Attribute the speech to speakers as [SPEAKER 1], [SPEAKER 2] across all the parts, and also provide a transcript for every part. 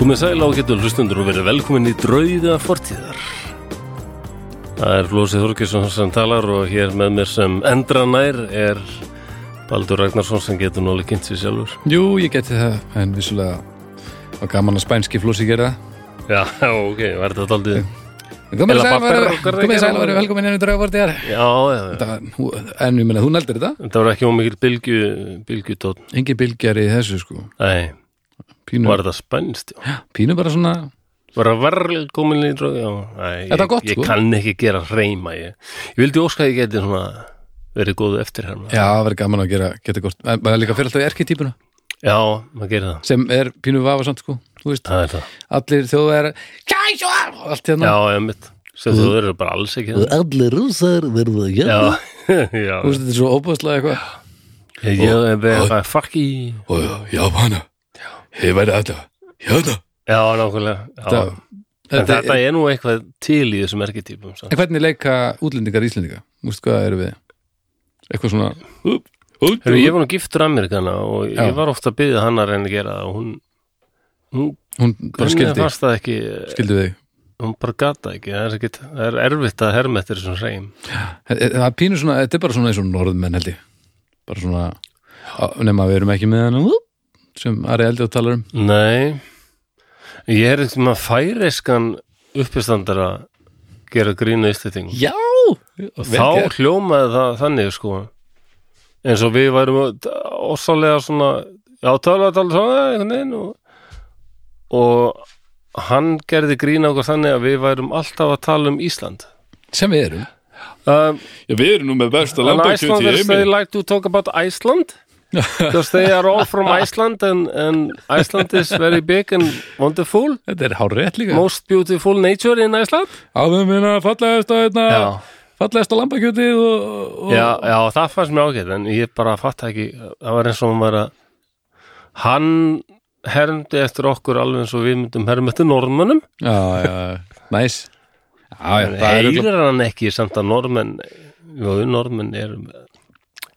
[SPEAKER 1] Komið sæl á getur hlustundur og verið velkomin í drauga fortíðar. Það er Flósi Þorgesson sem talar og hér með mér sem endranær er Baldur Ragnarsson sem getur náli kynnt sér sjálfur.
[SPEAKER 2] Jú, ég geti það, en vissulega var gaman að spænski flósi gera það.
[SPEAKER 1] Já, já, ok, var þetta aldrei...
[SPEAKER 2] En Komið
[SPEAKER 1] Eða
[SPEAKER 2] sæl
[SPEAKER 1] bara
[SPEAKER 2] að
[SPEAKER 1] okkar
[SPEAKER 2] komið
[SPEAKER 1] að
[SPEAKER 2] sæl
[SPEAKER 1] gera
[SPEAKER 2] að vera
[SPEAKER 1] það.
[SPEAKER 2] velkomin ennum draugafortiðar.
[SPEAKER 1] Já, já, já.
[SPEAKER 2] En ég meina, þú nældir þetta?
[SPEAKER 1] Þetta var ekki ómikil bylgju, bylgjutótt.
[SPEAKER 2] Engi bylgjari í þessu, sko.
[SPEAKER 1] Nei,
[SPEAKER 2] Pínu,
[SPEAKER 1] var þetta spænst, já.
[SPEAKER 2] pínu bara svona,
[SPEAKER 1] Var það velkomin í drauga, já. Nei,
[SPEAKER 2] Þetta var gott,
[SPEAKER 1] ég,
[SPEAKER 2] sko.
[SPEAKER 1] ég kann ekki gera reyma, ég. Ég vildi óska að ég geti svona verið hérna. góðu eftirherma.
[SPEAKER 2] já, verið gaman að gera, geta gort. En maður líka fyrir alltaf í erkitypuna,
[SPEAKER 1] Já, maður gerir það.
[SPEAKER 2] sem er pínu vafasamt, sko. Þú veist,
[SPEAKER 1] Það er það.
[SPEAKER 2] allir þjóðar, kæs og alf, allt hérna.
[SPEAKER 1] Já, einmitt sem
[SPEAKER 2] Mm.
[SPEAKER 1] þú eru bara alls ekki hérna.
[SPEAKER 3] og allir rússar verða að
[SPEAKER 1] Já,
[SPEAKER 3] gera
[SPEAKER 1] já
[SPEAKER 2] Þú veist, þetta er svo óbúðslega eitthvað.
[SPEAKER 1] Ég er bara fuck í
[SPEAKER 2] Og já, hana, ég væri alltaf, hérna.
[SPEAKER 1] Já, nákvæmlega já.
[SPEAKER 2] Þetta-
[SPEAKER 1] En
[SPEAKER 2] Þetta
[SPEAKER 1] þetta er nú eitthvað til í þessum erketypum samt.
[SPEAKER 2] En hvernig leika útlendingar íslendinga? Mústu hvað eru við? Eitthvað svona upp, upp,
[SPEAKER 1] Heru, Ég var nú giftur Amerikana og
[SPEAKER 2] Já.
[SPEAKER 1] ég var ofta að byggja hann að reyna að gera það og hún, hún
[SPEAKER 2] Hún bara
[SPEAKER 1] henni
[SPEAKER 2] skildi,
[SPEAKER 1] fannst það ekki
[SPEAKER 2] skildi við þig
[SPEAKER 1] hún bara gata ekki, það er, ekki, það er erfitt að herma eftir þessum hreim
[SPEAKER 2] Það það pínur svona, þetta er bara svona eins og norðmenn held ég Bara svona, á, nema við erum ekki með hann upp, sem Ari Eldjóð talar um
[SPEAKER 1] Nei Ég er eitthvað maður færeskan uppistandara gera grínu ystetingum
[SPEAKER 2] Já,
[SPEAKER 1] og þá hljómaði það þannig sko eins og við værum ósálega svona já, tala, tala, svona einhvern veginn og, og hann gerði grína okkur þannig að við værum alltaf að tala um Ísland
[SPEAKER 2] sem við erum
[SPEAKER 1] um,
[SPEAKER 2] Já, við erum nú með besta
[SPEAKER 1] and Icelanders they like to talk about Iceland because they are all from Iceland and, and Iceland is very big and wonderful
[SPEAKER 2] Þetta er hár rétt líka
[SPEAKER 1] most beautiful nature in Iceland
[SPEAKER 2] Áðum minna fallegasta hérna,
[SPEAKER 1] Já.
[SPEAKER 2] fallegasta lambakjötið og, og
[SPEAKER 1] já, já, það fannst mér ágætt en ég bara fatt ekki, það var eins og hann var að hann hermdi eftir okkur alveg eins og við myndum herma eftir norðmönnum
[SPEAKER 2] já, já, næs Já, já,
[SPEAKER 1] en
[SPEAKER 2] það er
[SPEAKER 1] heyrir hann ekki samt að norðmenn jú, norðmenn er ég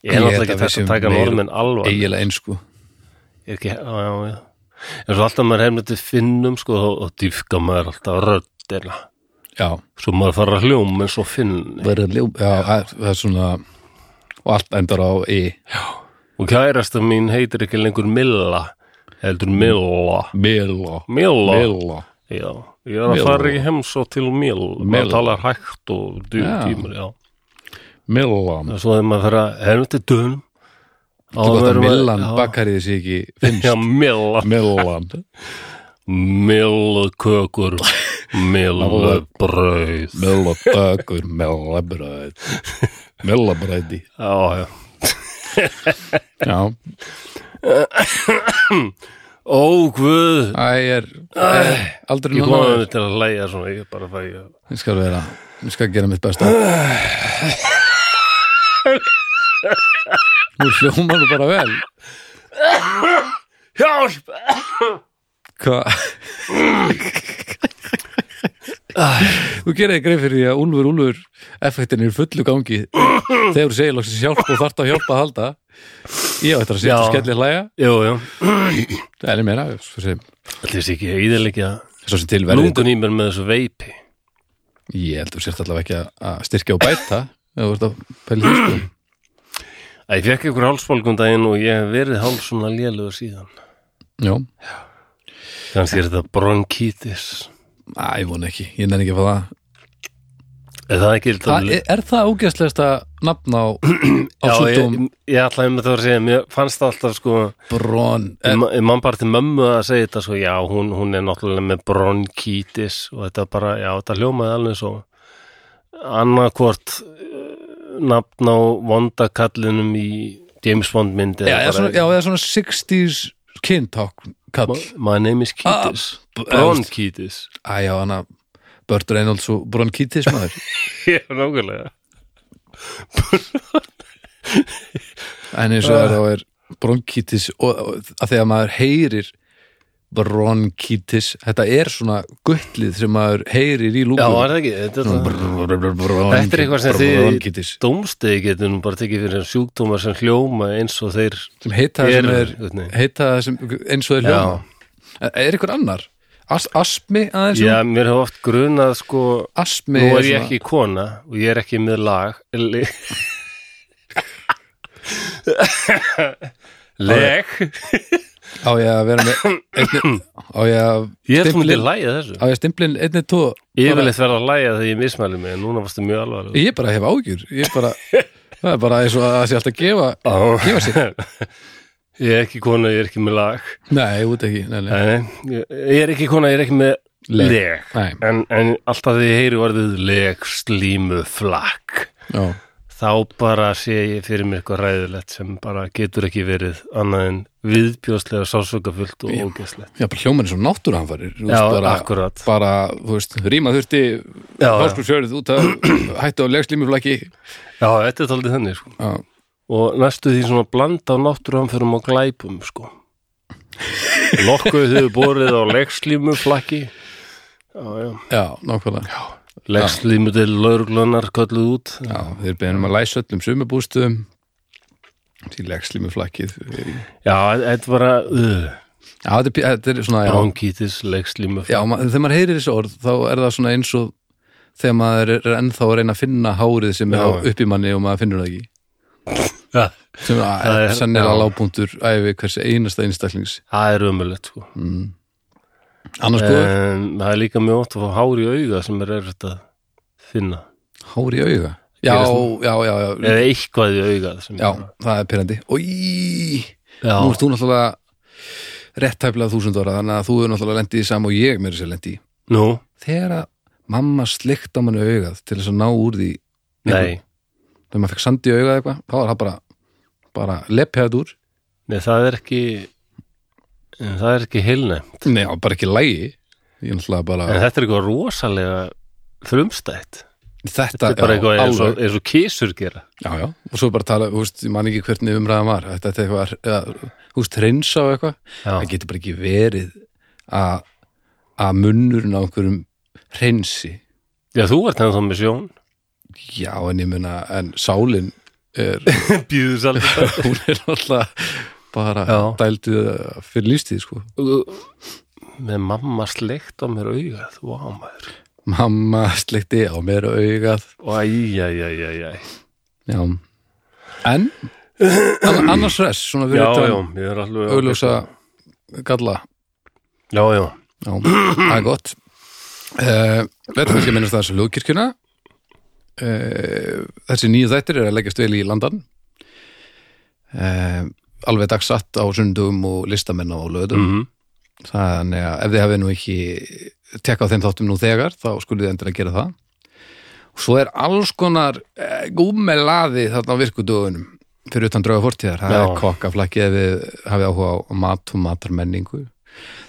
[SPEAKER 2] Ég
[SPEAKER 1] er
[SPEAKER 2] held
[SPEAKER 1] náttúrulega
[SPEAKER 2] að
[SPEAKER 1] ekki
[SPEAKER 2] við
[SPEAKER 1] þess
[SPEAKER 2] séum
[SPEAKER 1] að taka
[SPEAKER 2] meira-
[SPEAKER 1] norðmenn alvar ég
[SPEAKER 2] eiginlega eins sko
[SPEAKER 1] er ekki, já, já, já en svo alltaf maður herma eftir finnum sko, og, og dýfka maður alltaf röddina
[SPEAKER 2] Já,
[SPEAKER 1] svo maður fara að hljóma eins og finn
[SPEAKER 3] verða ljó
[SPEAKER 2] Já, það það er svona og allt endar á í
[SPEAKER 1] og kærasta mín heitir ekki lengur Milla heldur Milla
[SPEAKER 2] Milo
[SPEAKER 1] Milla,
[SPEAKER 2] Milo
[SPEAKER 1] Já, ég er að
[SPEAKER 2] Mjöl.
[SPEAKER 1] fara í heimsó til mjöl,
[SPEAKER 2] Mjöl.
[SPEAKER 1] maður talar hægt og djúr
[SPEAKER 2] Já.
[SPEAKER 1] tímur, já.
[SPEAKER 2] Milan
[SPEAKER 1] En svo þegar maður fer að helviti dönum, á
[SPEAKER 2] Þú gott að
[SPEAKER 1] verðum
[SPEAKER 2] Milan
[SPEAKER 1] já.
[SPEAKER 2] bakkariði sig ekki finnst
[SPEAKER 1] Já, mjöl,
[SPEAKER 2] Milan
[SPEAKER 1] mjölkökur, mjölbrauð.
[SPEAKER 2] Milabakur Milabröð Milabröði
[SPEAKER 1] Já, já.
[SPEAKER 2] Já,
[SPEAKER 1] Ó, guð,
[SPEAKER 2] það er er aldrei
[SPEAKER 1] ég komið
[SPEAKER 2] núna
[SPEAKER 1] mér til að hlæja svona, ég bara fæ ég.
[SPEAKER 2] Ég skal vera, ég skal gera mitt besta Nú hljómar þú bara vel
[SPEAKER 1] Hjálp!
[SPEAKER 2] Hvað? Þú gerir þig greið fyrir því að Úlfur, Úlfur effektin er í fullu gangi þegar þú segir loksins hjálp og þarft á hjálp að halda ég á þetta að setja
[SPEAKER 1] Já.
[SPEAKER 2] skellir hlæja
[SPEAKER 1] Jú, jú,
[SPEAKER 2] það er meira, svo sem,
[SPEAKER 1] allir sé ekki eðilegja
[SPEAKER 2] svo sem til verður
[SPEAKER 1] lungun í mér með þessu veipi.
[SPEAKER 2] ég held þú sért allavega ekki að- að styrkja og bæta ef þú ert að pæli því sko
[SPEAKER 1] Æ, ég fekk ykkur hálsbólgum daginn og ég hef verið háls svona lélugur síðan.
[SPEAKER 2] já,
[SPEAKER 1] Kannski er þetta bronkítis.
[SPEAKER 2] Æ, ég vona ekki, ég nenni ekki að fá það
[SPEAKER 1] Er það ekki þetta
[SPEAKER 2] Æ, er það ógæstlegasta nafn á, á
[SPEAKER 1] Já, ég,
[SPEAKER 2] sjúkdóm
[SPEAKER 1] ég ætlaði með það að segja, mér fannst það alltaf sko,
[SPEAKER 2] brón
[SPEAKER 1] ég ma- ég man bara til mömmu að segja þetta sko, já, hún, hún er náttúrulega með bronkítis og þetta bara, já, þetta hljómaði alveg svo annarkvort eh, nafn á vondakallinum í James Bond myndi
[SPEAKER 2] já, eða svona, já, eða svona 60s kyntákn kall
[SPEAKER 1] My name is Kítis,
[SPEAKER 2] Ah, b-
[SPEAKER 1] bronkítis
[SPEAKER 2] Æjá, hann að Börn Reynolds og bronkítis maður
[SPEAKER 1] Já, nákvæmlega
[SPEAKER 2] En eins og það er bronkítis og, og að þegar maður heyrir bronkítis þetta er svona guttlið sem maður heyrir í
[SPEAKER 1] Já,
[SPEAKER 2] lúku
[SPEAKER 1] var það ekki, þetta er það Þetta er eitthvað sem þið-
[SPEAKER 2] bronkítis
[SPEAKER 1] Dómstegi getur nú bara tekið fyrir sjúkdómar sem hljóma eins og þeir
[SPEAKER 2] sem heita það sem
[SPEAKER 1] Eru,
[SPEAKER 2] er
[SPEAKER 1] einhvern veginn.
[SPEAKER 2] heita það sem, eins og það er
[SPEAKER 1] Já.
[SPEAKER 2] hljóma Er- Er einhver annar? As, asmi aðeins um-
[SPEAKER 1] Já, mér hef oft grunað sko
[SPEAKER 2] Asmi
[SPEAKER 1] Nú er
[SPEAKER 2] er
[SPEAKER 1] ég
[SPEAKER 2] svona-
[SPEAKER 1] ekki kona og ég er ekki með lag li- Leg
[SPEAKER 2] á ég að vera með einni, á ég að
[SPEAKER 1] Ég er svona til
[SPEAKER 2] stimplin
[SPEAKER 1] að læja þessu
[SPEAKER 2] á ég að stimplin einni tó
[SPEAKER 1] Ég vil eitthvað að læja þegar ég mismæli mig en núna varstu mjög alvarleg
[SPEAKER 2] ég bara hef ágjur ég bara, það er bara eins og að það sé alltaf að gefa gefa sig,
[SPEAKER 1] Ég er ekki kona, ég er ekki með lag
[SPEAKER 2] nei, út ekki nei, nei.
[SPEAKER 1] Nei, ég ég er ekki kona, ég er ekki með
[SPEAKER 2] Leg.
[SPEAKER 1] leg
[SPEAKER 2] Nei,
[SPEAKER 1] En, en alltaf því ég heyri orðið leg, slímu, flakk
[SPEAKER 2] já,
[SPEAKER 1] þá bara sé ég fyrir mér eitthvað ræðilegt sem bara getur ekki verið annað en viðbjóðslega sásökafullt og ógeðslegt.
[SPEAKER 2] já, bara hljóman eins og náttúruhanfarir þú
[SPEAKER 1] Já,
[SPEAKER 2] veist, bara,
[SPEAKER 1] akkurat.
[SPEAKER 2] bara, þú veist, rýma þurfti
[SPEAKER 1] Já, já,
[SPEAKER 2] háskursjörð út að hættu á legslímuflaki
[SPEAKER 1] já, þetta er taldið þannig sko.
[SPEAKER 2] já,
[SPEAKER 1] og næstu því svona blanda á náttúruanförum og glæpum sko. Lokkuð þau borið á legslímu flakki Já, já,
[SPEAKER 2] já, nákvæmlega já,
[SPEAKER 1] legslímu til lauruglunar kölluð út
[SPEAKER 2] já þeir beðum að læsa öllum sumabústum til legslímuflakið já,
[SPEAKER 1] Já, þetta var að uh,
[SPEAKER 2] þetta er, pí- þetta er svona já,
[SPEAKER 1] bronkitis, legslímu
[SPEAKER 2] Já, ma þegar maður heyrir þessi orð þá er það svona eins og þegar maður er ennþá að reyna að finna hárið sem er á
[SPEAKER 1] Já.
[SPEAKER 2] upp í manni og maður finnur það ekki
[SPEAKER 1] Já,
[SPEAKER 2] sem
[SPEAKER 1] Það
[SPEAKER 2] er
[SPEAKER 1] er-
[SPEAKER 2] sennilega
[SPEAKER 1] já.
[SPEAKER 2] lágpuntur æfi hvers einasta einstaklings Mm.
[SPEAKER 1] það er ömulegt sko.
[SPEAKER 2] annars sko,
[SPEAKER 1] en það er líka mjög ótt að fá hár í auga sem er erfitt að finna
[SPEAKER 2] hár í auga já, já, já, já, já,
[SPEAKER 1] eða eitthvað í auga sem
[SPEAKER 2] það er pyrrandi og í,
[SPEAKER 1] Já.
[SPEAKER 2] nú ert þú náttúrulega rétt tæplega þúsund ára þannig að þú er náttúrulega lendið í sam og ég mér sér lendið í
[SPEAKER 1] nú,
[SPEAKER 2] þegar að mamma slikta manni augað til þess að ná úr því
[SPEAKER 1] nei,
[SPEAKER 2] þegar maður fekk sandi í augað eitthvað þá var það bara, bara leppjað úr
[SPEAKER 1] nei það er ekki en það er ekki heilnæmt
[SPEAKER 2] Nei, já, bara ekki lægi Ég er náttúrulega bara
[SPEAKER 1] en Eh, þetta er eitthvað rosalega frumstætt,
[SPEAKER 2] Þetta
[SPEAKER 1] þetta er bara
[SPEAKER 2] já,
[SPEAKER 1] eitthvað eins og,
[SPEAKER 2] alveg,
[SPEAKER 1] eins og kísur gera
[SPEAKER 2] já, já, og svo bara tala, þú veist, ég man ekki hvernig umræðan var Þetta er eitthvað, eða, þú veist, reynsa og eitthvað
[SPEAKER 1] Já.
[SPEAKER 2] Það getur bara ekki verið að að munnurinn á einhverjum reynsi
[SPEAKER 1] já, þú ert ennþá með sjón
[SPEAKER 2] Já, en ég meina, en sálin er,
[SPEAKER 1] býður svolítið
[SPEAKER 2] hún er alltaf bara já.
[SPEAKER 1] Já.
[SPEAKER 2] dældið fyrir lífstíð, sko
[SPEAKER 1] með mamma sleikt á mér augað wow, maður.
[SPEAKER 2] Mamma sleikti á mér augað
[SPEAKER 1] Æ, æ, æ, æ, æ.
[SPEAKER 2] Já En, annars res, svona
[SPEAKER 1] já,
[SPEAKER 2] við
[SPEAKER 1] já,
[SPEAKER 2] þetta
[SPEAKER 1] ég er alveg
[SPEAKER 2] augljósa galla
[SPEAKER 1] já, já,
[SPEAKER 2] Já, það er gott uh, Verður kannski að minnast það þessu ljóðkirkjuna uh, Þessi nýju þættir er að leggjast vel í landan uh, Alveg dagsatt á sundum og listamenn á löðum
[SPEAKER 1] mhm
[SPEAKER 2] Þannig að ef þið hafið nú ekki tekka á þeim þáttum nú þegar þá skulið þið endilega gera það og svo er alls konar eh, gúmelaði þarna á virkudugunum fyrir utan drauga fortíðar, það
[SPEAKER 1] Já.
[SPEAKER 2] er kokkaflakki ef þið hafið áhuga á mat og matarmenningu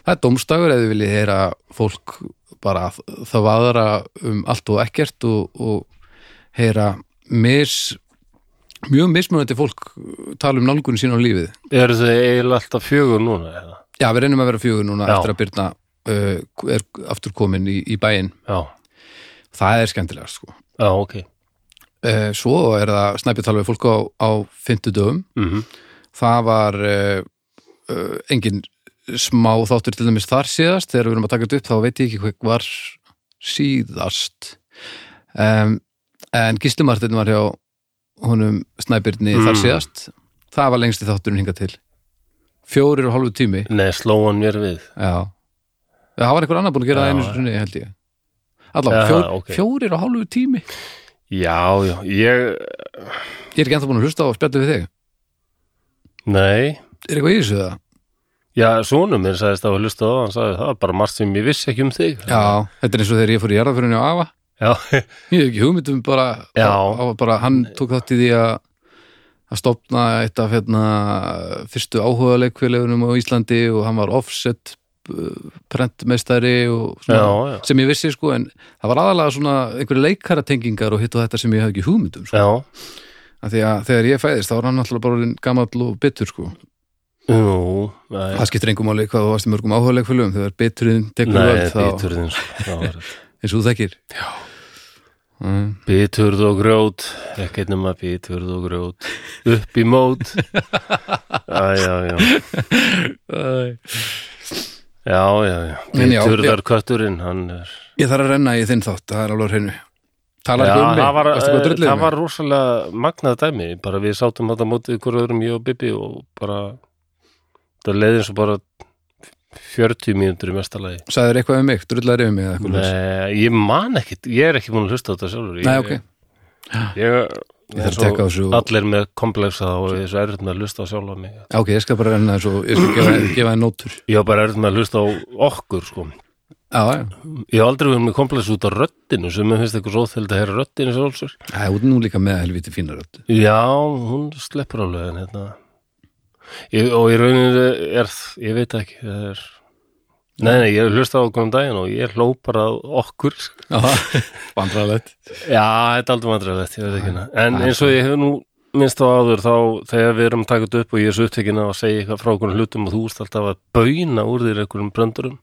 [SPEAKER 2] það er domstagur ef þið viljið heyra fólk bara það vaðra um allt og ekkert og, og heyra mis, mjög mismunandi fólk tala um nálgun sín á lífið
[SPEAKER 1] eru þau eiginlega alltaf fjögur núna eða?
[SPEAKER 2] Já, við reynum að vera fjögur núna
[SPEAKER 1] Já.
[SPEAKER 2] eftir að Birna uh, er aftur komin í, í bæinn.
[SPEAKER 1] já,
[SPEAKER 2] Það er skemmtilega, sko.
[SPEAKER 1] já, ok
[SPEAKER 2] Uh, svo er það snæpjartal við fólk á, á fimmtudöfum.
[SPEAKER 1] mhm,
[SPEAKER 2] Það var uh, uh, engin smá þáttur til dæmis þar síðast. Þegar við erum að taka þetta upp þá veit ég ekki hvað var síðast. Um, en Gíslimartin var hjá honum snæpjarni
[SPEAKER 1] Mm.
[SPEAKER 2] þar síðast. Það var lengsti þátturinn hingað til. Fjórir og hálfu tími.
[SPEAKER 1] nei, sló hann mér við
[SPEAKER 2] Já Það var einhver annar búin að gera það
[SPEAKER 1] Já,
[SPEAKER 2] einu sinni held ég Alla,
[SPEAKER 1] Jaha,
[SPEAKER 2] fjór,
[SPEAKER 1] ok.
[SPEAKER 2] fjórir og hálfu tími
[SPEAKER 1] Já, já, ég,
[SPEAKER 2] Ég er ekki ennþá búin að hlusta á að spjalla við þig
[SPEAKER 1] nei,
[SPEAKER 2] Er eitthvað í þessu það?
[SPEAKER 1] já, sonum minn sagðist að hlusta á, það, hann sagði það var bara margt sem ég vissi ekki um þig.
[SPEAKER 2] Já, þetta er eins og þegar ég fór í jarðaförunni á Ava
[SPEAKER 1] Já,
[SPEAKER 2] Ég hef ekki hugmyndum bara,
[SPEAKER 1] Já.
[SPEAKER 2] bara, bara Hann tók þátt í því að að stopna eitt af hérna, fyrstu áhuga leikfélagunum á Íslandi og hann var offset uh, prentmeistari og
[SPEAKER 1] já,
[SPEAKER 2] svona,
[SPEAKER 1] já,
[SPEAKER 2] sem ég vissi sko en það var aðalega svona einhverju leikaratengingar og hitt og þetta sem ég hef ekki hugmyndum sko.
[SPEAKER 1] já,
[SPEAKER 2] að því að þegar ég fæðist þá var hann alltaf bara orðinn gamall og bitur sko
[SPEAKER 1] jú, nei,
[SPEAKER 2] það skiptir engum máli hvað þú varst í mörgum áhugaleg fölum þegar biturinn tekur
[SPEAKER 1] nei,
[SPEAKER 2] völd þá,
[SPEAKER 1] biturðin, sko, já, rétt.
[SPEAKER 2] eins og þú þekkir já mm,
[SPEAKER 1] biturð og grjót, ekkert nema biturð og grjót, upp í mót, já, já, já, já, já, já,
[SPEAKER 2] já, En já,
[SPEAKER 1] Turðarkötturinn, hann eh, er
[SPEAKER 2] Ég þarf að renna í þinn þátt, það er alveg á hreinu Talar
[SPEAKER 1] Já,
[SPEAKER 2] ekki um mig,
[SPEAKER 1] það var,
[SPEAKER 2] varstu hvað
[SPEAKER 1] eh,
[SPEAKER 2] drullið
[SPEAKER 1] það
[SPEAKER 2] mig?
[SPEAKER 1] var rosalega magnað dæmi, bara við sátum þetta mótið ykkur öðrum ég og Bibi og bara það leiði eins og bara 40 mínútur í mesta lagi
[SPEAKER 2] Sæður eitthvað um mig, drullar yfir mig eða eitthvað leis?
[SPEAKER 1] Nei, ég man ekkit, ég er ekki búin að hlusta á þetta sjálfur ég,
[SPEAKER 2] Nei, ok,
[SPEAKER 1] ég,
[SPEAKER 2] ég þarf að tekka á þessu og-
[SPEAKER 1] allir með kompleksa og ég er svo erfitt með að hlusta á sjálfa mig
[SPEAKER 2] Já, ok, ég skal bara renna þessu og ég skal gefa, gefa þér nótur
[SPEAKER 1] ég var bara erfitt með að hlusta á okkur sko.
[SPEAKER 2] Já, já,
[SPEAKER 1] ég hef aldrei verið með kompleksa út á röddinu sem mér finnst eitthvað róþeld að heyra röddinu sjálfsög
[SPEAKER 2] það er út nú líka með helviti fínar rödd
[SPEAKER 1] Já, hún sleppur alveg en hérna ég, og í rauninu er þ- ég veit það ekki það er... Nei, nei, ég hlusta á okkur um daginn og ég hló bara á okkur sko.
[SPEAKER 2] Já, vandræðalegt
[SPEAKER 1] Já, þetta er aldrei vandræðilegt, ég veit ekki hérna En eins og ég hef nú minnst á áður þá þegar við erum takað upp og ég er svo upptekinn af að segja eitthvað frá okkur hlutum og þú úrst alltaf að bauna úr þér einhverjum bröndurum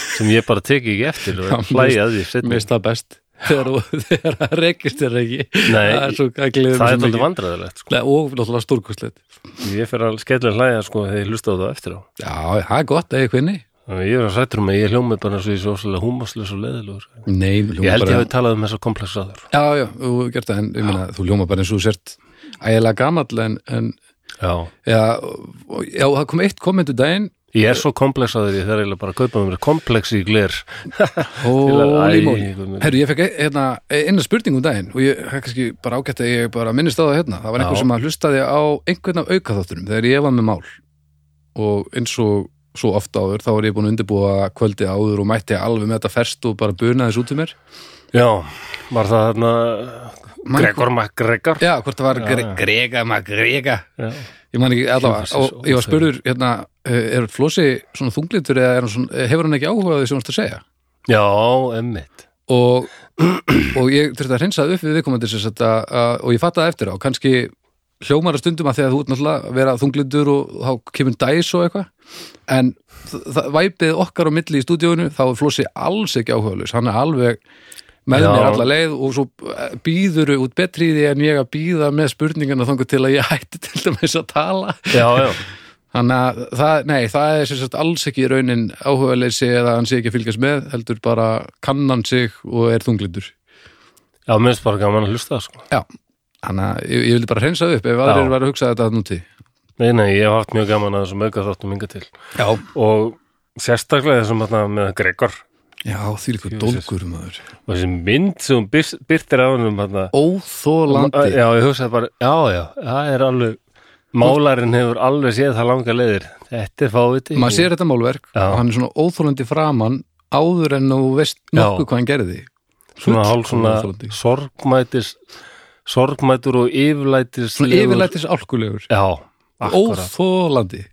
[SPEAKER 1] sem ég bara teki ekki eftir
[SPEAKER 2] Já,
[SPEAKER 1] og hlæja að því seinna.
[SPEAKER 2] Mér stað best þegar þú- þegar það rekist þér ekki
[SPEAKER 1] Nei,
[SPEAKER 2] það er svo að gleðum
[SPEAKER 1] Það er aldrei vandræðilegt sko.
[SPEAKER 2] og náttúrulega stórkostlegt
[SPEAKER 1] Ég fer að skella hlæja sko þegar ég hlusta á það eftir á
[SPEAKER 2] Já, það er gott, eða eitthvað inni
[SPEAKER 1] Þannig að Ég er sættur um að ég hljómið bara svo í svo svolítið húmaslega og leðilegur.
[SPEAKER 2] Nei, þú
[SPEAKER 1] Ég held
[SPEAKER 2] hljómar
[SPEAKER 1] ég
[SPEAKER 2] bara-
[SPEAKER 1] hafi talað um þessa kompleksa aður.
[SPEAKER 2] Já, já, þú hefur gert það, en ég meina, þú ljóma bara eins og þú sért ægilega gamall en, en
[SPEAKER 1] Já.
[SPEAKER 2] já, og- já, það kom eitt kommentu daginn
[SPEAKER 1] Ég er svo kompleks aður, ég þarf eiginlega bara að kaupa mér komplex í gler.
[SPEAKER 2] Holy
[SPEAKER 1] Æ,
[SPEAKER 2] moly
[SPEAKER 1] guð minn.
[SPEAKER 2] Herru, ég fekk hérna, eina spurning um daginn og ég það er kannski bara ágætt að ég bara minnist á það hérna það var einhver
[SPEAKER 1] Já.
[SPEAKER 2] sem að hlustaði á einhvern af aukaþáttunum þegar ég var með mál og eins og svo ofta áður þá var ég búin að undirbúa kvöldi áður og mætti alveg með þetta ferst og bara buna þessu út um mér
[SPEAKER 1] Já, var það þarna
[SPEAKER 2] Man-
[SPEAKER 1] Gregor MacGregor?
[SPEAKER 2] Já, hvort það var
[SPEAKER 1] Já,
[SPEAKER 2] gre
[SPEAKER 1] já.
[SPEAKER 2] grega, maður grega
[SPEAKER 1] Já.
[SPEAKER 2] Ég man ekki allavega
[SPEAKER 1] Hljómar svo
[SPEAKER 2] og ég var
[SPEAKER 1] óþægilegt.
[SPEAKER 2] spurður hérna, eh, er Flósi svona þunglindur eða er hann svona, hefur hann ekki áhuga á því sem hann að segja
[SPEAKER 1] Já, emmitt.
[SPEAKER 2] og, og ég þurfti að hreinsa upp við viðkomandi sem þetta og ég fattaði eftir á, kannski hljómar að stundum að þegar þú ert náttúrulega að vera þunglindur og þá kemur dæs og eitthvað en þ- það væpið okkar á milli í stúdíóinu þá er Flósi alls ekki áhugaðlaus hann er alveg með
[SPEAKER 1] Já.
[SPEAKER 2] mér alla leið og svo býður út betri í því en ég að býða með spurningana þangur til að ég hætti til dæmis að tala
[SPEAKER 1] Já, já.
[SPEAKER 2] Þannig að það, nei, það er sem sagt alls ekki í raunin áhugaleysi eða hann sé ekki að fylgjast með, heldur bara kann hann sig og er þunglindur.
[SPEAKER 1] Já, minnst bara gaman að hlusta, sko.
[SPEAKER 2] Já, þannig að ég, ég vildi bara hreinsa það upp ef
[SPEAKER 1] Já.
[SPEAKER 2] aðrir eru að hugsa þetta að núti.
[SPEAKER 1] Nei, nei, ég hef haft mjög gaman að þessum auka þáttum ynga til.
[SPEAKER 2] Já.
[SPEAKER 1] Og sérstaklega þessum þarna með Gregor
[SPEAKER 2] Já, því líka
[SPEAKER 1] Jesus.
[SPEAKER 2] dólgur maður.
[SPEAKER 1] og þessi mynd sem hún byr- birtir af hennum þarna.
[SPEAKER 2] Óþólandi.
[SPEAKER 1] Já, ég hugsaði bara, já, já, það er alveg Málarinn hefur alveg séð það langa leiðir Þetta er fáviti
[SPEAKER 2] Maður sér þetta málverk
[SPEAKER 1] Já.
[SPEAKER 2] og hann er svona óþólandi framan áður en þú veist
[SPEAKER 1] Já.
[SPEAKER 2] nokkuð hvað hann gerði.
[SPEAKER 1] Svona hálf svona
[SPEAKER 2] Óþolandi.
[SPEAKER 1] sorgmætis Sorgmætur og yfirlætis
[SPEAKER 2] Svona yfirlættis álkulegur.
[SPEAKER 1] Já, akkurat
[SPEAKER 2] Óþólandi.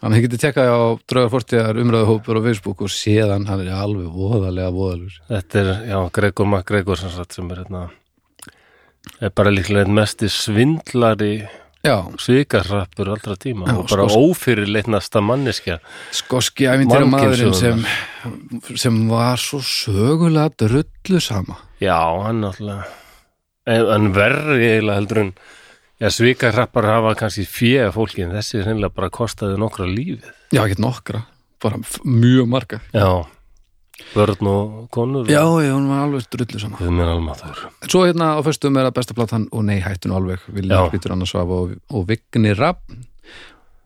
[SPEAKER 2] Þannig að ég geti tekað á draugarfortiðar umræðuhópur á Facebook og séðan hann er alveg voðalega voðalur.
[SPEAKER 1] Þetta er, já, Gregor MacGregor sem sagt sem er hérna er bara líklega einn mesti svindlari
[SPEAKER 2] Já,
[SPEAKER 1] svikarrappur allra tíma
[SPEAKER 2] Já,
[SPEAKER 1] og bara
[SPEAKER 2] sko-
[SPEAKER 1] ófyrirleitnasta manneskja
[SPEAKER 2] skoski æfintir sko, maðurinn sem,
[SPEAKER 1] Mannkynssögunar.
[SPEAKER 2] sem var svo sögulega drullu sama
[SPEAKER 1] Já, hann náttúrulega en, en verri eiginlega heldur en já, svikarrappar hafa kannski fjö fólki en þessi reynilega bara kostaði nokkra lífið
[SPEAKER 2] Já, ekki nokkra, bara f- mjög marga
[SPEAKER 1] Já, börn og konur
[SPEAKER 2] Já, já, hún var alveg drullu sama
[SPEAKER 1] Við minn almaður
[SPEAKER 2] Svo hérna á föstum er að besta platan og nei, hættu nú alveg
[SPEAKER 1] Já.
[SPEAKER 2] Vilja Hvítur Annars Svafa og, og Vigni Rappn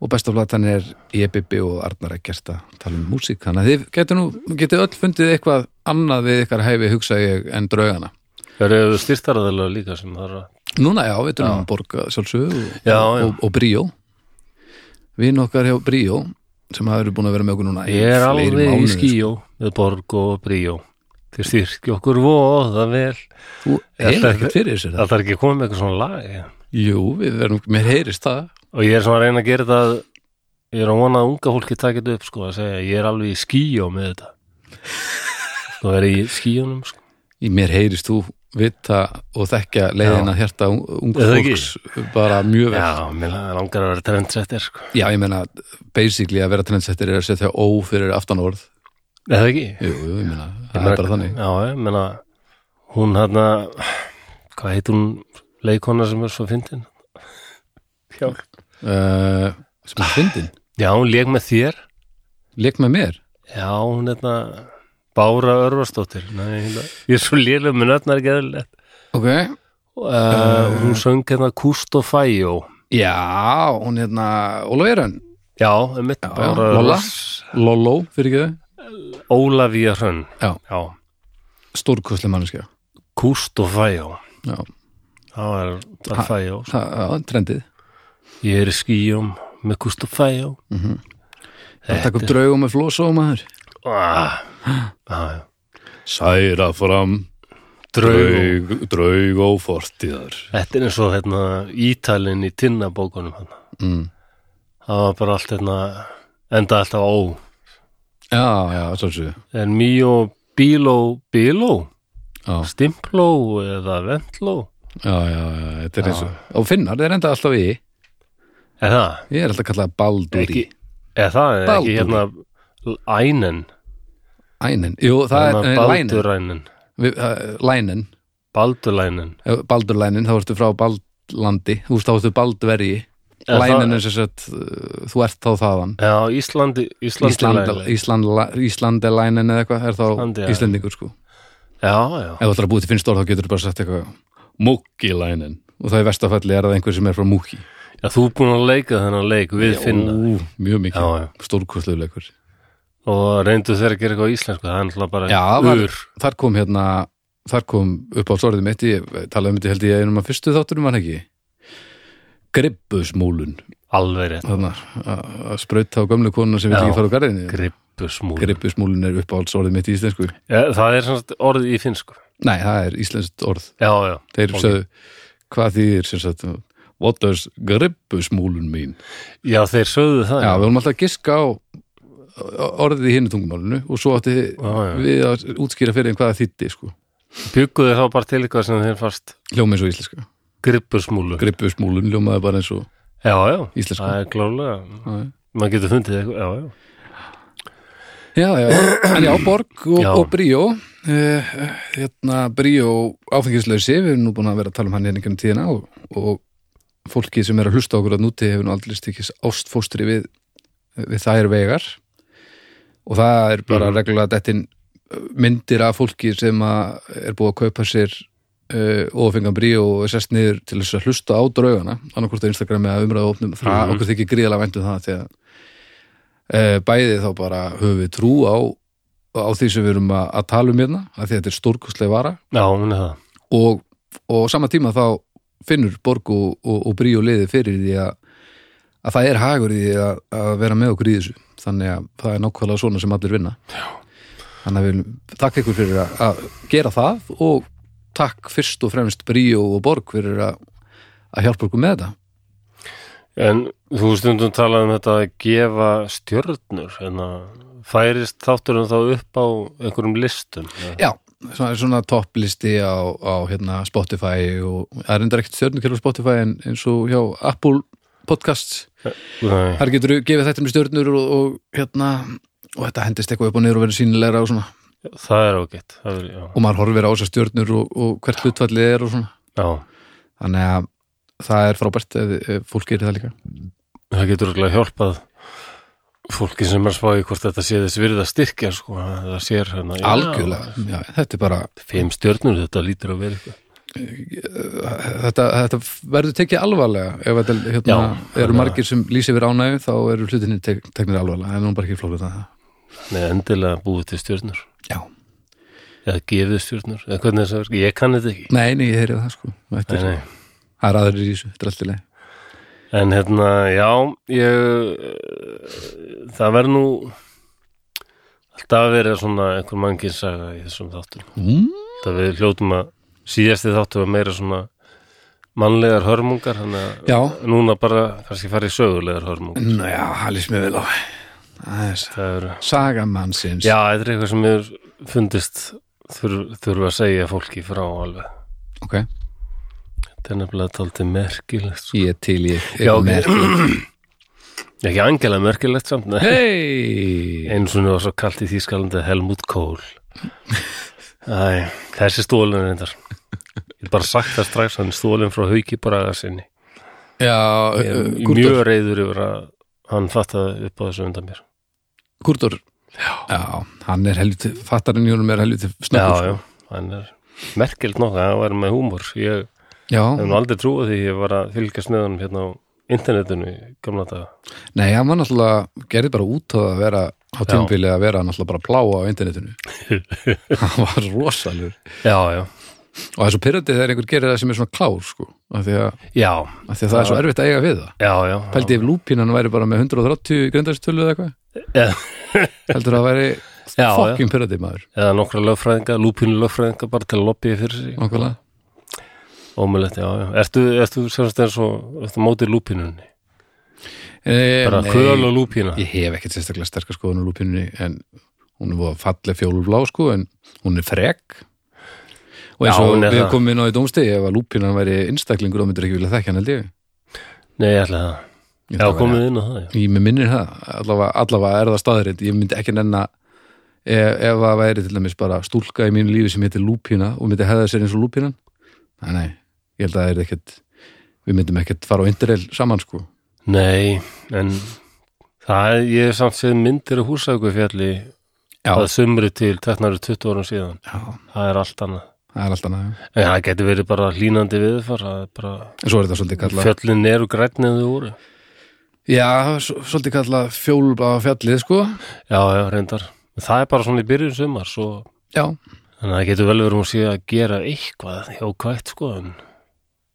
[SPEAKER 2] og besta platan er EBB og Arnar Ekkert að tala um músík þannig að þið getur nú, getur öll fundið eitthvað annað við ykkar hæfi hugsa ég en draugana
[SPEAKER 1] Það eru styrtaraðalega líka sem það er að
[SPEAKER 2] Núna já, við erum að borga sjálfsögðu og,
[SPEAKER 1] Já, já.
[SPEAKER 2] og, og Bríó Vinn okkar hjá Bríó sem hafa verið búin að vera með okkur núna í
[SPEAKER 1] Ég er
[SPEAKER 2] fleiri
[SPEAKER 1] alveg í
[SPEAKER 2] mánuði,
[SPEAKER 1] skíó með borg og bríó Þeir styrki okkur voða vel
[SPEAKER 2] sko. Þú
[SPEAKER 1] Þetta
[SPEAKER 2] hefur
[SPEAKER 1] er-
[SPEAKER 2] ekkert fyrir þessu
[SPEAKER 1] Það þarf ekki að koma með eitthvað svona lag ég.
[SPEAKER 2] Jú, við verum, mér heyrist það
[SPEAKER 1] Og ég er svona að reyna að gera það Ég er að vona að unga fólki takit upp sko að segja ég er alveg í skíó með þetta Sko er ég í skíónum sko
[SPEAKER 2] Í mér heyrist þú vita og þekka leiðina hjarta un- ungs
[SPEAKER 1] Eða ekki?
[SPEAKER 2] fólks bara mjög vel Já.
[SPEAKER 1] Já, mér langar að vera trendsetter sko.
[SPEAKER 2] ég meina, basically að vera trendsettir er að setja ó fyrir aftan orð
[SPEAKER 1] Eða ekki?
[SPEAKER 2] Jú, jú, ég meina, það er bara þannig
[SPEAKER 1] Já, ég meina hún hérna hvað heitir hún leikona sem er svo fyndin?
[SPEAKER 2] uh, sem er fyndin,
[SPEAKER 1] Já, hún leik með þér
[SPEAKER 2] leik með mér
[SPEAKER 1] Já, hún er þetta Bára Örvarsdóttir Nei, hérna, ég er svo lélega með nöfnar ekki eðlilegt
[SPEAKER 2] Ok,
[SPEAKER 1] uh, Hún söng hérna Kúst og Fæjó
[SPEAKER 2] já, hún hérna Ólafjörn,
[SPEAKER 1] Já, mitt
[SPEAKER 2] Já,
[SPEAKER 1] Bára
[SPEAKER 2] Lolla.
[SPEAKER 1] Örvars
[SPEAKER 2] Lolo, fyrir ekki þau
[SPEAKER 1] Ólafía Hrönn
[SPEAKER 2] Já.
[SPEAKER 1] Já,
[SPEAKER 2] Stórkosli manneskja
[SPEAKER 1] Kúst og Fæjó
[SPEAKER 2] Já,
[SPEAKER 1] Það er, það
[SPEAKER 2] Ha.
[SPEAKER 1] er Fæjó
[SPEAKER 2] það- já, trendið
[SPEAKER 1] Ég er í skýjum með Kúst og Fæjó
[SPEAKER 2] Það takk upp draugum með flósa og maður
[SPEAKER 1] ah, ah, já.
[SPEAKER 2] Særa fram
[SPEAKER 1] Draugum
[SPEAKER 2] draug og fortíðar
[SPEAKER 1] Þetta er eins og hérna, ítalinn í tinnabókunum hann.
[SPEAKER 2] mm.
[SPEAKER 1] Það var bara allt hérna, enda alltaf á.
[SPEAKER 2] Já, já, svo séu
[SPEAKER 1] En mýjó, bíló, bíló,
[SPEAKER 2] Já,
[SPEAKER 1] stimpló eða ventló.
[SPEAKER 2] já, já, já, þetta er eins og Og finnar, þeir enda alltaf í
[SPEAKER 1] Er það?
[SPEAKER 2] Ég er alltaf kallað Baldúri
[SPEAKER 1] Ekki- Er það? Er
[SPEAKER 2] Baldur.
[SPEAKER 1] ekki hérna ænen? Hérna,
[SPEAKER 2] Ænin, jú, það er lænin
[SPEAKER 1] Baldurænen.
[SPEAKER 2] Við- eh, það- Lænin,
[SPEAKER 1] Baldulænen.
[SPEAKER 2] Ef Baldurlænin, þá ertu frá Baldlandi Þú veist, þá ertu Baldverji
[SPEAKER 1] Er
[SPEAKER 2] Lænin
[SPEAKER 1] það-
[SPEAKER 2] er sem sagt, uh, þú ert þá þaðan
[SPEAKER 1] Já, Íslandi, Íslandi
[SPEAKER 2] Ísland- Ísland- Íslandelænin eða eitthvað er
[SPEAKER 1] Íslandi,
[SPEAKER 2] þá
[SPEAKER 1] já.
[SPEAKER 2] Íslendingur sko
[SPEAKER 1] Já, já.
[SPEAKER 2] Ef þú ætlar að búið til finnst orð þá getur þú bara sagt eitthvað Múkilænin og það í vestafalli er það einhver sem er frá Múki
[SPEAKER 1] Já, þú er búin að leika þennan leik við finna.
[SPEAKER 2] Ú, Mjög mikið,
[SPEAKER 1] Já, já.
[SPEAKER 2] stórkostluleikur
[SPEAKER 1] Og reyndu þeir að gera eitthvað á íslensku, það er náttúrulega bara
[SPEAKER 2] Já, var,
[SPEAKER 1] ur.
[SPEAKER 2] þar kom hérna þar kom upp á sorðið mitt ég talaði um þetta held ég einum að fyrstu þátturum var það ekki Gribbusmúlun
[SPEAKER 1] Alveg rétt.
[SPEAKER 2] þarna, að að sprauta á gömlu konuna sem vil
[SPEAKER 1] Já.
[SPEAKER 2] ekki fara á garðinu
[SPEAKER 1] Grippusmúl.
[SPEAKER 2] Gribbusmúlun er upp á mitt í íslensku
[SPEAKER 1] Ja, það er svona orðið í finnsku.
[SPEAKER 2] Nei, það er íslenskt orð
[SPEAKER 1] Já, já.
[SPEAKER 2] Þeir
[SPEAKER 1] Ok.
[SPEAKER 2] sögðu, hvað þýðir sem sagt, what does grippusmúlun mín?
[SPEAKER 1] Já, þeir sögðu það.
[SPEAKER 2] Já, við vorum alltaf að giska á orðið í hinu tungumálinu og svo átti
[SPEAKER 1] já, já.
[SPEAKER 2] við að útskýra fyrir þeim hvað það þýtti, sko.
[SPEAKER 1] Bjugguðu þá bara til eitthvað sem þeir fast
[SPEAKER 2] Hljóma eins og íslenska.
[SPEAKER 1] grippusmúlu.
[SPEAKER 2] Grippusmúlun hljómaði bara eins og
[SPEAKER 1] já, já.
[SPEAKER 2] íslenska.
[SPEAKER 1] Það er klálega.
[SPEAKER 2] Já, já.
[SPEAKER 1] Maður getur fundið eitthvað, já, já.
[SPEAKER 2] Já, já, en já, Borg og,
[SPEAKER 1] Já.
[SPEAKER 2] og Bríó, eh, hérna Bríó áfengislausi, við erum nú búin að vera að tala um hann hérna einhvern tíðina og, og fólki sem er að hlusta á okkur að núti hefur nú aldrei stikist ástfóstri við, við þær vegar og það er bara
[SPEAKER 1] Mhm.
[SPEAKER 2] reglulega dettin myndir af fólki sem að er búið að kaupa sér uh, ófengan bríó og sest niður til þess að hlusta á draugana annarkvort á Instagram eða umræðu opnum það
[SPEAKER 1] Mhm.
[SPEAKER 2] okkur þykir gríðalega væntum það þegar uh, bæði þá bara höfum við trú á, á því sem við erum að, að tala um hérna af því að þetta er stórkostlega vara
[SPEAKER 1] Já, hún er það.
[SPEAKER 2] og, og á sama tíma þá finnur Borg og, og, og Bríó liði fyrir því að, að það er hagur í því að, að vera með okkur í þessu þannig að það er nákvæmlega svona sem allir vinna Já. þannig að við viljum takk ykkur fyrir að, að gera það og takk fyrst og fremst Bríó og Borg fyrir að, að hjálpa okkur með þetta
[SPEAKER 1] En þú stundum talað um þetta að gefa stjörnur, en færist þátturum þá upp á einhverjum listum. eða?
[SPEAKER 2] Já, svona, svona topplisti á, á hérna, Spotify og það er enda ekkert stjörnukjörn á Spotify en eins og hjá Apple Podcasts
[SPEAKER 1] Nei.
[SPEAKER 2] Þar getur þú gefið þetta með stjörnur og, og hérna og þetta hendist eitthvað upp og niður og verður sínilegra og svona
[SPEAKER 1] Það er ágætt. Það er, já.
[SPEAKER 2] og maður horfir á þessar stjörnur og, og hvert hlutfallið er og svona
[SPEAKER 1] já.
[SPEAKER 2] þannig að það er frábært ef, ef fólk gerir það líka
[SPEAKER 1] Það getur örugglega hjálpað fólki sem er að spá í hvort þetta sé þess virða styrkja, sko. að Það sér hérna. já,
[SPEAKER 2] algjörlega, já, þetta er bara
[SPEAKER 1] Fimm stjörnur, þetta lítur að vera eitthvað.
[SPEAKER 2] þetta, þetta verður tekið alvarlega ef þetta hérna,
[SPEAKER 1] Já.
[SPEAKER 2] eru margir sem lýsi yfir ánægju þá eru hlutinni tek, teknir alvarlega en nú bara ekki flókið það
[SPEAKER 1] Nei, endilega búið til stjörnur
[SPEAKER 2] já,
[SPEAKER 1] eða gefið stjörnur, eða hvernig þess að verka ég kann þetta ekki
[SPEAKER 2] nei, nei, ég heyrið það sko
[SPEAKER 1] nei,
[SPEAKER 2] þetta er,
[SPEAKER 1] nei.
[SPEAKER 2] það er aðrir í þessu, þetta er allt í lagi
[SPEAKER 1] en hérna, já ég, eh, það verður nú alltaf að vera svona einhver mannkinsaga í þessum þáttum
[SPEAKER 2] mm,
[SPEAKER 1] það við hljótum að síðasti þáttu var meira svona mannlegar hörmungar þannig
[SPEAKER 2] já,
[SPEAKER 1] að núna bara kannski farið í sögulegar hörmungar
[SPEAKER 2] Nú, já, það lýst mér vel á aðeins
[SPEAKER 1] það eru,
[SPEAKER 2] Saga mannsins
[SPEAKER 1] já, þetta er eitthvað sem mér fundist þurf, þurfa að segja fólki frá alveg
[SPEAKER 2] Ok,
[SPEAKER 1] þetta er nefnilega taldið merkilegt sko.
[SPEAKER 2] ég er til í
[SPEAKER 1] Já, ok. ekki angela merkilegt samt, nei
[SPEAKER 2] Hei
[SPEAKER 1] einu svona var svo kalt í Þýskalandi Helmut Kohl Æ, þessi stólin reyndar ég er bara sagt það strax hann er stólin frá Hauki Braga sinni
[SPEAKER 2] Já, uh,
[SPEAKER 1] ég er
[SPEAKER 2] Gúrdur,
[SPEAKER 1] mjög reyður yfir að hann fattaði upp á þessu undan mér
[SPEAKER 2] Gúrdur Já, hann er helviti, fattarinn í honum er helviti
[SPEAKER 1] já,
[SPEAKER 2] snöggur. sko.
[SPEAKER 1] já, hann er merkilt nokka, hann var með húmor ég
[SPEAKER 2] Já,
[SPEAKER 1] hef
[SPEAKER 2] já.
[SPEAKER 1] nú aldrei trúið því ég var að fylgjast með hann hérna á internetinu í gamla daga
[SPEAKER 2] Nei, hann var náttúrulega, gerði bara út á að vera á tímbili að vera náttúrulega bara pláa á internetinu. hann var rosalur.
[SPEAKER 1] já, já,
[SPEAKER 2] Og það er svo pyrrandi þegar einhver gerir það sem er svona klár, sko. Af því að,
[SPEAKER 1] já,
[SPEAKER 2] af því að það er svo erfitt að eiga við það.
[SPEAKER 1] já, já
[SPEAKER 2] Pældi ef lúpínan væri bara með 130 grindarstölu eða eitthvað.
[SPEAKER 1] Já.
[SPEAKER 2] Heldur það væri
[SPEAKER 1] já.
[SPEAKER 2] fucking pyrrandi maður.
[SPEAKER 1] eða nokkra lögfræðinga, lúpínu lögfræðinga bara til að lobbyja fyrir sig
[SPEAKER 2] Nákvæmlega.
[SPEAKER 1] ómulegt, já, já, ertu, ertu semst eins og, ertu mótið lúpínunni
[SPEAKER 2] Eh,
[SPEAKER 1] bara
[SPEAKER 2] nei.
[SPEAKER 1] köl og lúpína
[SPEAKER 2] Ég hef ekkert sérstaklega sterkar skoðun á lúpínunni en hún er voða falleg fjólblá sko en hún er frek og eins
[SPEAKER 1] Já,
[SPEAKER 2] og
[SPEAKER 1] hún er
[SPEAKER 2] við
[SPEAKER 1] það.
[SPEAKER 2] komum inn á í dómstegi ef að lúpínan væri einstaklingur þá myndir ekki vilja þekka hann held ég
[SPEAKER 1] nei, ég ætla það,
[SPEAKER 2] Ég
[SPEAKER 1] já,
[SPEAKER 2] held að
[SPEAKER 1] komið
[SPEAKER 2] væri-
[SPEAKER 1] inn á það já.
[SPEAKER 2] Ég með minnir það, allavega, allavega er það staðarind ég myndi ekki nenn að ef, ef það væri til dæmis bara stúlka í mínu lífi sem heitir lúpína og myndi hefða sér eins og lúpínan Nei, nei, ég held að það er ekkert við myndum ekkert fara á interrail saman sko
[SPEAKER 1] nei, en það, ég hef samt séð myndir af húsækufjalli
[SPEAKER 2] Já,
[SPEAKER 1] að sumri til 13-20 árum síðan
[SPEAKER 2] já
[SPEAKER 1] það er allt annað
[SPEAKER 2] það er alltaf nægum
[SPEAKER 1] En það getur verið bara hlínandi viðfar, það er bara,
[SPEAKER 2] En svo er þetta svolítið kallað
[SPEAKER 1] fjöllin eru grænni en þau voru.
[SPEAKER 2] Já, s- svolítið kallað fjólblá fjallið, sko.
[SPEAKER 1] Já, já, reyndar. Það er bara svona í byrjun sumar, svo,
[SPEAKER 2] Já,
[SPEAKER 1] þannig að það getur vel verið um að sé að gera eitthvað hjákvætt, sko, en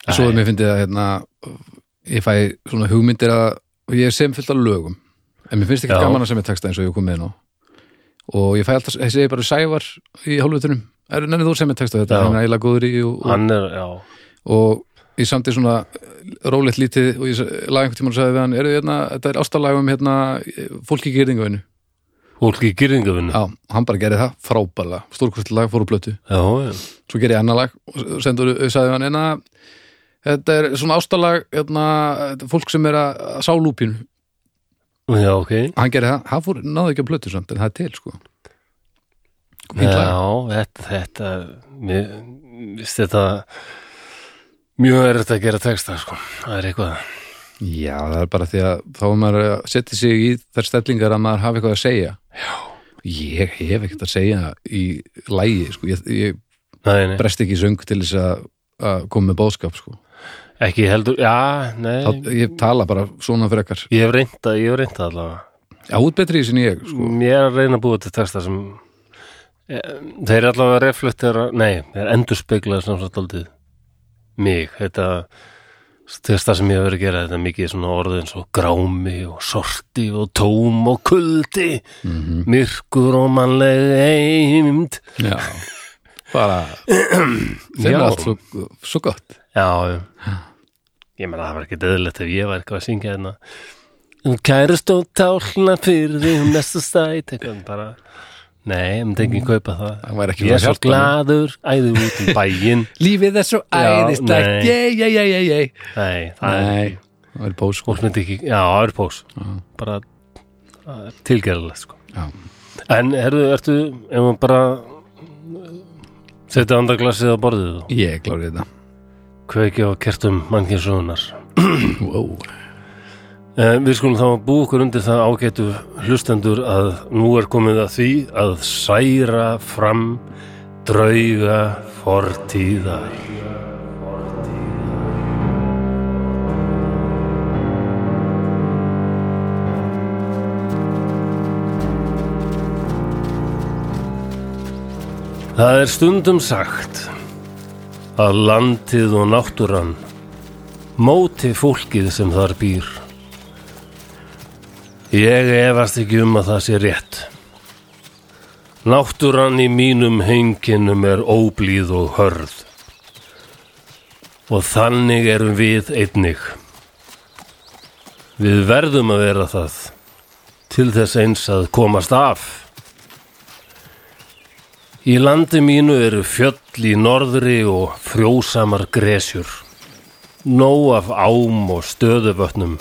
[SPEAKER 2] svo er mér fyndið að hérna, ég fæ svona hugmyndir að og ég er sem fullt af lögum. En mér finnst ekki
[SPEAKER 1] Já.
[SPEAKER 2] gaman að sem ég texta eins og ég kom með nú. Og ég fæ alltaf, þessi er bara sævar í hálfutunum. Er nenni þú sem ég texta þetta,
[SPEAKER 1] Já.
[SPEAKER 2] hann er eiginlega góður í og, og,
[SPEAKER 1] hann er, já,
[SPEAKER 2] og ég samti svona rólegt lítið og ég laði einhvern tímann og sagði við hann, eru hérna, þetta er ástalægum hérna, fólki í gyrðingavinnu.
[SPEAKER 1] fólk í gyrðingavinu.
[SPEAKER 2] Já, og hann bara gerði það frábælega, stórkostlega, fór úr blötu.
[SPEAKER 1] Já, já,
[SPEAKER 2] svo gerði ég annar lag og sendur, eh, sagði hann einna þetta er svona ástalag hérna, þetta er fólk sem er að, að sá lúpínu
[SPEAKER 1] já, ok.
[SPEAKER 2] hann gerði það, hann fór, náði ekki að plötu samt en það er til sko Fínt lag.
[SPEAKER 1] Já, þetta, þetta, mér, vist þetta, mjög er þetta að gera texta, sko, það er eitthvað.
[SPEAKER 2] já, það er bara því að þá er maður að setja sig í þær stellingar að maður hafi eitthvað að segja já. ég hef ekkert að segja í lægi, sko, ég, ég
[SPEAKER 1] Nei, nei,
[SPEAKER 2] brest ekki í söng til þess að, að koma með bóðskap sko.
[SPEAKER 1] ekki heldur, já, nei,
[SPEAKER 2] það, ég tala bara svona frekar
[SPEAKER 1] ég hef reynda, ég hef reynda allavega.
[SPEAKER 2] já, út betri í sinni ég, sko
[SPEAKER 1] Ég er að reyna að búa til texta sem eh, þeir eru allavega reflektera nei, þeir endur speklaði sem sagt aldrei mig þetta texta sem ég hef verið að gera þetta er mikið svona orðið eins og grámi og sorti og tóm og kuldi myrkur og mannleg eimd
[SPEAKER 2] Já, bara þeim er
[SPEAKER 1] Já.
[SPEAKER 2] allt svo, svo gott
[SPEAKER 1] Já, já. ég meina það var ekki döðlegt ef ég var eitthvað að syngja hérna Um Kærust og tálna fyrir því um næsta stæt eitthvað bara Nei, ég myndi ekki kaupa
[SPEAKER 2] Það
[SPEAKER 1] það
[SPEAKER 2] væri ekki
[SPEAKER 1] Ég er
[SPEAKER 2] svona
[SPEAKER 1] svo
[SPEAKER 2] hjartanu.
[SPEAKER 1] gladur, æðu út um bæinn
[SPEAKER 2] Lífið er svo
[SPEAKER 1] æðislegt,
[SPEAKER 2] Jæ, jæ, jæ, jæ, jæ
[SPEAKER 1] Nei, það er
[SPEAKER 2] Nei,
[SPEAKER 1] ekki
[SPEAKER 2] það er bóð sko
[SPEAKER 1] Fólk myndi ekki, já, það er pós Bara það er tilgerðilegt sko
[SPEAKER 2] Já.
[SPEAKER 1] En herðu, ertu, ef maður bara setja andaglasið á borðið og
[SPEAKER 2] Ég klári þetta
[SPEAKER 1] kveiki á kertum mannkinsögunar
[SPEAKER 2] wow.
[SPEAKER 1] Eh, Við skulum þá búa okkur undir það ágætu hlustendur að nú er komið að því að særa fram drauga fortíðar. Það er stundum sagt að landið og náttúran móti fólkið sem þar býr. Ég efast ekki um að það sé rétt. Náttúran í mínum henginum er óblíð og hörð. Og þannig erum við einnig. Við verðum að vera það til þess eins að komast af. Í landi mínu eru fjöll í norðri og frjósamar gresjur. Nóg af ám og stöðuvötnum.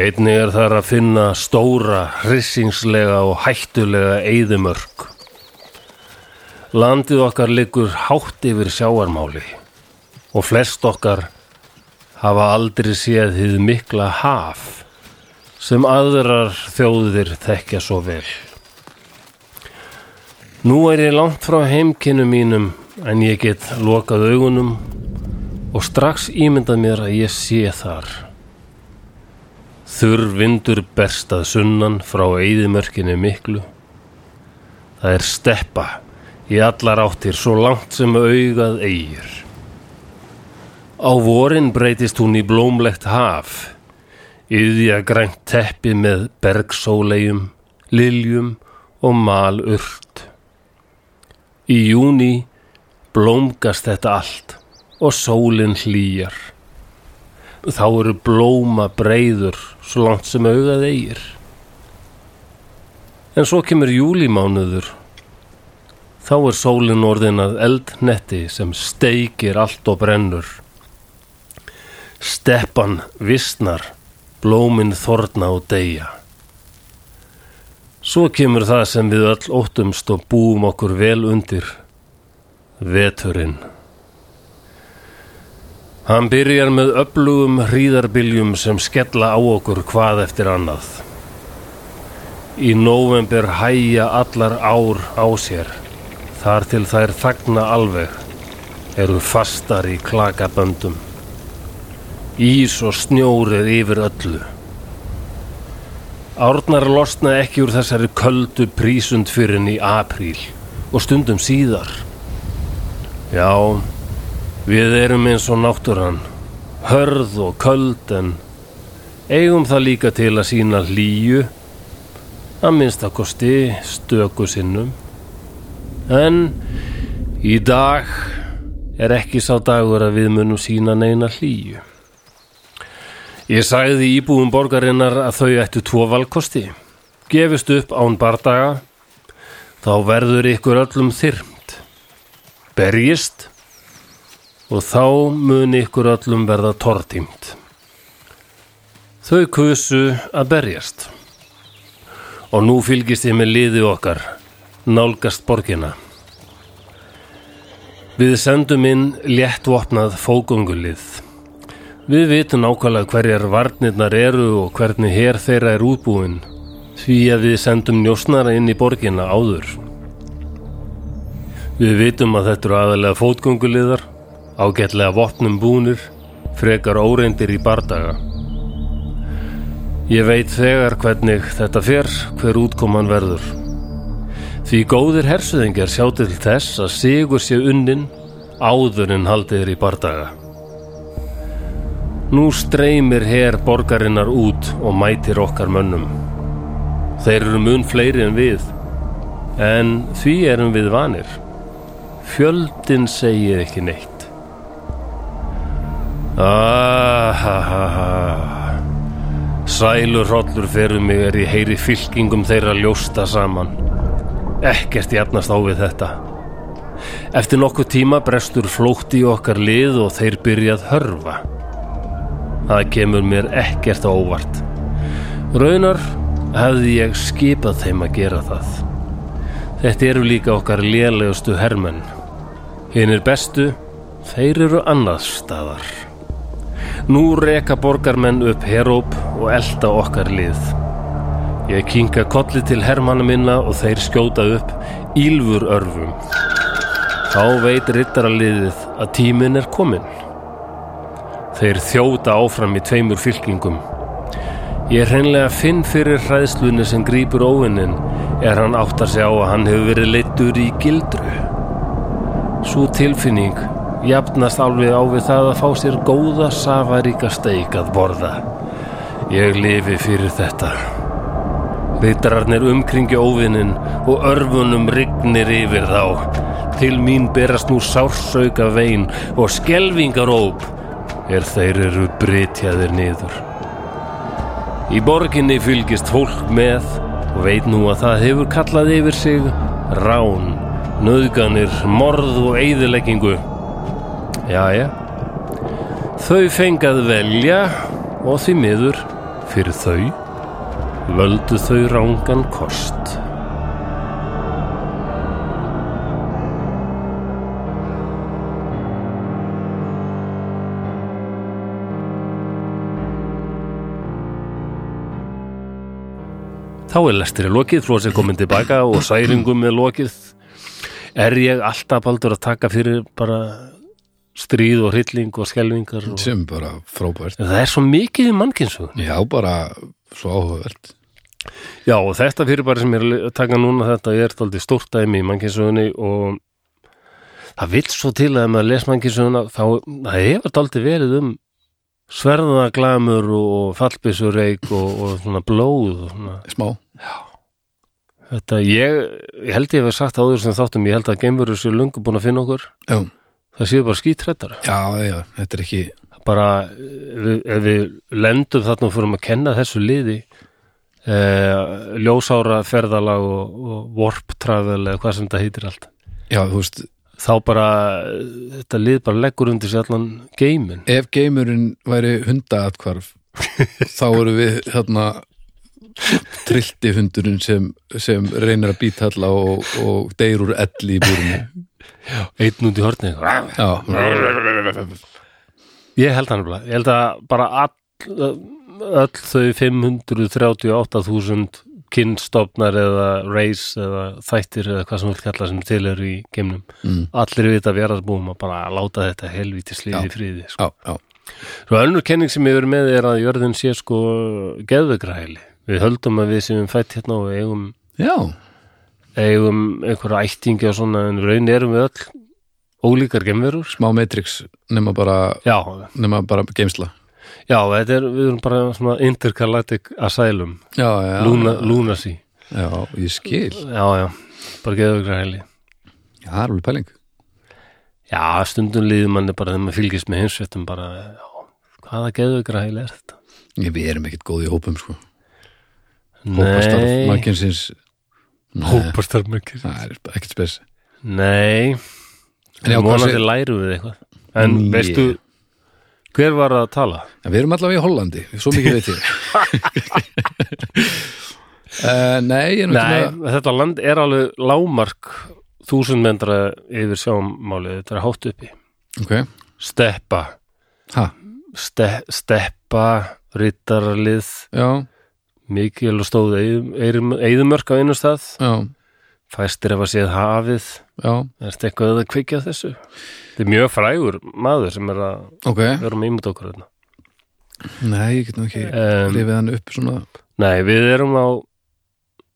[SPEAKER 1] Einnig er þar að finna stóra, hrissingslega og hættulega eyðumörk. Landið okkar liggur hátt yfir sjáarmáli og flest okkar hafa aldrei séð hið mikla haf sem aðrar þjóðir þekkja svo vel. Nú er ég langt frá heimkynum mínum en ég get lokað augunum og strax ímyndað mér að ég sé þar. Þurr vindur berst að sunnan frá eyðimörkinni miklu. Það er steppa í allar áttir svo langt sem augað eigir. Á vorin breytist hún í blómlegt haf yðja grænt teppi með bergsólegjum, liljum og malurt. Í júni blómgast þetta allt og sólin hlýjar. Þá eru blóma breyður svo langt sem augað eigir. En svo kemur júlímánuður. Þá er sólin orðin að eldnetti sem steikir allt og brennur. Steppan visnar blómin þorna og deyja. Svo kemur það sem við öll óttumst og búum okkur vel undir. Veturinn. Hann byrjar með öflugum hríðarbyljum sem skella á okkur hvað eftir annað. Í nóvember hæja allar ár á sér, þar til þær þagna alveg, eru fastar í klakaböndum. Ís og snjór er yfir öllu. Árnar losna ekki úr þessari köldu prísund fyrir henni í apríl og stundum síðar. Já, við erum eins og náttúran, hörð og köld en eigum það líka til að sína hlýju, að minnsta kosti stöku sinnum. En í dag er ekki sá dagur að við munum sína neina hlýju. Ég sagði íbúum borgarinnar að þau ættu tvo valkosti. Gefist upp án bardaga, þá verður ykkur öllum þyrmt. Berjist og þá mun ykkur öllum verða tortímt. Þau kusu að berjast. Og nú fylgist ég með liði okkar, nálgast borgina. Við sendum inn léttvopnað fókungulið. Við vitum nákvæmlega hverjar varnirnar eru og hvernig hér þeirra er útbúin því að við sendum njósnara inn í borginna áður. Við vitum að þetta eru aðalega fótgönguliðar, ágætlega vopnum búnir, frekar óreindir í bardaga. Ég veit þegar hvernig þetta fer, hver útkoman verður. Því góðir hersuðingar sjá til þess að sigur sé unnin áður en haldið er í bardaga. Nú streymir her borgarinnar út og mætir okkar mönnum. Þeir eru mun fleiri en við, en því erum við vanir. Fjöldin segir ekki neitt. Ahahaha. Sælur hrollur fyrir mig er í heyri fylkingum þeirra ljósta saman. Ekkert jafnast á við þetta. Eftir nokkuð tíma brestur flótt í okkar lið og þeir byrjað hörfa. Það kemur mér ekkert á óvart. Raunar hefði ég skipað þeim að gera það. Þetta eru líka okkar lélegustu hermenn. Hinn er bestu, þeir eru annars staðar. Nú reka borgarmenn upp heróp og elda okkar lið. Ég kinka kolli til hermanna minna og þeir skjóta upp ílfur örfum. Þá veit rittaraliðið að tíminn er kominn. Þeir þjóta áfram í tveimur fylkingum. Ég hreinlega finn fyrir hræðslunni sem grýpur óvinnin er hann áttar sig á að hann hefur verið leittur í gildru. Svo tilfinning jafnast alveg á við það að fá sér góða safaríka steik að borða. Ég lifi fyrir þetta. Ritararnir umkringi óvinnin og örfunum rignir yfir þá. Til mín berast nú sársauka vein og skelvingaróp er þeir eru brytjaðir niður. Í borginni fylgist fólk með og veit nú að það hefur kallað yfir sig rán, nöðganir, morð og eyðileggingu. Jæja, þau fengað velja og því miður fyrir þau völdu þau rángan kost. Þá er lestir í lokið, flósið komin tilbaka og særingum er lokið. Er ég alltaf baldur að taka fyrir bara stríð og hrylling og skelvingar? Og...
[SPEAKER 2] sem bara frábært
[SPEAKER 1] Það er svo mikið í mannkynnsugun.
[SPEAKER 2] já, bara svo áhugavert
[SPEAKER 1] Já, og þetta fyrirbæri sem ég er að taka núna þetta er þáldið stórt dæmi í mannkynsugunni og það vill svo til að ef maður les mannkynsugunna þá það hefur þáldið verið um sverðaglamur og fallbyssureik og, og svona blóð og svona.
[SPEAKER 2] smá,
[SPEAKER 1] Þetta ég, ég held ég hef sagt áður sem þáttum, ég held að geimverur séu lungu búin að finna okkur,
[SPEAKER 2] já,
[SPEAKER 1] það séu bara skítrættar
[SPEAKER 2] já, já þetta er ekki
[SPEAKER 1] bara eh, við- ef við lendum þarna og fyrir að kenna þessu liði eh, ljósára ferðalag og, og warp travel eða hvað sem þetta heitir allt
[SPEAKER 2] já, þú veist,
[SPEAKER 1] þá bara, eh, þetta lið bara leggur undir sér allan geimin
[SPEAKER 2] ef geimurinn væri hundaatkvarf þá eru við þarna trillti hundurinn sem, sem reynir að bítalla og, og deyr úr elli í búrinu
[SPEAKER 1] einn út í horni
[SPEAKER 2] já,
[SPEAKER 1] ég held hann bara, ég held að bara all, öll þau 538.000 kynstofnar eða race eða þættir eða hvað sem við kalla sem til eru í geimnum
[SPEAKER 2] Mm.
[SPEAKER 1] allir við þetta verðarbúum að bara láta þetta helvíti
[SPEAKER 2] Já.
[SPEAKER 1] sliði friði sko.
[SPEAKER 2] já, já
[SPEAKER 1] Svo önnur kenning sem ég verið með er að jörðin sé sko geðvegræli. Við höldum að við séum fætt hérna og eigum,
[SPEAKER 2] já,
[SPEAKER 1] eigum einhverja ættingi og svona en í raun erum við öll ólíkar gemverur.
[SPEAKER 2] smá matrix nema bara,
[SPEAKER 1] Já,
[SPEAKER 2] nema bara geimsla
[SPEAKER 1] já, þetta er, við erum bara svona intergalactic asylum,
[SPEAKER 2] já, já,
[SPEAKER 1] luna, lunacy.
[SPEAKER 2] já, ég skil
[SPEAKER 1] Já, já, bara geðvegræli.
[SPEAKER 2] já, það er alveg pæling
[SPEAKER 1] Já, stundum líður manni bara þegar maður fylgist með hinsvettum bara, já, hvaða geðvegræli er þetta?
[SPEAKER 2] ég, við erum ekkert góð í hópum sko hópastarf
[SPEAKER 1] Nei,
[SPEAKER 2] makinsins
[SPEAKER 1] hópastarfmökkir.
[SPEAKER 2] það er ekkert spes
[SPEAKER 1] Nei,
[SPEAKER 2] En já, hvað
[SPEAKER 1] vonandi
[SPEAKER 2] sé-
[SPEAKER 1] lærum við eitthvað En
[SPEAKER 2] Né.
[SPEAKER 1] veistu, hver var að tala?
[SPEAKER 2] En við erum allavega í Hollandi, svo mikið veit ég. uh, nei, ég er nú ekki
[SPEAKER 1] Nei,
[SPEAKER 2] með
[SPEAKER 1] þetta land er alveg lámark þúsund mendra yfir sjámáli þetta er hátt uppi
[SPEAKER 2] Ok,
[SPEAKER 1] Steppa,
[SPEAKER 2] ha,
[SPEAKER 1] ste, steppa rittarlið,
[SPEAKER 2] já,
[SPEAKER 1] mikil og stóð eðumörk á einu stað
[SPEAKER 2] já,
[SPEAKER 1] fæstir ef að séð hafið
[SPEAKER 2] já,
[SPEAKER 1] er þetta eitthvað að kveikja á þessu Þetta er mjög frægur maður sem er að
[SPEAKER 2] ok.
[SPEAKER 1] vera með ímynd okkur hérna. þarna
[SPEAKER 2] Nei, ég get nú ekki
[SPEAKER 1] um,
[SPEAKER 2] rifið hann upp svona.
[SPEAKER 1] Nei, við erum á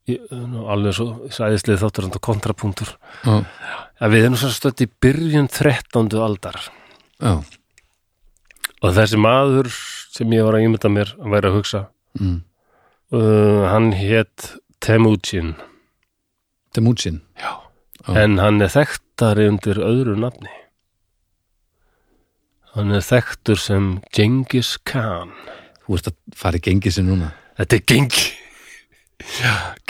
[SPEAKER 1] í- nú, alveg svo sæðislið þáttur og kontrapunktur
[SPEAKER 2] Já,
[SPEAKER 1] að við erum svo stödd í byrjun 13. aldar
[SPEAKER 2] já,
[SPEAKER 1] og þessi maður sem ég var að ímynda mér að væri að hugsa
[SPEAKER 2] mm.
[SPEAKER 1] uh, hann hét Temujin
[SPEAKER 2] Temujin. Já.
[SPEAKER 1] en hann er þekktari undir öðru nafni hann er þekktur sem Genghis Khan
[SPEAKER 2] Þú ert að fara í gengi sinni núna.
[SPEAKER 1] Þetta er Gengi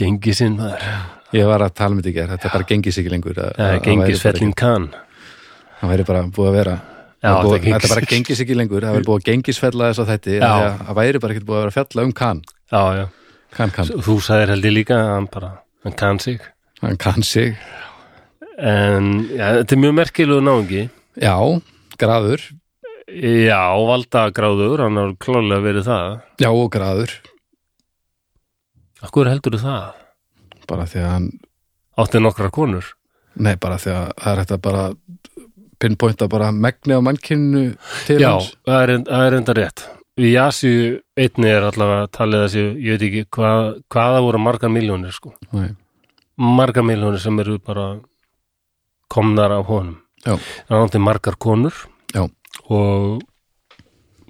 [SPEAKER 1] Gengisinn maður
[SPEAKER 2] Ég var að tala með þetta í gerð, þetta er bara gengis ekki lengur.
[SPEAKER 1] Það er
[SPEAKER 2] að- að- að væri bara
[SPEAKER 1] Gengisfellin Khan
[SPEAKER 2] ekki- Það væri bara búið að vera.
[SPEAKER 1] Já,
[SPEAKER 2] það er búið,
[SPEAKER 1] þetta er
[SPEAKER 2] þetta er bara gengis ekki lengur, það væri búið að gengisfella þess að þetta.
[SPEAKER 1] Já.
[SPEAKER 2] Það væri bara ekkert búið að vera að fjalla um kann.
[SPEAKER 1] Já, já
[SPEAKER 2] Kann, kann.
[SPEAKER 1] Þú sagðir held ég líka að hann bara hann kann sig
[SPEAKER 2] Hann kann sig.
[SPEAKER 1] en já, þetta er mjög merkilegu náungi
[SPEAKER 2] Já, graður.
[SPEAKER 1] já, valdagráður, hann har klálega verið það
[SPEAKER 2] Já, og graður.
[SPEAKER 1] Akkur heldur það?
[SPEAKER 2] bara því að hann,
[SPEAKER 1] Átti nokkra konur?
[SPEAKER 2] nei bara því að það er hægt að bara pinpointa bara megni á mannkynnu til
[SPEAKER 1] Já,
[SPEAKER 2] hans
[SPEAKER 1] það er, það er enda rétt Í Asíu einni er allavega talið að séu, ég veit ekki hvað, hvaða voru margar miljónir sko
[SPEAKER 2] Nei.
[SPEAKER 1] margar miljónir sem eru bara komnar af honum
[SPEAKER 2] Já.
[SPEAKER 1] hann átti margar konur
[SPEAKER 2] Já.
[SPEAKER 1] og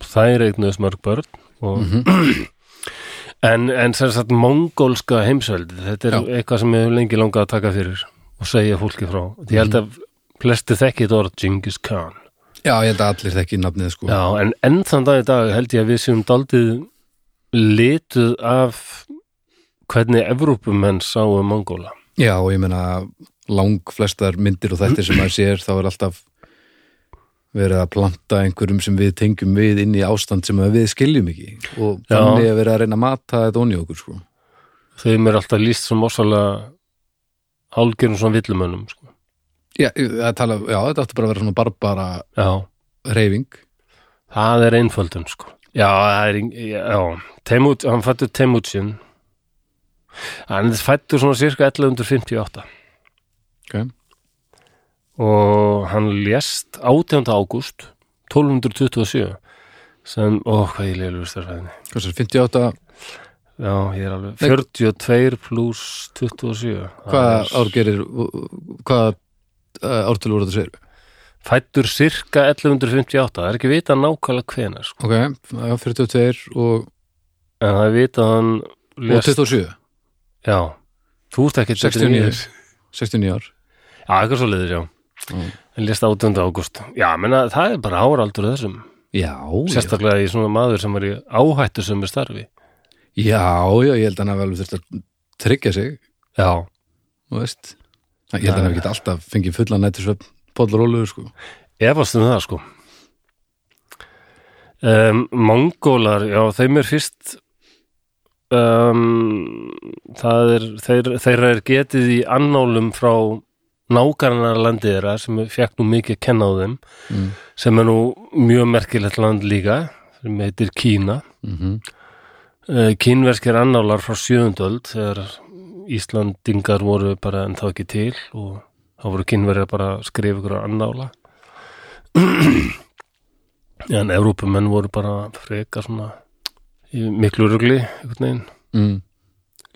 [SPEAKER 1] þær eignuðist mörg börn og
[SPEAKER 2] Mhm.
[SPEAKER 1] En, en sem sagt mongólska heimsveldi, þetta er
[SPEAKER 2] Já.
[SPEAKER 1] eitthvað sem ég hef lengi langað að taka fyrir og segja fólki frá. Því ég held
[SPEAKER 2] Mhm.
[SPEAKER 1] að flesti þekki þetta orð Genghis Khan.
[SPEAKER 2] Já, ég held að allir þekki nafnið sko
[SPEAKER 1] Já, en enn þann dag í dag held ég að við séum daldið lituð af hvernig Evrópumenn sáu Mongóla.
[SPEAKER 2] Já, og ég meina lang flestar myndir og þetta sem maður sér þá er alltaf verið að planta einhverjum sem við tengjum við inn í ástand sem að við skiljum ekki og
[SPEAKER 1] Já.
[SPEAKER 2] þannig að vera að reyna að mata þetta onni okkur sko
[SPEAKER 1] Þeim er alltaf líst sem ósvalega hálgerum svona villumönnum. Sko.
[SPEAKER 2] Já, það tala, já þetta átti bara að vera svona barbara
[SPEAKER 1] Já.
[SPEAKER 2] reyfing
[SPEAKER 1] Það er einföldun sko Já, það er, já Temut, hann fættu Temujin Hann er fættur svona cirka 1158
[SPEAKER 2] ok,
[SPEAKER 1] og hann lést 18. ágúst 1227 sem, ó, hvað ég leilur stærfæðinni.
[SPEAKER 2] hvað sér, 58
[SPEAKER 1] Já, ég er alveg 42 pluss 27.
[SPEAKER 2] hvaða
[SPEAKER 1] Það er-
[SPEAKER 2] ár gerir hvaða uh, ár til voru þetta sér
[SPEAKER 1] Fættur cirka 1158, það er ekki vita nákvæmlega hvenær, sko.
[SPEAKER 2] ok, já, 42 og,
[SPEAKER 1] En það er vita að hann
[SPEAKER 2] og
[SPEAKER 1] lést,
[SPEAKER 2] 27
[SPEAKER 1] já, þú ert ekki
[SPEAKER 2] 69 69 ár
[SPEAKER 1] Já, eitthvað svo leiðir, já.
[SPEAKER 2] Mm.
[SPEAKER 1] En lést 18. ágúst. Já, menna, það er bara áraldur af þessum.
[SPEAKER 2] já, já,
[SPEAKER 1] Sérstaklega í svona maður sem er í áhættu sem er starfi.
[SPEAKER 2] já, já, ég held að hann hafi alveg þurft að tryggja sig
[SPEAKER 1] Já.
[SPEAKER 2] þú veist ég held að hann hafi ekki alltaf fengið fullan nættisvefn Póllur Ólugur sko
[SPEAKER 1] Efast um það, sko. Um, Mongólar, já, þeim er fyrst um, það er þeir, þeirra er getið í annálum frá nákarnar landið þeirra sem fekk nú mikið að kenna á þeim
[SPEAKER 2] Mm.
[SPEAKER 1] sem er nú mjög merkilegt land líka sem heitir Kína
[SPEAKER 2] mm
[SPEAKER 1] uh, kínverskir annálar frá sjöundöld þegar Íslandingar voru bara en þá ekki til og þá voru kínverjar bara að skrifa ykkur annála en Evrópumenn voru bara frekar svona í miklu rugli einhvern veginn,
[SPEAKER 2] mm.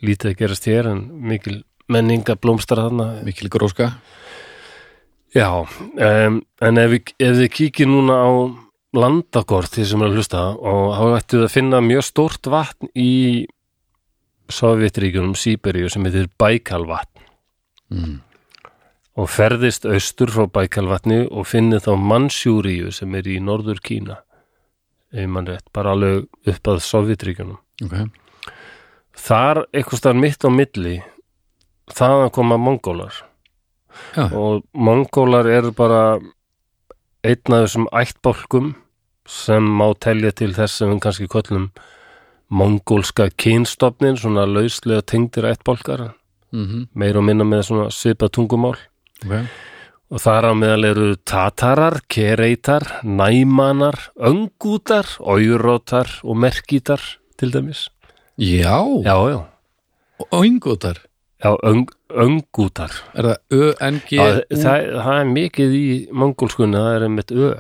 [SPEAKER 1] lítið að gerast hér en mikil menninga blómstar þarna
[SPEAKER 2] mikil gróska
[SPEAKER 1] já, um, en ef, við- ef þið kíkir núna á landakort því sem er að hlusta og þá ættu að finna mjög stórt vatn í Sovjetríkjunum Sýberíu sem heitir Bækalvatn
[SPEAKER 2] mm.
[SPEAKER 1] og ferðist austur frá Bækalvatni og finnið þá Mansjúríu sem er í norður Kína ef mann rétt, bara alveg upp að Sovjetríkjunum.
[SPEAKER 2] ok,
[SPEAKER 1] Þar eitthvað staðar mitt á milli þaðan koma mongólar
[SPEAKER 2] já,
[SPEAKER 1] og mongólar eru bara einn af þessum ættbálkum sem má telja til þess sem við kannski köllum mongólska kynstofnin, svona lauslega tengdir ættbálkar,
[SPEAKER 2] mm
[SPEAKER 1] meir og minna með svona svipa tungumál
[SPEAKER 2] ok
[SPEAKER 1] Og þar á meðal eru tatarar, kereitar, næmanar, öngútar, ójúrótar og merkítar til dæmis.
[SPEAKER 2] já,
[SPEAKER 1] Já, já.
[SPEAKER 2] og yngótar
[SPEAKER 1] Já, öng, öngútar.
[SPEAKER 2] er það Ö-N-G
[SPEAKER 1] Já, það, það er mikið í mongolskunni, það er einmitt ö.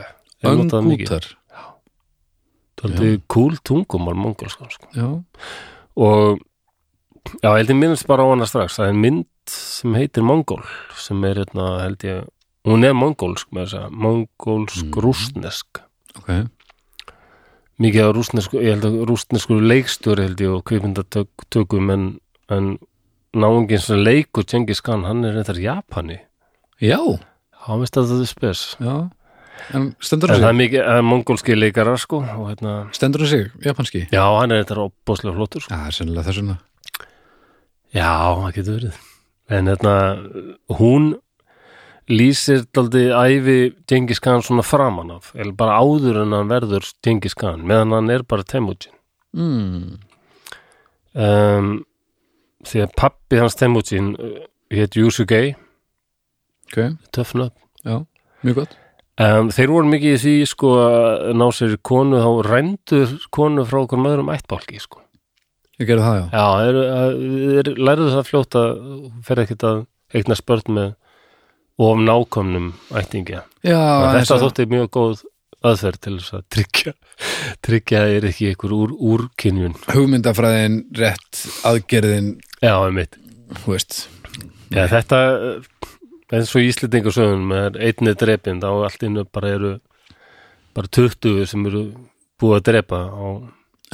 [SPEAKER 1] Það er notað mikið.
[SPEAKER 2] öngútar
[SPEAKER 1] Það er kúl tungumál mongolskun. Sko.
[SPEAKER 2] já,
[SPEAKER 1] Og já, held ég minnst bara á hana strax. Það er mynd sem heitir mongol, sem er hérna, held ég, hún er mongolsk með þess að, segja, mongolsk-rústnesk.
[SPEAKER 2] ok
[SPEAKER 1] mikið á rúsnesku, ég held að rúsnesku leikstjóri held ég og kvipundatökum en, en náungin sem leikur Tjengis Khan, hann er reyndar Japani
[SPEAKER 2] já,
[SPEAKER 1] hann veist að það er spes
[SPEAKER 2] já en stendur
[SPEAKER 1] en
[SPEAKER 2] það
[SPEAKER 1] það
[SPEAKER 2] sig,
[SPEAKER 1] er mikið, það er mongolski leikarar sko og hérna,
[SPEAKER 2] stendur það sig, japanski
[SPEAKER 1] já hann er reyndar opbóðslega flottur sko,
[SPEAKER 2] já, það er sennilega þess vegna
[SPEAKER 1] já það getur verið en hérna, hún lýsir daldi æfi Tjengis Khan svona framan af eða bara áður en hann verður Tjengis Khan meðan hann er bara Temujin
[SPEAKER 2] mm.
[SPEAKER 1] um, því að pappi hans Temujin uh, hét Yusugei
[SPEAKER 2] ok,
[SPEAKER 1] töfna
[SPEAKER 2] já, mjög gott
[SPEAKER 1] um, þeir voru mikið í því sko að ná sér konu þá rændur konu frá okkur maðurum ættbálki sko.
[SPEAKER 2] ég gerði það, já,
[SPEAKER 1] já, þeir, þeir lærðu það fljótt að þú fer ekkert að eigna spörn með of nákomnum ættingja
[SPEAKER 2] já
[SPEAKER 1] ah,
[SPEAKER 2] aðeins
[SPEAKER 1] þetta
[SPEAKER 2] að-
[SPEAKER 1] þótti mjög góð aðferð til þess að tryggja tryggja að það er ekki einhver úr, úrkynjun
[SPEAKER 2] hugmyndafræðin, rétt aðgerðin,
[SPEAKER 1] já, einmitt
[SPEAKER 2] þú veist
[SPEAKER 1] Já, þetta eh, eins og í Íslendingu sögum er einni drepin þá allt innu bara eru bara 20 sem eru búið að drepa og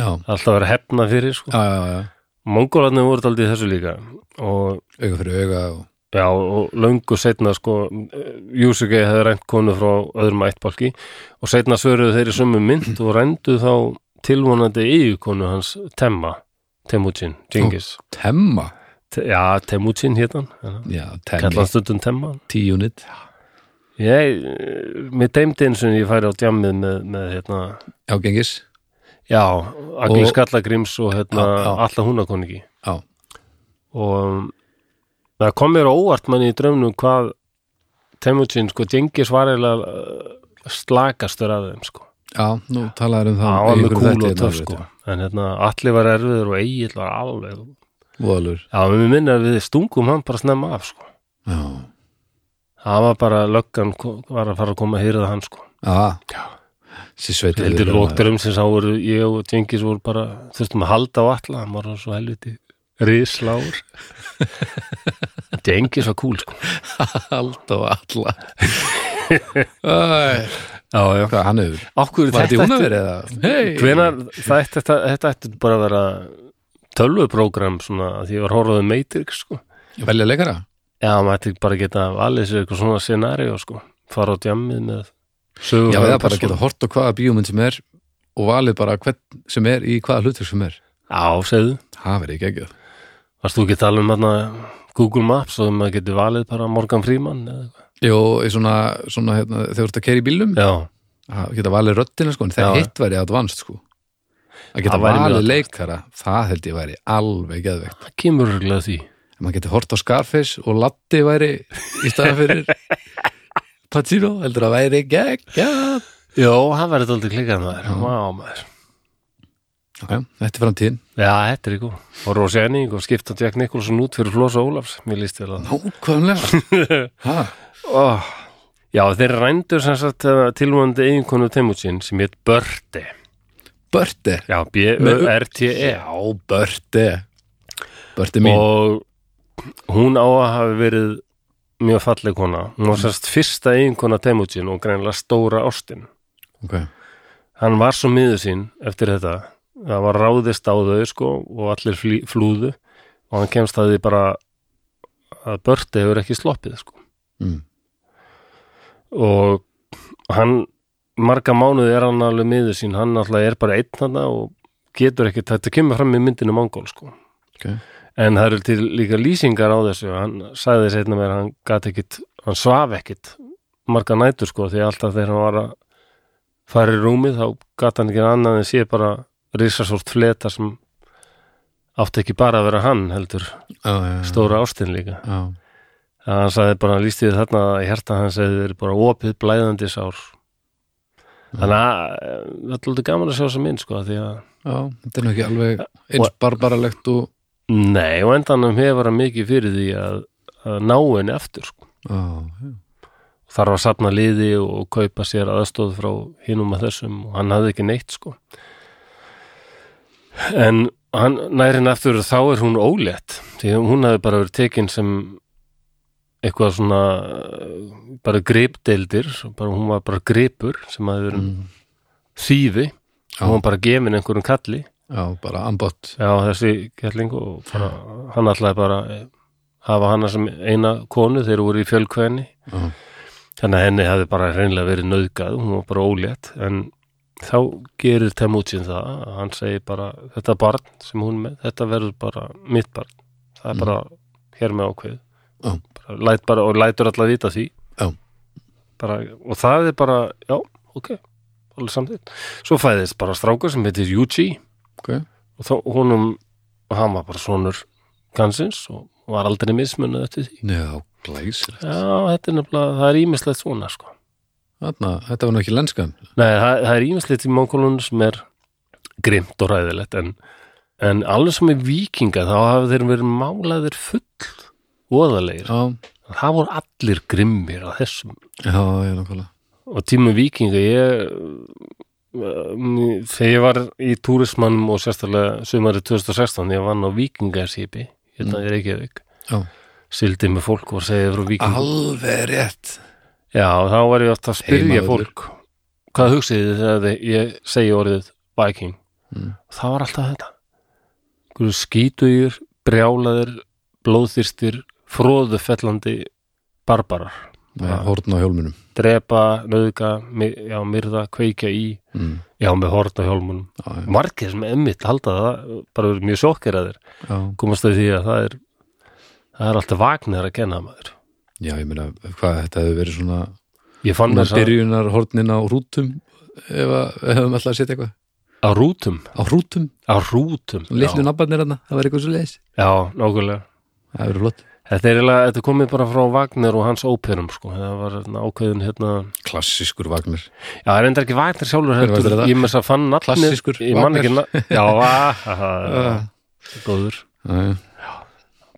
[SPEAKER 2] já,
[SPEAKER 1] alltaf að vera hefna fyrir sko.
[SPEAKER 2] já, já, já,
[SPEAKER 1] Mongólarnir voru aldrei þessu líka og
[SPEAKER 2] auga fyrir auga og...
[SPEAKER 1] já, og löngu setna sko, Júsuki hefði rænt konu frá öðrum ættbálki og setna svöruðu þeirri sömu mynd og rændu þá tilvonandi eigukonu hans Temma, Temujin, Genghis
[SPEAKER 2] temma,
[SPEAKER 1] Te- Já, Temujin hétan,
[SPEAKER 2] já, temmi
[SPEAKER 1] kallan stundum Temma
[SPEAKER 2] tíu unit,
[SPEAKER 1] Ég, mér deymdi eins og ég færi á djammið með, með hérna,
[SPEAKER 2] já, gengis
[SPEAKER 1] já, Agli
[SPEAKER 2] Og-
[SPEAKER 1] Skallagrims og hérna,
[SPEAKER 2] Já, já.
[SPEAKER 1] alla húnakonningi
[SPEAKER 2] já,
[SPEAKER 1] og um, það kom mér á óvart manni í draumnum hvað Temujin, sko, Gengis var eiginlega uh, slakastur af þeim, sko
[SPEAKER 2] Já, nú talaður um það
[SPEAKER 1] hann var
[SPEAKER 2] í
[SPEAKER 1] með
[SPEAKER 2] einhverju
[SPEAKER 1] kúl
[SPEAKER 2] þætti
[SPEAKER 1] og sko. töf,
[SPEAKER 2] hérna, veit
[SPEAKER 1] sko
[SPEAKER 2] ég.
[SPEAKER 1] en hérna, allir var erfiður og Egill var alveg
[SPEAKER 2] voðalur
[SPEAKER 1] Já, mér minnir að við stungum hann bara snemma af, sko.
[SPEAKER 2] Já,
[SPEAKER 1] Það var bara, löggan ko- var að fara að koma að hýrða hann, sko.
[SPEAKER 2] já Sér sveitir
[SPEAKER 1] Heldur lókdurum sem sá voru, ég og Tjengis voru bara, þurftum að halda á alla, hann var svo helviti risláur. Tjengis var kúl, sko.
[SPEAKER 2] Alltaf alla Æ,
[SPEAKER 1] Já, já.
[SPEAKER 2] Hvað hann hefur?
[SPEAKER 1] Okkur þetta
[SPEAKER 2] Var þetta í
[SPEAKER 1] eftir,
[SPEAKER 2] húnaveri eða? Hey.
[SPEAKER 1] hvenar, þetta, þetta, þetta ætti bara að vera tölvuprógram, svona, að því ég var horfðið Matrix, sko.
[SPEAKER 2] Velja leikara?
[SPEAKER 1] Já, maður ætti bara að geta valið sér eitthvað svona scenaríu, sko. Fara á djammið með sko. sögur.
[SPEAKER 2] Já, eða bara geta hort á hvaða bíómynd sem er og valið bara hvern sem er í hvaða hlutur sem er
[SPEAKER 1] Já, segðu.
[SPEAKER 2] Það verið ekki ekki
[SPEAKER 1] Varst þú ekki að tala um hana, Google Maps og maður getur valið bara Morgan Freeman eða eitthvað?
[SPEAKER 2] Jó, í svona, svona hérna, þegar þú ert að keira í bílum
[SPEAKER 1] Já,
[SPEAKER 2] að geta valið röddina sko en það
[SPEAKER 1] Já.
[SPEAKER 2] hitt væri advanced sko að geta
[SPEAKER 1] Það væri mjög
[SPEAKER 2] valið
[SPEAKER 1] advanced.
[SPEAKER 2] leikara það held ég væri alveg geðvegt
[SPEAKER 1] það kemur örgulega því.
[SPEAKER 2] að maður geti hort á Scarface og Latti væri í staðan fyrir Pacino heldur að væri gegja
[SPEAKER 1] Jó, hann verður þetta aldrei klikað maður.
[SPEAKER 2] Já.
[SPEAKER 1] Vá, maður.
[SPEAKER 2] okay, þetta er framtíðin
[SPEAKER 1] Já, þetta er ykkur. Og Rósjæning og skipta Jack Nicholson út fyrir Flosa Ólafs, mér líst vel að það.
[SPEAKER 2] nákvæmlega ha,
[SPEAKER 1] Oh. Já, þeir rændu sem sagt tilvæmandi eiginkonu Temujin sem hétt Börte.
[SPEAKER 2] Börte
[SPEAKER 1] Já,
[SPEAKER 2] Með-
[SPEAKER 1] B-Ö-R-T-E.
[SPEAKER 2] já, Börte Börte mín
[SPEAKER 1] Og hún á að hafi verið mjög falleg kona. Hún var sérst fyrsta eiginkona Temujin og greinlega stóra ástin.
[SPEAKER 2] okay.
[SPEAKER 1] hann var svo miður sín eftir þetta það var ráðist á þau sko og allir flý, flúðu og hann kemst að því bara að Börti hefur ekki sloppið sko
[SPEAKER 2] mm.
[SPEAKER 1] og hann marga mánuði er hann alveg miður sín hann alltaf er bara einn hann og getur ekki, þetta kemur fram í myndinu Mongol sko
[SPEAKER 2] okay.
[SPEAKER 1] en það eru til líka lýsingar á þessu hann sagði seinna mér að hann gat ekkit hann svaf ekkit marga nætur sko því alltaf þegar hann var að fara í rúmið þá gat hann ekki annað en sé bara risasort fleta sem átti ekki bara að vera hann heldur
[SPEAKER 2] já, já, já.
[SPEAKER 1] stóra ástin líka
[SPEAKER 2] já.
[SPEAKER 1] að hann sagði bara, hann lísti því þarna að hjarta hans hefði verið bara opið blæðandi sár þannig að eh, það er alltaf gaman að sjá þess að minn sko því að
[SPEAKER 2] já, þetta er nú ekki alveg eins barbaralegt og
[SPEAKER 1] nei og endanum hefur hann mikið fyrir því að, að ná henni eftir sko
[SPEAKER 2] já, já.
[SPEAKER 1] þarf að safna liði og kaupa sér aðstóð frá hinum að þessum og hann hafði ekki neitt sko en hann nærin eftir þá er hún ólétt því að hún hafði bara verið tekin sem eitthvað svona eh, bara gripdeildir bara, hún var bara gripur sem hafði verið
[SPEAKER 2] Mm.
[SPEAKER 1] þýfi
[SPEAKER 2] Já.
[SPEAKER 1] og hún var bara gefin einhverjum kalli
[SPEAKER 2] já, bara ambott
[SPEAKER 1] já þessi kelling og bara, hann ætlaði bara eh, hafa hana sem eina konu þegar hún voru í fjölkvæðinni
[SPEAKER 2] já,
[SPEAKER 1] Þannig að henni hafði bara reynilega verið nöðgað, hún var bara ólétt, en þá gerir Temujin það, að hann segir bara, þetta barn sem hún er með, þetta verður bara mitt barn, það er bara hér með ákveð,
[SPEAKER 2] Mhm. Já.
[SPEAKER 1] bara, læt bara, og lætur alla vita því,
[SPEAKER 2] Já.
[SPEAKER 1] bara, og það er bara, já, ok, alveg samþýtt. Svo fæðist bara strákur sem heitir Yuji
[SPEAKER 2] ok
[SPEAKER 1] og þá, honum, hann var bara sonur kansins og var aldrei mismunnað eftir því.
[SPEAKER 2] Já, glæsir.
[SPEAKER 1] Já, þetta er nefnilega, það er ímislegt svona, sko.
[SPEAKER 2] Þarna, þetta var nú ekki lenskan.
[SPEAKER 1] Nei, það, það er ímislegt í mongolunum sem er grimt og ræðilegt en, en alveg sem er vikinga þá hafa þeir verið málaðir full óðalegir.
[SPEAKER 2] Já,
[SPEAKER 1] Það voru allir grimmir á þessum
[SPEAKER 2] já, já, nákvæmlega.
[SPEAKER 1] og tímum vikinga ég um, þegar ég var í túrismannum og sérstaklega sumarið 2016 ég vann á vikingarskipi hérna í Reykjavík
[SPEAKER 2] Mm. Já.
[SPEAKER 1] sildi með fólk og var að segja frá vikingum
[SPEAKER 2] Alveg rétt.
[SPEAKER 1] Já, þá var ég alltaf að spyrja
[SPEAKER 2] Heimavöllur.
[SPEAKER 1] fólk hvað hugsið þið þegar þið- ég segi orðið viking
[SPEAKER 2] Mm.
[SPEAKER 1] það var alltaf þetta einhverju skítugjur, brjálaðir blóðþyrstir, fróðufellandi barbarar
[SPEAKER 2] Já, hórn á hjólmunum.
[SPEAKER 1] drepa, nöðga, mi- já, myrða kveikja í,
[SPEAKER 2] Mm.
[SPEAKER 1] já, með hort á hjálmunum
[SPEAKER 2] Já, já,
[SPEAKER 1] margir sem emmitt halda það bara verið mjög sjokkir að þér
[SPEAKER 2] já.
[SPEAKER 1] komast að því að það er það er alltaf vagnir að kenna maður
[SPEAKER 2] já, ég meina, hvað þetta hefur verið svona,
[SPEAKER 1] ég fann
[SPEAKER 2] svona
[SPEAKER 1] þess að
[SPEAKER 2] byrjunar hórnin á rútum, ef að- ef við ætlaði að setja eitthvað.
[SPEAKER 1] á rútum
[SPEAKER 2] Á rútum,
[SPEAKER 1] á rútum, já,
[SPEAKER 2] litlu nabbarnir hana, það var eitthvað svo leiðis.
[SPEAKER 1] já, nákvæmlega
[SPEAKER 2] Það hefur flott.
[SPEAKER 1] Þetta er eiginlega, þetta er komið bara frá Wagner og hans óperum, sko, það var hérna, ákveðin hérna,
[SPEAKER 2] Klassískur vagnir.
[SPEAKER 1] já, það er enda ekki Wagner sjálfur
[SPEAKER 2] Hver var
[SPEAKER 1] heldur,
[SPEAKER 2] þetta?
[SPEAKER 1] ég með þess að fann nafnið,
[SPEAKER 2] Klassískur
[SPEAKER 1] ég man
[SPEAKER 2] Wagner.
[SPEAKER 1] ekki, na- já, aha,
[SPEAKER 2] Já,
[SPEAKER 1] góður,
[SPEAKER 2] já.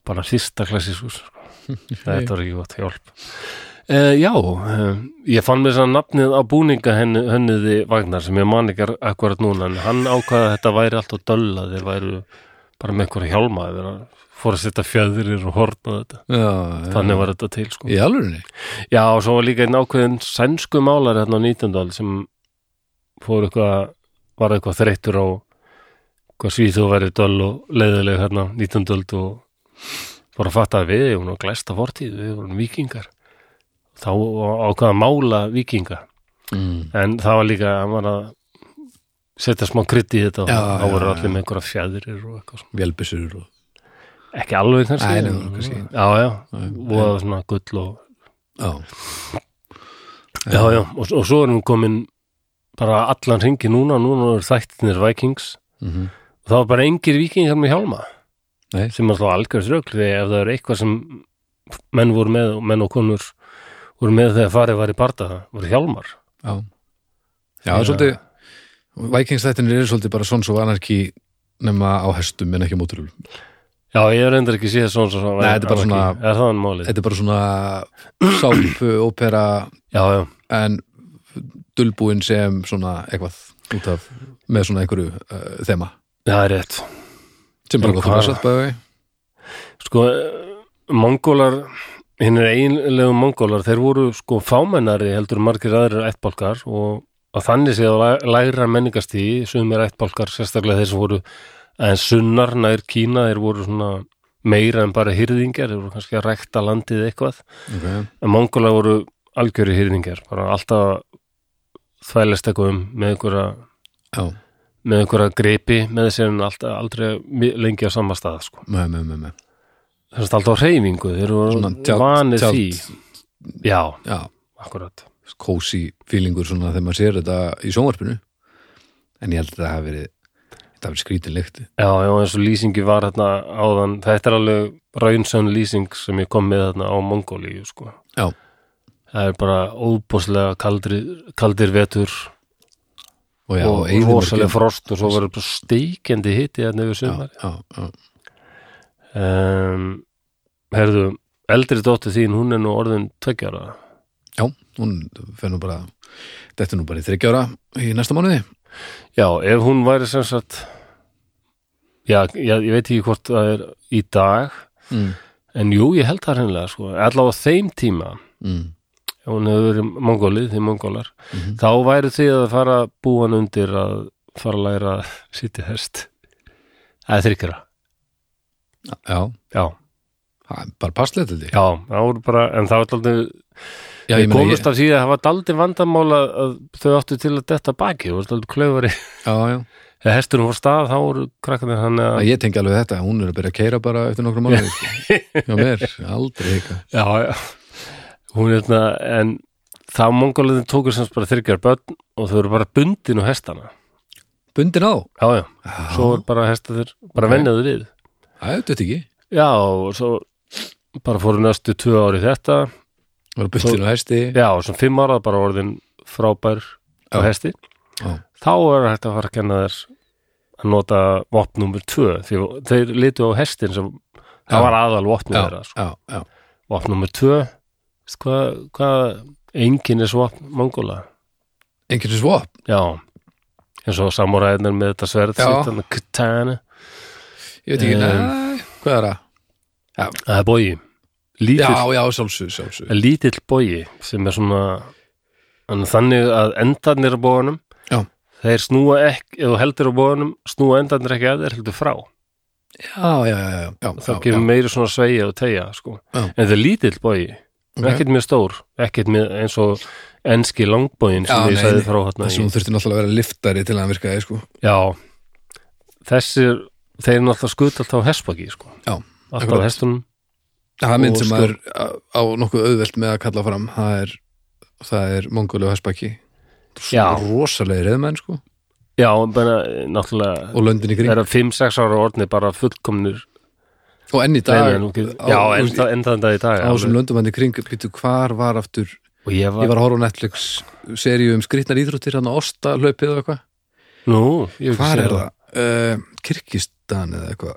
[SPEAKER 1] bara fyrsta klassískus þetta var ekki gott hjálp uh, já, uh, ég fann mér sann nafnið á búninga henni, henniði Vagnar sem ég man ekki akkurat núna en hann ákvaði að þetta væri alltaf döll að þeir væru bara með einhverja hjálma þeir fóru að setja fjöðrir og horn og þetta
[SPEAKER 2] já,
[SPEAKER 1] þannig var þetta til sko
[SPEAKER 2] Í alvörunni?
[SPEAKER 1] já, og svo var líka einn ákveðin sænsku málari hérna á 19. öld sem fór eitthvað var eitthvað þreyttur á hvað svíð þú verið döll og leiðileg hérna á 19. öld og fór að fatta að við hún var glæsta fortíð, við vorum vikingar þá ákvaða að mála vikinga
[SPEAKER 2] Mm.
[SPEAKER 1] en það var líka hann var að setja smá krydd í þetta og
[SPEAKER 2] Já,
[SPEAKER 1] þá
[SPEAKER 2] já,
[SPEAKER 1] voru
[SPEAKER 2] já.
[SPEAKER 1] allir með einhverja fjæðirir og eitthvað svona.
[SPEAKER 2] Vélbissur og
[SPEAKER 1] ekki alveg kannski,
[SPEAKER 2] Æ, nei,
[SPEAKER 1] en-
[SPEAKER 2] voru kannski-
[SPEAKER 1] já, já, voða svona gull og
[SPEAKER 2] Já,
[SPEAKER 1] Já, já, og, og svo erum við komin bara allan hringi núna, núna eru þættinir Vikings
[SPEAKER 2] mm
[SPEAKER 1] og það var bara engir vikingar með hjálma
[SPEAKER 2] Nei.
[SPEAKER 1] sem er þá algjörð rögl því ef það er eitthvað sem menn voru með og menn og konur voru með þegar farið var í barða voru hjálmar
[SPEAKER 2] já Já, það er svolítið Vikingstættinir eru svolítið bara Sons og Anarki nema á hestum en ekki á móturulum
[SPEAKER 1] Já, ég er reyndar ekki síða svona, svona
[SPEAKER 2] Nei, þetta er bara
[SPEAKER 1] anarki.
[SPEAKER 2] svona-
[SPEAKER 1] Er það en málið?
[SPEAKER 2] Þetta er bara svona sápu, ópera
[SPEAKER 1] Já, já,
[SPEAKER 2] en dulbúin sem svona eitthvað út af með svona einhverju uh, þema
[SPEAKER 1] það er rétt
[SPEAKER 2] sem bara
[SPEAKER 1] En
[SPEAKER 2] gott
[SPEAKER 1] hvað-
[SPEAKER 2] að passað bæði
[SPEAKER 1] Sko, eh, mongólar hinn er eiginlegu mongólar þeir voru sko fámennari heldur en margir aðrir ættbálkar og, og þannig séð að læra menningastíði sumir ættbálkar, sérstaklega þeir sem voru en sunnar nær Kína þeir voru svona meira en bara hyrðingjar þeir voru kannski að rækta landið eitthvað
[SPEAKER 2] okay.
[SPEAKER 1] en mongólar voru algjöri hyrðingjar bara alltaf þvælist eitthvað um með einhverja
[SPEAKER 2] Já,
[SPEAKER 1] með einhverja greipi með sér en alltaf aldrei mi- lengi á sama stað sko.
[SPEAKER 2] með, með, með, með
[SPEAKER 1] þess að alltaf á reyfingu þeir
[SPEAKER 2] Svona
[SPEAKER 1] eru
[SPEAKER 2] tjald-
[SPEAKER 1] vanið
[SPEAKER 2] tjald.
[SPEAKER 1] því já,
[SPEAKER 2] Já,
[SPEAKER 1] akkurat
[SPEAKER 2] kósi fílingur svona þegar maður sér þetta í sjónvarpinu en ég held að þetta hafi verið þetta hafi verið skrítin lykt
[SPEAKER 1] já, já, eins og lýsingi var hérna áðan þetta er alveg raunsönn lýsing sem ég kom með hérna á Mongóliu sko.
[SPEAKER 2] Já.
[SPEAKER 1] það er bara óbúslega kaldri, kaldir vetur
[SPEAKER 2] og, já,
[SPEAKER 1] og
[SPEAKER 2] eyðimörkin.
[SPEAKER 1] rosalega frost og svo verður bara steikjandi hitti hérna yfir
[SPEAKER 2] Já,
[SPEAKER 1] sumar
[SPEAKER 2] já, já.
[SPEAKER 1] um, herðu, eldri dóttir þín hún er nú orðin tveggjara
[SPEAKER 2] já, hún fer nú bara þetta er nú bara í 30 ára í næsta mánuði
[SPEAKER 1] Já, ef hún væri sem sagt já, ég, ég veit ekki hvort það er í dag
[SPEAKER 2] mm.
[SPEAKER 1] en jú, ég held það hennilega sko. allavega á þeim tíma
[SPEAKER 2] Mm. mhm.
[SPEAKER 1] ef hún hefur verið mongólið, því mongólar þá væri því að fara að búa hann undir að fara að læra að sitja hest eða þryggjara
[SPEAKER 2] já,
[SPEAKER 1] Já,
[SPEAKER 2] það er bara passlegt held ég
[SPEAKER 1] já, það voru bara en það var aldrei,
[SPEAKER 2] já,
[SPEAKER 1] við
[SPEAKER 2] ég meina, ég,
[SPEAKER 1] komumst af síðan það var aldrei vandamála að þau áttu til að detta baki, það var aldrei klöfari
[SPEAKER 2] já, já.
[SPEAKER 1] eða hesturinn fór af stað, þá voru krakkanir hann að,
[SPEAKER 2] Að ég tengi alveg þetta, hún er að byrja að keira bara eftir nokkra mánuði sko. já, mér, aldrei hika
[SPEAKER 1] Já, já. Hún er þetta, en þá mongóliðin tókur semst bara þyrkjar börn og þau eru bara bundin og hestana.
[SPEAKER 2] bundin á,
[SPEAKER 1] Já, já.
[SPEAKER 2] Já.
[SPEAKER 1] Svo er bara hestaður, bara okay.
[SPEAKER 2] Ok.
[SPEAKER 1] venjaðu við.
[SPEAKER 2] það er þetta ekki
[SPEAKER 1] Já, og svo bara fóru næstu tvö ári þetta.
[SPEAKER 2] bara bundin á hesti
[SPEAKER 1] Já, og svo fimm ára bara orðin frábær á
[SPEAKER 2] Já.
[SPEAKER 1] hesti.
[SPEAKER 2] Já.
[SPEAKER 1] Þá er hægt að fara að kenna þér að nota vopn nummer tvö því þeir litu á hestin sem
[SPEAKER 2] Já.
[SPEAKER 1] það var aðal vopnum
[SPEAKER 2] já,
[SPEAKER 1] þeirra sko.
[SPEAKER 2] já, já,
[SPEAKER 1] vopn nummer tvö veist hvað, hvað enginn er svo vopn mongóla
[SPEAKER 2] enginn sem svop
[SPEAKER 1] Já, eins og samuræðnar með þetta sverð
[SPEAKER 2] Já.
[SPEAKER 1] sitt, hann katana
[SPEAKER 2] ég veit ekki,
[SPEAKER 1] Um,
[SPEAKER 2] um, hvað er það?
[SPEAKER 1] Það er bogi
[SPEAKER 2] Já,
[SPEAKER 1] lítill,
[SPEAKER 2] já, sjálfsög, sjálfsög
[SPEAKER 1] lítill bogi sem er svona en þannig að endarnir á bóðanum
[SPEAKER 2] Já.
[SPEAKER 1] þeir snúa ekki, ef þú heldur á bóðanum snúa endarnir ekki að þeir heldur frá
[SPEAKER 2] Já, já, já, já, já,
[SPEAKER 1] þá
[SPEAKER 2] já,
[SPEAKER 1] gefur meiri svona sveigja og tegja sko.
[SPEAKER 2] Já.
[SPEAKER 1] en það er lítill bogi
[SPEAKER 2] Ok.
[SPEAKER 1] ekkert mjög stór, ekkert mjög eins og enski langbógin sem
[SPEAKER 2] Já,
[SPEAKER 1] ég
[SPEAKER 2] nei,
[SPEAKER 1] sagði
[SPEAKER 2] nei.
[SPEAKER 1] frá hérna í-
[SPEAKER 2] Þessum þú þurfti náttúrulega að vera liftari til að hann virkaði, sko
[SPEAKER 1] Já, þessir þeir náttúrulega skutt alltaf á hestbaki sko.
[SPEAKER 2] Já,
[SPEAKER 1] alltaf
[SPEAKER 2] akkurat.
[SPEAKER 1] á hestunum
[SPEAKER 2] Það er mynd
[SPEAKER 1] Og
[SPEAKER 2] sem
[SPEAKER 1] sko-
[SPEAKER 2] maður á á nokkuð auðvelt með að kalla fram Það er, það er mongóli og hespaki
[SPEAKER 1] Já.
[SPEAKER 2] Rosalegi reyðmenn, sko
[SPEAKER 1] Já, bara eh, náttúrulega
[SPEAKER 2] Og löndin í
[SPEAKER 1] það
[SPEAKER 2] kring
[SPEAKER 1] eru 5-6 ára orðni bara fullkomnir
[SPEAKER 2] Og enn í dag
[SPEAKER 1] reyðir, nú getur-
[SPEAKER 2] á-
[SPEAKER 1] Já,
[SPEAKER 2] þú
[SPEAKER 1] en
[SPEAKER 2] veist,
[SPEAKER 1] það- en þann dag í dag
[SPEAKER 2] Á þessum
[SPEAKER 1] alveg.
[SPEAKER 2] löndum hann í kring, býttu, hvar var aftur
[SPEAKER 1] Og ég
[SPEAKER 2] Ég
[SPEAKER 1] var,
[SPEAKER 2] var að horfa á Netflix seríu um skrýtnar íþróttir hann að osta hlaupið og eitthvað
[SPEAKER 1] nú, ég hef ekki
[SPEAKER 2] Hvar
[SPEAKER 1] séð
[SPEAKER 2] er það? Uh, Kirkistan eða eitthvað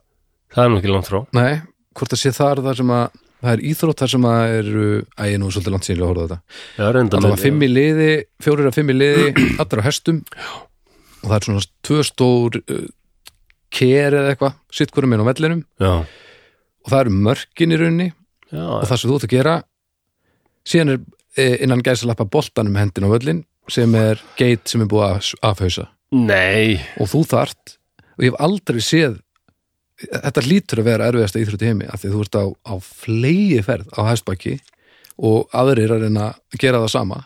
[SPEAKER 1] Það er nú ekki langt frá
[SPEAKER 2] Nei, hvort það sé þar þar sem að það er íþrótt þar sem að eru æ, ég er nú svolítið langt sínlega að horfa á þetta
[SPEAKER 1] Já, reynda
[SPEAKER 2] þannig að fimm í liði, fjórir að fimm í liði allir á hestum og það er svona tvö stór uh, ker eða eitthvað, sitt hverjum inn á vellinum
[SPEAKER 1] Já,
[SPEAKER 2] og það eru mörkin í rauninni
[SPEAKER 1] já,
[SPEAKER 2] og það sem þú ert að gera síðan er eh, innan gæsalappa boltanum hendin á völlin sem er geit sem er búið að afhausa
[SPEAKER 1] nei
[SPEAKER 2] og þú þart og ég hef aldrei séð þetta lítur að vera erfiðasta íþrótt í heimi af því þú ert á, á fleigi ferð á hæstbaki og aðrir að reyna að gera það sama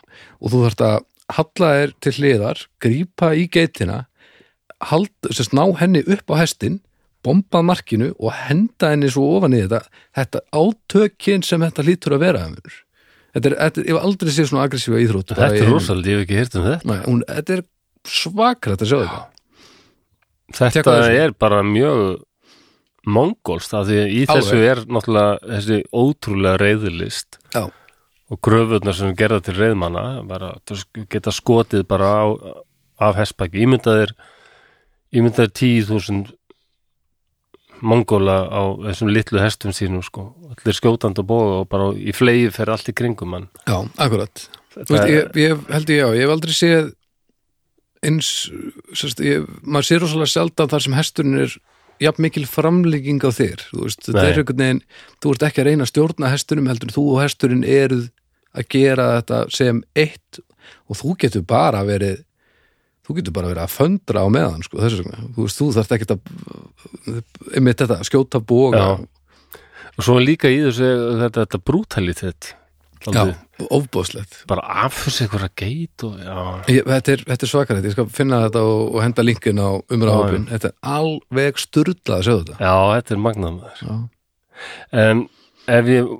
[SPEAKER 2] og þú þart að halla þér til hliðar grípa í geitina hald, sérst, ná henni upp á hestin bomba að markinu og henda henni svo ofan í þetta þetta átökin sem þetta lítur að vera Emil. þetta er, þetta, er- ég hef aldrei séð svona aggressífa íþrótt bara
[SPEAKER 1] Þetta
[SPEAKER 2] í
[SPEAKER 1] er
[SPEAKER 2] heiminum.
[SPEAKER 1] rosalega, ég hef ekki hýrt um þetta
[SPEAKER 2] Nei, hún, þetta er svakrætt að sjá þetta Tekka
[SPEAKER 1] Þetta
[SPEAKER 2] þessu.
[SPEAKER 1] er bara mjög mongolst af því að í
[SPEAKER 2] Alveg.
[SPEAKER 1] þessu er náttúrulega þessi ótrúlega reyðlist
[SPEAKER 2] Já.
[SPEAKER 1] og gröfurnar sem gerða til reyðmanna bara, þú sk- geta skotið bara á, af hespaki ímyndaðir ímyndaðir 10.000 mongola á þessum litlu hestum sínum sko allir skjótandi og bóga og bara í flegi fer allt í kringum hann
[SPEAKER 2] Já, akkurat
[SPEAKER 1] Þetta
[SPEAKER 2] Þú veist,
[SPEAKER 1] er-
[SPEAKER 2] ég, ég held ég, já, ég hef aldrei séð eins, sérst, ég, maður sér rosalega sjaldan þar sem hesturinn er jafn mikil framlíking á þér, þú veist, þetta
[SPEAKER 1] Nei.
[SPEAKER 2] er einhvern veginn, þú ert ekki að reyna að stjórna hestunum heldur en þú og hesturinn eruð að gera þetta sem eitt og þú getur bara verið þú getur bara verið að föndra á meðan sko, þess vegna, þú veist, þú þarft ekkert að einmitt þetta, skjóta boga
[SPEAKER 1] Já. og svo er líka í þessu þetta, þetta brutalitet
[SPEAKER 2] já,
[SPEAKER 1] Dálítið.
[SPEAKER 2] ofbóðslegt
[SPEAKER 1] bara afhversu einhverja geit og já
[SPEAKER 2] Ég, þetta, er, þetta er svakarætt, ég skal finna þetta og, og henda linkin á umræðhópin Þetta er alveg styrlað að sjá þetta
[SPEAKER 1] Já, þetta er magnað maður.
[SPEAKER 2] Já.
[SPEAKER 1] En ef ég,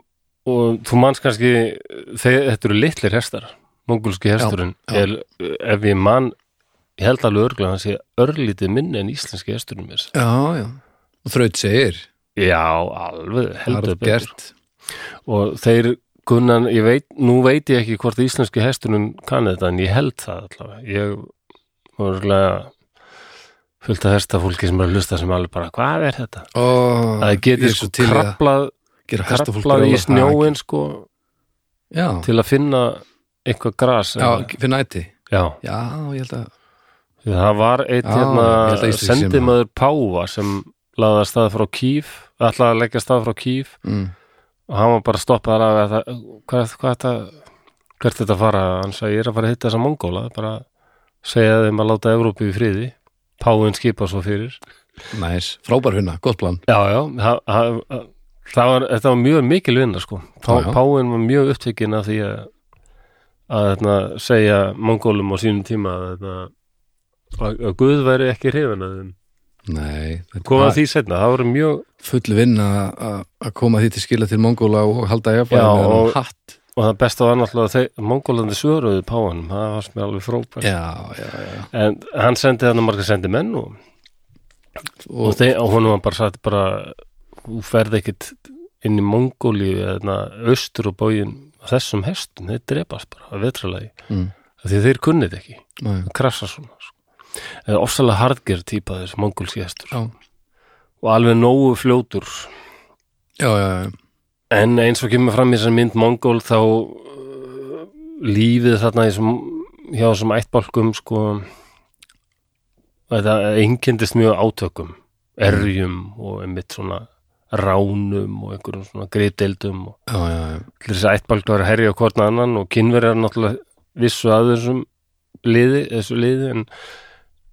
[SPEAKER 1] og þú manns kannski, þegar þetta eru litlir hestar, mongulski hesturinn,
[SPEAKER 2] já.
[SPEAKER 1] Er, ef ég mann, ég held alveg örglega hans ég örlítið minni en íslenski hesturinn mér.
[SPEAKER 2] Já, já, og þraut segir
[SPEAKER 1] Já, alveg,
[SPEAKER 2] Það
[SPEAKER 1] heldur
[SPEAKER 2] er gert
[SPEAKER 1] Og þeir kunnan, ég veit, nú veit ég ekki hvort íslenski hesturinn kann þetta, en ég held það allavega. Ég var örglega fullt af hestafólki sem er að hlusta sem alveg bara, hvað er þetta?
[SPEAKER 2] Ó,
[SPEAKER 1] Það
[SPEAKER 2] ég
[SPEAKER 1] getur
[SPEAKER 2] er
[SPEAKER 1] sko
[SPEAKER 2] til í að
[SPEAKER 1] krablað
[SPEAKER 2] gera hestafólk
[SPEAKER 1] kraplaði í
[SPEAKER 2] brjálað.
[SPEAKER 1] snjóin sko
[SPEAKER 2] Já,
[SPEAKER 1] til að finna eitthvað gras
[SPEAKER 2] já,
[SPEAKER 1] eða-
[SPEAKER 2] fyrir næti
[SPEAKER 1] já.
[SPEAKER 2] Já, ég held að
[SPEAKER 1] Því það var einn
[SPEAKER 2] Já, ég held að
[SPEAKER 1] hérna
[SPEAKER 2] Ísland sé með.
[SPEAKER 1] sendimaður Páva sem laði að stað frá Kýf ætlaði að leggja af stað frá Kýf
[SPEAKER 2] mm.
[SPEAKER 1] og hann var bara stoppaðar af að það, hvað, hvað þetta hvert þetta fara, hann sagði ég er að fara að hitta þessa mongóla, bara segja þeim að láta Evrópu í friði Pávin skipa svo fyrir
[SPEAKER 2] Næs, frábær hunna, gott plan
[SPEAKER 1] já, já, það, það, það var, þetta var mjög mikil vinna sko Pá,
[SPEAKER 2] Já, já.
[SPEAKER 1] Páin var mjög upptekinn af því að að þarna, segja mongólum á sínum tíma að, þarna, að, að Guð væri ekki hrifin að þeim
[SPEAKER 2] Nei, þetta
[SPEAKER 1] koma að
[SPEAKER 2] var
[SPEAKER 1] því setna, það voru mjög
[SPEAKER 2] full vinna að að koma því til skila til Mongóla og halda jafnvæg
[SPEAKER 1] Já,
[SPEAKER 2] með
[SPEAKER 1] og-
[SPEAKER 2] hann hatt
[SPEAKER 1] og það besta var náttúrulega að þeir- mongólandi svöruðu Páinum, það var sem alveg frópar
[SPEAKER 2] Já, já, já
[SPEAKER 1] en hann sendi þarna marga sendi menn og, og,
[SPEAKER 2] Og,
[SPEAKER 1] þeir, og honum var bara sagt bara, þú ferð ekkit inn í Mongóli eða hérna, austur og bógin þessum hestum, þeir drepast bara að vetralagi
[SPEAKER 2] mm,
[SPEAKER 1] Af því að þeir kunnið þetta ekki,
[SPEAKER 2] næ,
[SPEAKER 1] það krasa svona sko. eða ofsalega hardger típa þessi mongulski hestur
[SPEAKER 2] já,
[SPEAKER 1] og alveg nógu fljótur
[SPEAKER 2] já, já, já.
[SPEAKER 1] en eins og kemur fram í þessari mynd mongol þá uh, lífið þarna í þessum, hjá þessum ættbálkum sko þetta einkendist mjög átökum erjum og einmitt svona ránum og einhverjum svona greiðdeildum og
[SPEAKER 2] já, já, já.
[SPEAKER 1] allir þessi ættbálk var að herja á hvorn annan og kynverjar náttúrulega vissu að þessum liði, þessu liði en,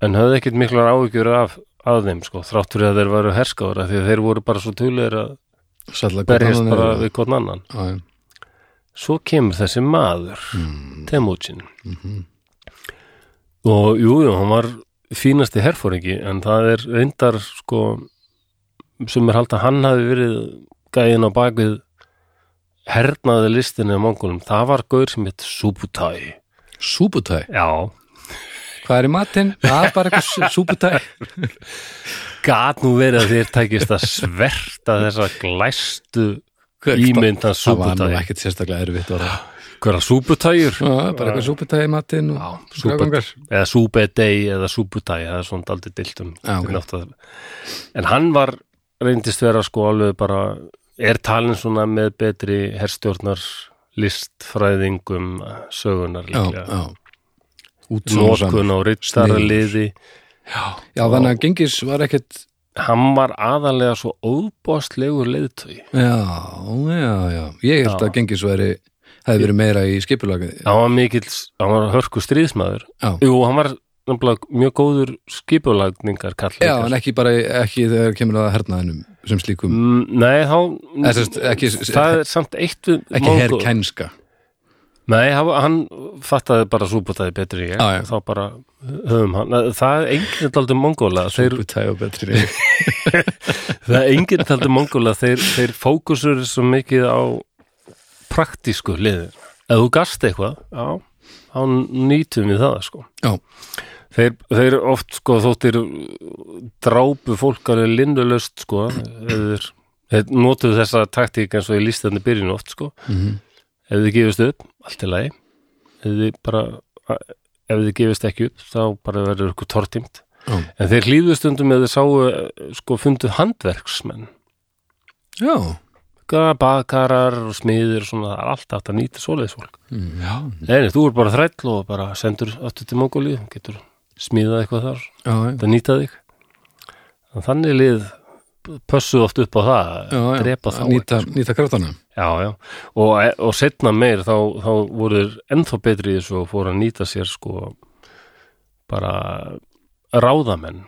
[SPEAKER 1] en höfðu ekkert miklar áhyggjur af, af þeim sko, þrátt fyrir að þeir varu herskára því að þeir voru bara svo tulir að
[SPEAKER 2] Sætla
[SPEAKER 1] berjast bara við hvorn annan
[SPEAKER 2] Já, já.
[SPEAKER 1] svo kemur þessi maður
[SPEAKER 2] Mm,
[SPEAKER 1] Temujin
[SPEAKER 2] mhm.
[SPEAKER 1] og jú, jú, hann var fínasti herfóringi en það er reyndar sko sem er halda að hann hafi verið gæðin á bakvið hernaði listinni á mongolum, það var gaur sem hitt Subutai
[SPEAKER 2] Súbutæ,
[SPEAKER 1] Já,
[SPEAKER 2] hvað er í matinn? Það er bara eitthvað súbutæ
[SPEAKER 1] gat nú verið að þér tækist að sverta þessa glæstu ímyndan
[SPEAKER 2] Það var nú
[SPEAKER 1] súputæg
[SPEAKER 2] ekkert sérstaklega erfitt orða Já,
[SPEAKER 1] Hverja súputægjur?
[SPEAKER 2] bara eitthvað súbutæ í matinn og...
[SPEAKER 1] súputæg Eða súpedei eða súputæg það er svona um daldið diltum
[SPEAKER 2] Já, ok.
[SPEAKER 1] En hann var reyndist vera sko alveg bara er talin svona með betri herstjórnar listfræðingum sögunar
[SPEAKER 2] já,
[SPEAKER 1] líklega.
[SPEAKER 2] já. Útsóun saman.
[SPEAKER 1] Nótkun á rittaraliði. Já.
[SPEAKER 2] já, þannig að gengis var ekkert
[SPEAKER 1] Hann var aðalega svo óbóstlegur leiðtögi.
[SPEAKER 2] já, já, já, ég held
[SPEAKER 1] Já.
[SPEAKER 2] að gengis veri hefði verið meira í skipulagi já,
[SPEAKER 1] Hann var mikill, hann var hörku stríðsmaður.
[SPEAKER 2] Já.
[SPEAKER 1] Jú, hann var nefnilega mjög góður sko. skipulagningar kallar.
[SPEAKER 2] en ekki bara ekki þegar kemur að hernaðinum sem slíkum,
[SPEAKER 1] Mm, Nei, þá...
[SPEAKER 2] Eða sem sagt, ekki-
[SPEAKER 1] það er samt eitt við...
[SPEAKER 2] ekki
[SPEAKER 1] Mongó-
[SPEAKER 2] herkænska
[SPEAKER 1] Nei, hann, hann fattaði bara súbútaði betri en ég,
[SPEAKER 2] Já, já.
[SPEAKER 1] þá bara höfum hann, það er enginn taldur mongóla, þeir,
[SPEAKER 2] Súputæg og betri
[SPEAKER 1] það er enginn taldur mongóla þeir, þeir fókusur svo mikið á praktísku liðin ef þú gast eitthvað, já þá nýtum við það, sko
[SPEAKER 2] já,
[SPEAKER 1] þeir, þeir oft, sko, þóttir drápu fólk alveg lindulegst, sko ef þeir, þeir notuðu þessa taktík eins og ég líst þannig byrjun oft, sko
[SPEAKER 2] mhm,
[SPEAKER 1] ef þið gefist upp, allt er lagi ef þið bara ef þið gefist ekki upp, þá bara verður ykkur tortímt
[SPEAKER 2] já,
[SPEAKER 1] en þeir hlýðu stundum eða þeir sáu, eh, sko, fundu handverksmenn
[SPEAKER 2] já
[SPEAKER 1] Bara bakarar og smiðir og svona, það er allt aftur að nýta svoleiðis fólk
[SPEAKER 2] Mm, já,
[SPEAKER 1] Nei, nei, þú er bara þræll og bara sendur aftur til Mongóli, getur smíðað eitthvað þar,
[SPEAKER 2] já, já.
[SPEAKER 1] það nýta þig En þannig lið pössuð oft upp á það,
[SPEAKER 2] já, já,
[SPEAKER 1] drepa þá
[SPEAKER 2] að nýta, nýta kraftana
[SPEAKER 1] Já, já, og, og setna meir þá, þá voru þeir ennþá betri í þessu og fóru að nýta sér sko bara ráðamenn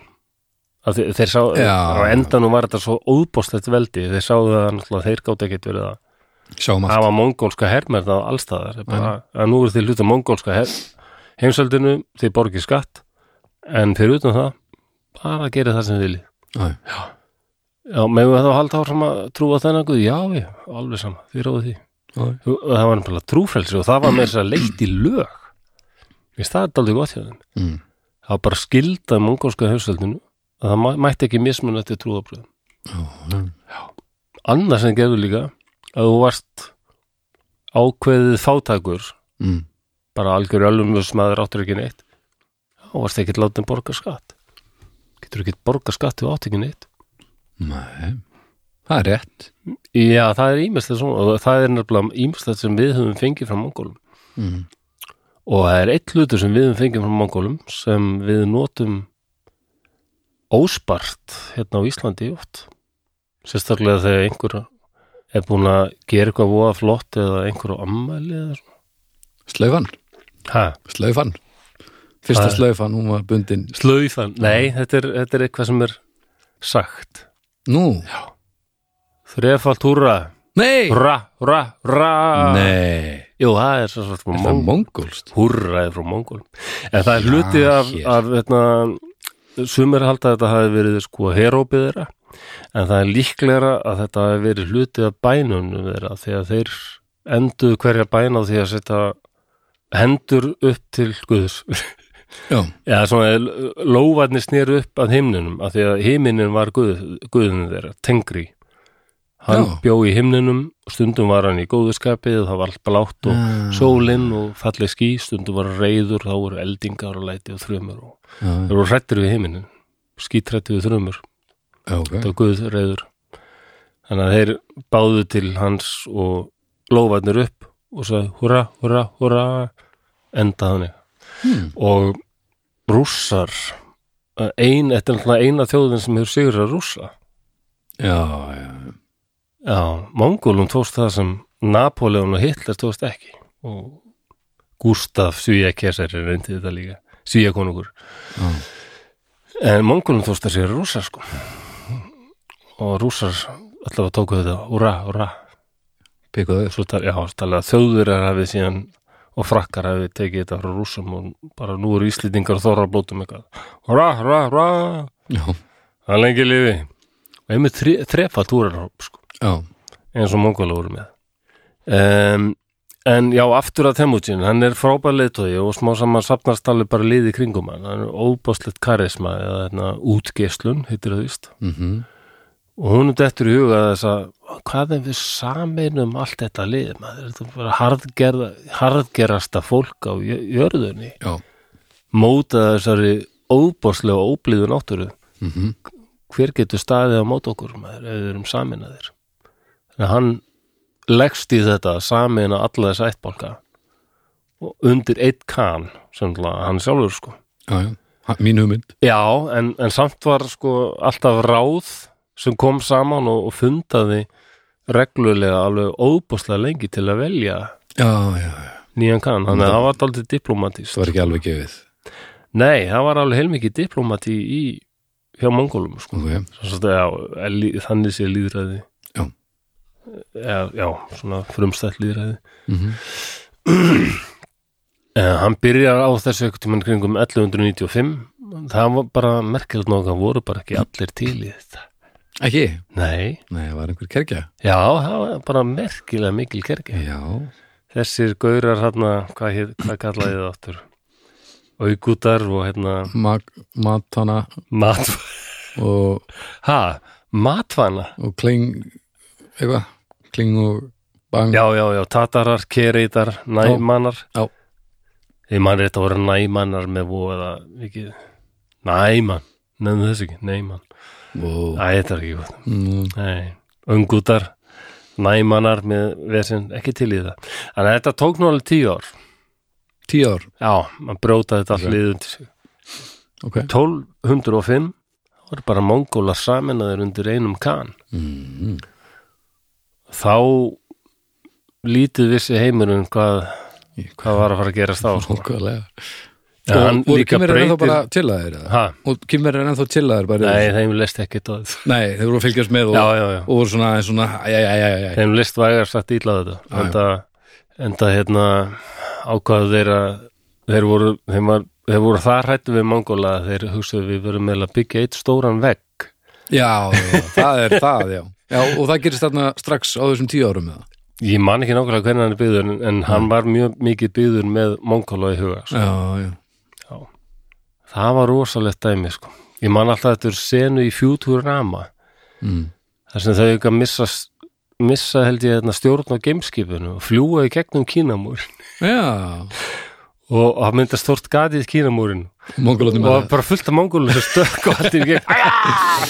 [SPEAKER 1] að þeir, þeir sá,
[SPEAKER 2] Já.
[SPEAKER 1] á endanum var þetta svo óbóðslegt veldi, þeir sáðu að náttúrulega þeir gátt ekkert verið að
[SPEAKER 2] sjáum allt,
[SPEAKER 1] hafa mongólska hermerna á allstaðar bara, að nú eru þeir hluta mongólska her, heimsöldinu, þeir borgið skatt en fyrir utan það bara að gera það sem þeir vilji
[SPEAKER 2] já,
[SPEAKER 1] Já, meðum við þá halda áfram að trúa þennan guð? Já, já, alveg sama, því ráðu því
[SPEAKER 2] já
[SPEAKER 1] og það var nefnilega trúfrelsi og það var með þess að leitt í lög við staðið aldrei gott hjá þeim
[SPEAKER 2] mm.
[SPEAKER 1] það var bara skilda mongolska hausöldinu að það mæ- mætti ekki mismun eftir trúabröðum
[SPEAKER 2] já.
[SPEAKER 1] annars en gerðu líka að þú varst ákveðið fátækur
[SPEAKER 2] Mm.
[SPEAKER 1] bara algjör ölumljus maður áttur ekki neitt þá varst ekki látin borga skatt getur ekki borga skatt til átt ekki neitt
[SPEAKER 2] Nei, það er rétt
[SPEAKER 1] já, það er ímestlega svona og það er nefnilega ímestlega sem við höfum fengið frá mongolum
[SPEAKER 2] mm.
[SPEAKER 1] Og það er eitt hlutur sem við fengjum frá mongólum sem við notum óspart hérna á Íslandi oft. Sérstaklega þegar einhver er búin að gera eitthvað voða flott eða einhver á ammæli eða svona.
[SPEAKER 2] Slaufan,
[SPEAKER 1] Ha,
[SPEAKER 2] slaufan Fyrsta
[SPEAKER 1] Það-
[SPEAKER 2] slaufan, hún var bundin
[SPEAKER 1] slauðan. Nei, þetta er, þetta er eitthvað sem er sagt.
[SPEAKER 2] Nú,
[SPEAKER 1] Þrefalt húra,
[SPEAKER 2] nei
[SPEAKER 1] húra, húra, húra.
[SPEAKER 2] Nei,
[SPEAKER 1] Jú, það er svo svart frá
[SPEAKER 2] er það
[SPEAKER 1] mongólum.
[SPEAKER 2] mongolst?
[SPEAKER 1] húrraði frá mongólum en það er hluti
[SPEAKER 2] Já,
[SPEAKER 1] af,
[SPEAKER 2] hér.
[SPEAKER 1] af veitna, sumir halda að þetta hafi verið sko herópið þeirra en það er líklegra að þetta hafi verið hluti af bænunum þeirra þegar þeir enduðu hverja bæn á því að setja hendur upp til Guðs
[SPEAKER 2] Já,
[SPEAKER 1] Já, svona, eh, lófarnir sneru upp að himninum, af því að himinin var guð, guðinu þeirra, tengri hann
[SPEAKER 2] Já.
[SPEAKER 1] bjó í himninum stundum var hann í góðuskapið og það var allt blátt og
[SPEAKER 2] Já.
[SPEAKER 1] sólinn og falleg ský, stundum var hann reyður þá voru eldingar og læti og þrumur og
[SPEAKER 2] já,
[SPEAKER 1] þeir voru hrættir við himinin skítrættir við þrumur,
[SPEAKER 2] já, ok
[SPEAKER 1] þetta var guð reyður þannig að þeir báðu til hans og lófarnir upp og sagði hurra, hurra, hurra enda þannig
[SPEAKER 2] hmm.
[SPEAKER 1] og rússar eh, ein, þetta er náttúrulega eina þjóðin sem hefur sigur að rússa
[SPEAKER 2] Já, já,
[SPEAKER 1] já, Mongólum tókst það sem Napoleon og Hitler tókst ekki og Gustaf Svíja kesari reyndi þetta líka Svíja konungur
[SPEAKER 2] já,
[SPEAKER 1] en Mongólum tókst það sigur að rússa sko og rússar allavega tóku þetta hurra, hurra
[SPEAKER 2] pikaðu þér
[SPEAKER 1] svo tal, já, talaði þjóðurar hafið síðan og frakkar hafið tekið þetta frá rússum og bara nú eru íslendingar að þorra að blótum eitthvað hurra, hurra, hurra
[SPEAKER 2] Já,
[SPEAKER 1] Það er lengi lifi og einmitt þre- þrefalt úrarhóp sko,
[SPEAKER 2] já,
[SPEAKER 1] eins og mongóla voru með um, en já, aftur að Temujin, hann er frábær leitói og smá saman sapnast alveg bara liði kringum hann, hann er óbáslegt karisma eða þarna, útgeslun, heitir það víst
[SPEAKER 2] mhm
[SPEAKER 1] og hún er dettur í huga þess að hvað er við sameinum allt þetta lið maður, þetta er bara harðgerða, harðgerasta fólk á jö- jörðunni
[SPEAKER 2] Já,
[SPEAKER 1] móta þessari óbáslega og óblíðu náttúru
[SPEAKER 2] mhm
[SPEAKER 1] hver getur staðið á mót okkur maður ef við erum saminaðir en hann leggst í þetta samin að alla þessa ættbálka og undir eitt kan sem náttúrulega hann sjálfur sko
[SPEAKER 2] já, já, Ha- mín hugmynd
[SPEAKER 1] Já, en, en samt var sko alltaf ráð sem kom saman og, og fundaði reglulega alveg óbúslega lengi til að velja
[SPEAKER 2] já, já, já,
[SPEAKER 1] nýjan kann, þannig að það var aldrei diplomatist.
[SPEAKER 2] það var ekki alveg gefið
[SPEAKER 1] Nei, það var alveg heilmikið diplomati í hjá mongólum sko.
[SPEAKER 2] ok,
[SPEAKER 1] Svo, svo, já, er lí- þannig sé líðræði.
[SPEAKER 2] Mm. Já.
[SPEAKER 1] Já, já svona frumstætt líðræði.
[SPEAKER 2] mm
[SPEAKER 1] Eh, hann byrjar á þessu ekkert tímann kringum 1195. Það var bara merkilegt nóg, það voru bara ekki allir til í þetta.
[SPEAKER 2] ekki,
[SPEAKER 1] Nei.
[SPEAKER 2] nei, það var einhver kerkja
[SPEAKER 1] Já, það var bara merkilega mikil kergi.
[SPEAKER 2] já,
[SPEAKER 1] Þessir gaurar hérna, hvað, hét- hvað kallaði það áttur? Augútar og hérna
[SPEAKER 2] Mag, matana
[SPEAKER 1] mat...
[SPEAKER 2] og,
[SPEAKER 1] Ha, matvana?
[SPEAKER 2] og kling eitthvað, kling og bang
[SPEAKER 1] Já, já, já, tatarar, kereitar, næmanar.
[SPEAKER 2] Já. Já.
[SPEAKER 1] Ég man rétt að voru næmanar með voða, ekki, næman, nefnum þessu ekki, næman.
[SPEAKER 2] og,
[SPEAKER 1] Æ, þetta er ekki gott.
[SPEAKER 2] mm,
[SPEAKER 1] Nei, ungútar næmanar með vesinn, ekki til í það. Þannig að þetta tók nú alveg tíu ár.
[SPEAKER 2] tíu ár
[SPEAKER 1] Já, maður bróta þetta allir okay. undir sig.
[SPEAKER 2] ok,
[SPEAKER 1] 1205 þá voru bara mongólar saminaður undir einum kan
[SPEAKER 2] mm,
[SPEAKER 1] þá lítið vissi heimurinn hvað,
[SPEAKER 2] Í-
[SPEAKER 1] hvað var að fara að gerast þá sko.
[SPEAKER 2] okkarlega
[SPEAKER 1] ja, hann
[SPEAKER 2] og voru
[SPEAKER 1] líka
[SPEAKER 2] kymverið ennþá
[SPEAKER 1] breytir
[SPEAKER 2] bara til að þeir eða?
[SPEAKER 1] ha,
[SPEAKER 2] og kymverið ennþá til að þeir bara
[SPEAKER 1] nei, þeim leist ekki það
[SPEAKER 2] nei, þeir voru að fylgjast með og,
[SPEAKER 1] já, já, já,
[SPEAKER 2] og voru svona, svona æ, æ, æ, æ, æ, æ.
[SPEAKER 1] þeim leist vægar satt ítla
[SPEAKER 2] Já, já.
[SPEAKER 1] þetta enda, enda hérna ákvaðu þeir að þeir voru, þeim var, þeir voru það hrættu við mongóla að þeir hugsaðu við verum meðlega að byggja eitt stóran vegg
[SPEAKER 2] Já, já, já, það er það, já. já og það gerist þarna strax á þessum tíu árum eða.
[SPEAKER 1] Ég man ekki nákvæmlega hvernig hann er byggður en, en hann var mjög mikið byggður með mongóla í huga. Sko.
[SPEAKER 2] já, já,
[SPEAKER 1] Það var rosalegt dæmi, sko. Ég man alltaf þetta er senu í Futurama
[SPEAKER 2] mm.
[SPEAKER 1] þar sem þau ekki að missa, missa held ég þarna stjórn á gameskipinu og fljúa í gegnum Kínamúr
[SPEAKER 2] já
[SPEAKER 1] og það mynda stort gatið Kínamúrin
[SPEAKER 2] mongolóttum
[SPEAKER 1] og bara fullt af mongóla sem stökk og allt í gegn Aja!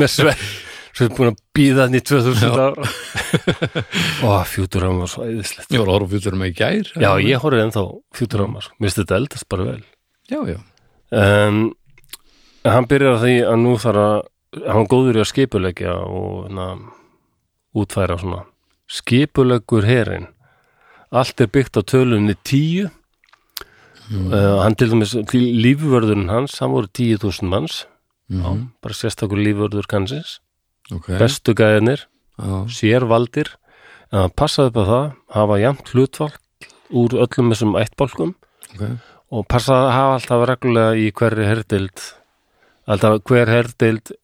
[SPEAKER 1] með svepp sem er búin að býða hann í 2000 ára og Futurama var svo æðislegt.
[SPEAKER 2] ég var að horfa fjúturum í gær
[SPEAKER 1] Já, ég horfði ennþá
[SPEAKER 2] Mm.
[SPEAKER 1] Futurama, sko. Mér finnst þetta eldast bara vel.
[SPEAKER 2] já, já,
[SPEAKER 1] um, hann byrjar á því að nú þarf að hann er góður í að skipulegja og na, útfæra svona skipulegur herin allt er byggt á tölunni tíu
[SPEAKER 2] Mm.
[SPEAKER 1] uh, hann til dæmis lífvörðurinn hans, hann voru tíu þúsund manns
[SPEAKER 2] Mhm.
[SPEAKER 1] já, bara sérstakur lífvörður kansins
[SPEAKER 2] ok
[SPEAKER 1] bestu gæðinir,
[SPEAKER 2] já,
[SPEAKER 1] sérvaldir en hann passaði upp á það hafa jæmt hlutvalk úr öllum þessum ættbálkum
[SPEAKER 2] ok,
[SPEAKER 1] og passa að hafa alltaf reglulega í hverri herdild alltaf hver herdild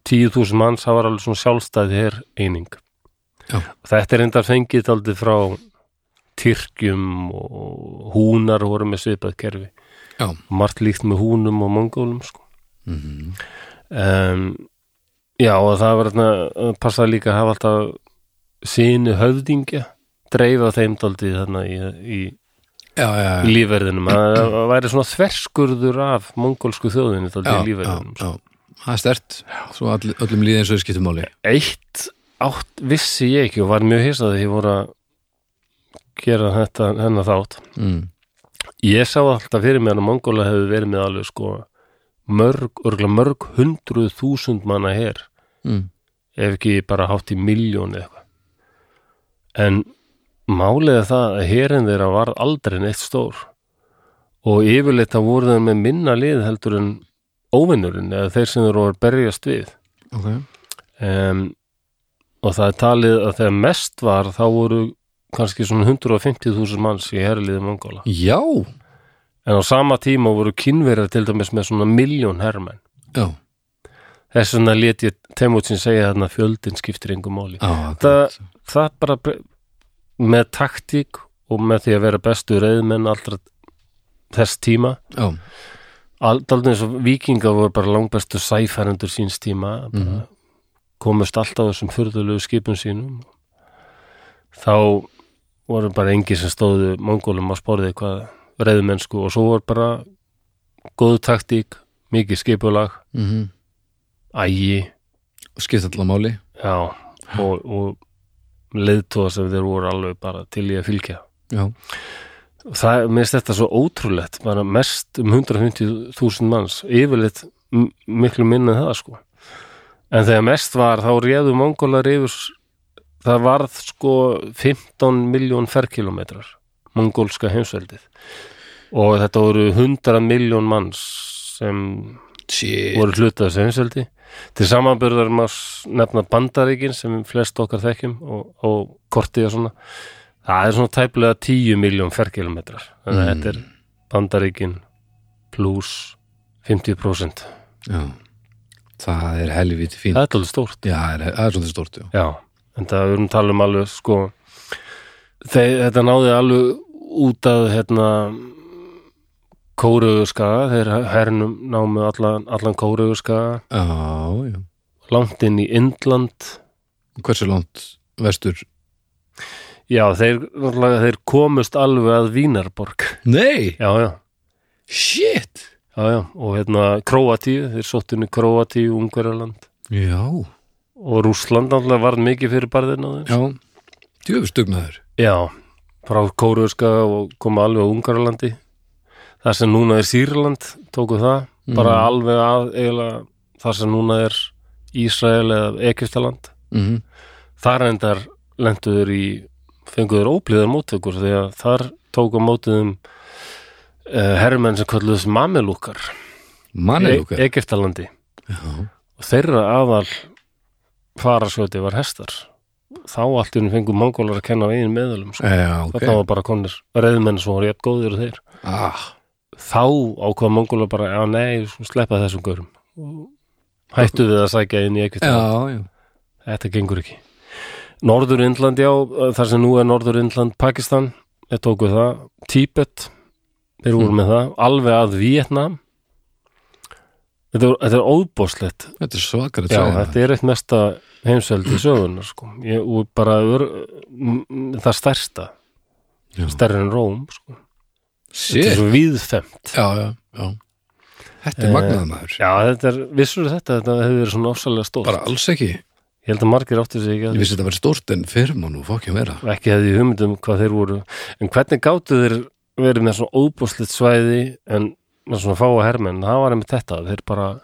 [SPEAKER 1] 10.000 manns, það var alveg svona sjálfstæði her eining
[SPEAKER 2] Já.
[SPEAKER 1] þetta er enda fengið aldrei frá Tyrkjum og húnar voru með svipað kerfi
[SPEAKER 2] Já.
[SPEAKER 1] margt líkt með húnum og mongólum sko.
[SPEAKER 2] mm.
[SPEAKER 1] um, já og það var þarna passaði líka að hafa alltaf sínu höfðingja dreifa þeim daldið þarna í, í
[SPEAKER 2] já, já,
[SPEAKER 1] í
[SPEAKER 2] já
[SPEAKER 1] lífverðinum að það væri svona þverskurður af mongólsku þjóðinni þá til
[SPEAKER 2] já, já,
[SPEAKER 1] lífverðinum
[SPEAKER 2] já, það er stert svo all, öllum líði eins og skiptumáli
[SPEAKER 1] eitt átt vissi ég ekki og var mjög hissað þegar ég voru að gera þetta hennar þátt
[SPEAKER 2] mm.
[SPEAKER 1] ég sá alltaf fyrir mér að mongóla hefur verið með alveg sko mörg, örgla mörg hundruð þúsund manna her
[SPEAKER 2] Mm.
[SPEAKER 1] ef ekki bara hátt í miljón eitthvað en málið er það að herin þeirra var aldrei neitt stór og yfirleitt að voru þeir með minna lið heldur en óvinnurinn eða þeir sem þeir voru að berjast við
[SPEAKER 2] ok,
[SPEAKER 1] um, og það er talið að þegar mest var þá voru kannski svona 150.000 manns í herrliði Mongóla
[SPEAKER 2] já
[SPEAKER 1] en á sama tíma voru kynverjar til dæmis með svona miljón herrmenn
[SPEAKER 2] já,
[SPEAKER 1] þess vegna lét ég Temutsin segja þarna að fjöldin skiptir engu máli
[SPEAKER 2] já,
[SPEAKER 1] það, það bara bre- með taktík og með því að vera bestu reyðmenn allra þess tíma
[SPEAKER 2] já,
[SPEAKER 1] aldrei eins og vikingar voru bara langbestu sæfærendur síns tíma bara komust alltaf þessum furðulegu skipum sínum þá voru bara engi sem stóðu mongólum á sporði hvað reyðmennsku og svo voru bara góð taktík, mikið skipulag
[SPEAKER 2] mm
[SPEAKER 1] Mhm. ægi,
[SPEAKER 2] skipt allan máli
[SPEAKER 1] já og, og leiðtóa sem þeir voru alveg bara til í að fylgja
[SPEAKER 2] já,
[SPEAKER 1] Og það, mér finnst þetta svo ótrúlegt bara mest um 150.000 manns yfirleitt m- miklu minna en það sko en þegar mest var þá réðu mongólar yfir s- það varð sko 15 miljón ferkilometrar mongólska heimsveldið og þetta voru 100 miljón manns sem
[SPEAKER 2] shit
[SPEAKER 1] voru hluta þessu heimsveldi til samanbyrðar má s- nefna bandaríkin sem flest okkar þekkjum og, og kortið og svona það er svona tæplega 10 miljón ferkilometrar þannig að
[SPEAKER 2] Mm.
[SPEAKER 1] þetta er bandaríkin pluss 50%
[SPEAKER 2] já. það er helviti fínt
[SPEAKER 1] það er alveg stórt
[SPEAKER 2] já, það er, það er svolítið stórt, já
[SPEAKER 1] já, en það við erum að tala um alveg sko þeir, þetta náði alveg út að hérna kóruðuskaga, þeir hernum námu allan, allan kóruðuskaga
[SPEAKER 2] já, já,
[SPEAKER 1] langt inn í Indland
[SPEAKER 2] hversu langt vestur
[SPEAKER 1] Já, þeir, náttúrulega, þeir komust alveg að Vínarborg.
[SPEAKER 2] nei,
[SPEAKER 1] Já, já,
[SPEAKER 2] shit
[SPEAKER 1] já, já. Og hérna Króatíu, þeir sóttinu Króatíu, Ungverjaland
[SPEAKER 2] já,
[SPEAKER 1] og Rússland náttúrulega varð mikið fyrir barðin á þeim.
[SPEAKER 2] já djöfustugnaður
[SPEAKER 1] Já, frá Kóruðska og koma alveg að Ungarlandi. Það sem núna er Sýrland, tóku það, bara
[SPEAKER 2] Mhm.
[SPEAKER 1] alveg að eiginlega það sem núna er Ísrael eða Egyptaland.
[SPEAKER 2] mm -hmm.
[SPEAKER 1] Þar endar lenduður í, fenguður óblíðar móttökur því að þar tóku mótiðum uh, herrmenn sem kalluðus mamelúkar
[SPEAKER 2] mannelúkar
[SPEAKER 1] Egiptalandi
[SPEAKER 2] já,
[SPEAKER 1] og þeirra aðal farasjóti var hestar þá allt í henni fengu mongólar að kenna veginn meðalum sko.
[SPEAKER 2] já, ok
[SPEAKER 1] þarna var bara konir reyðmenn sem voru jafn góðir og þeir
[SPEAKER 2] ah,
[SPEAKER 1] þá ákvaða mongólar bara já nei, sko, sleppa þessum görum hættu við að sækja inn í Egyptaland
[SPEAKER 2] já, já,
[SPEAKER 1] þetta gengur ekki Norður Indland já, eh, þar sem nú er Norður Indland Pakistan, þeir tóku það Tíbet, þeir
[SPEAKER 2] Mm.
[SPEAKER 1] voru með það alveg að Vietnam þetta er, þetta er óbóðslegt
[SPEAKER 2] þetta er svakar
[SPEAKER 1] Já, þetta er eitt mesta heimsveldi sögunar sko. ég, og bara ör, m- m- það stærsta,
[SPEAKER 2] Já.
[SPEAKER 1] stærri en Róm sko. þetta
[SPEAKER 2] shit
[SPEAKER 1] er svo víðfemt
[SPEAKER 2] já, já, já Þetta er
[SPEAKER 1] Eh,
[SPEAKER 2] magnað maður
[SPEAKER 1] Já, þetta er, vissur þetta, þetta hefur verið svona ofsalega stórt
[SPEAKER 2] bara alls ekki,
[SPEAKER 1] Ég held að margir áttu sig ekki
[SPEAKER 2] ég
[SPEAKER 1] að
[SPEAKER 2] vissi þetta verið stórt en fyrir má nú fokkjum vera
[SPEAKER 1] ekki hefði ég hugmynd um hvað þeir voru en hvernig gátu þeir verið með svona óbúslitt svæði en með svona fáa hermenn, það var einmitt þetta þeir bara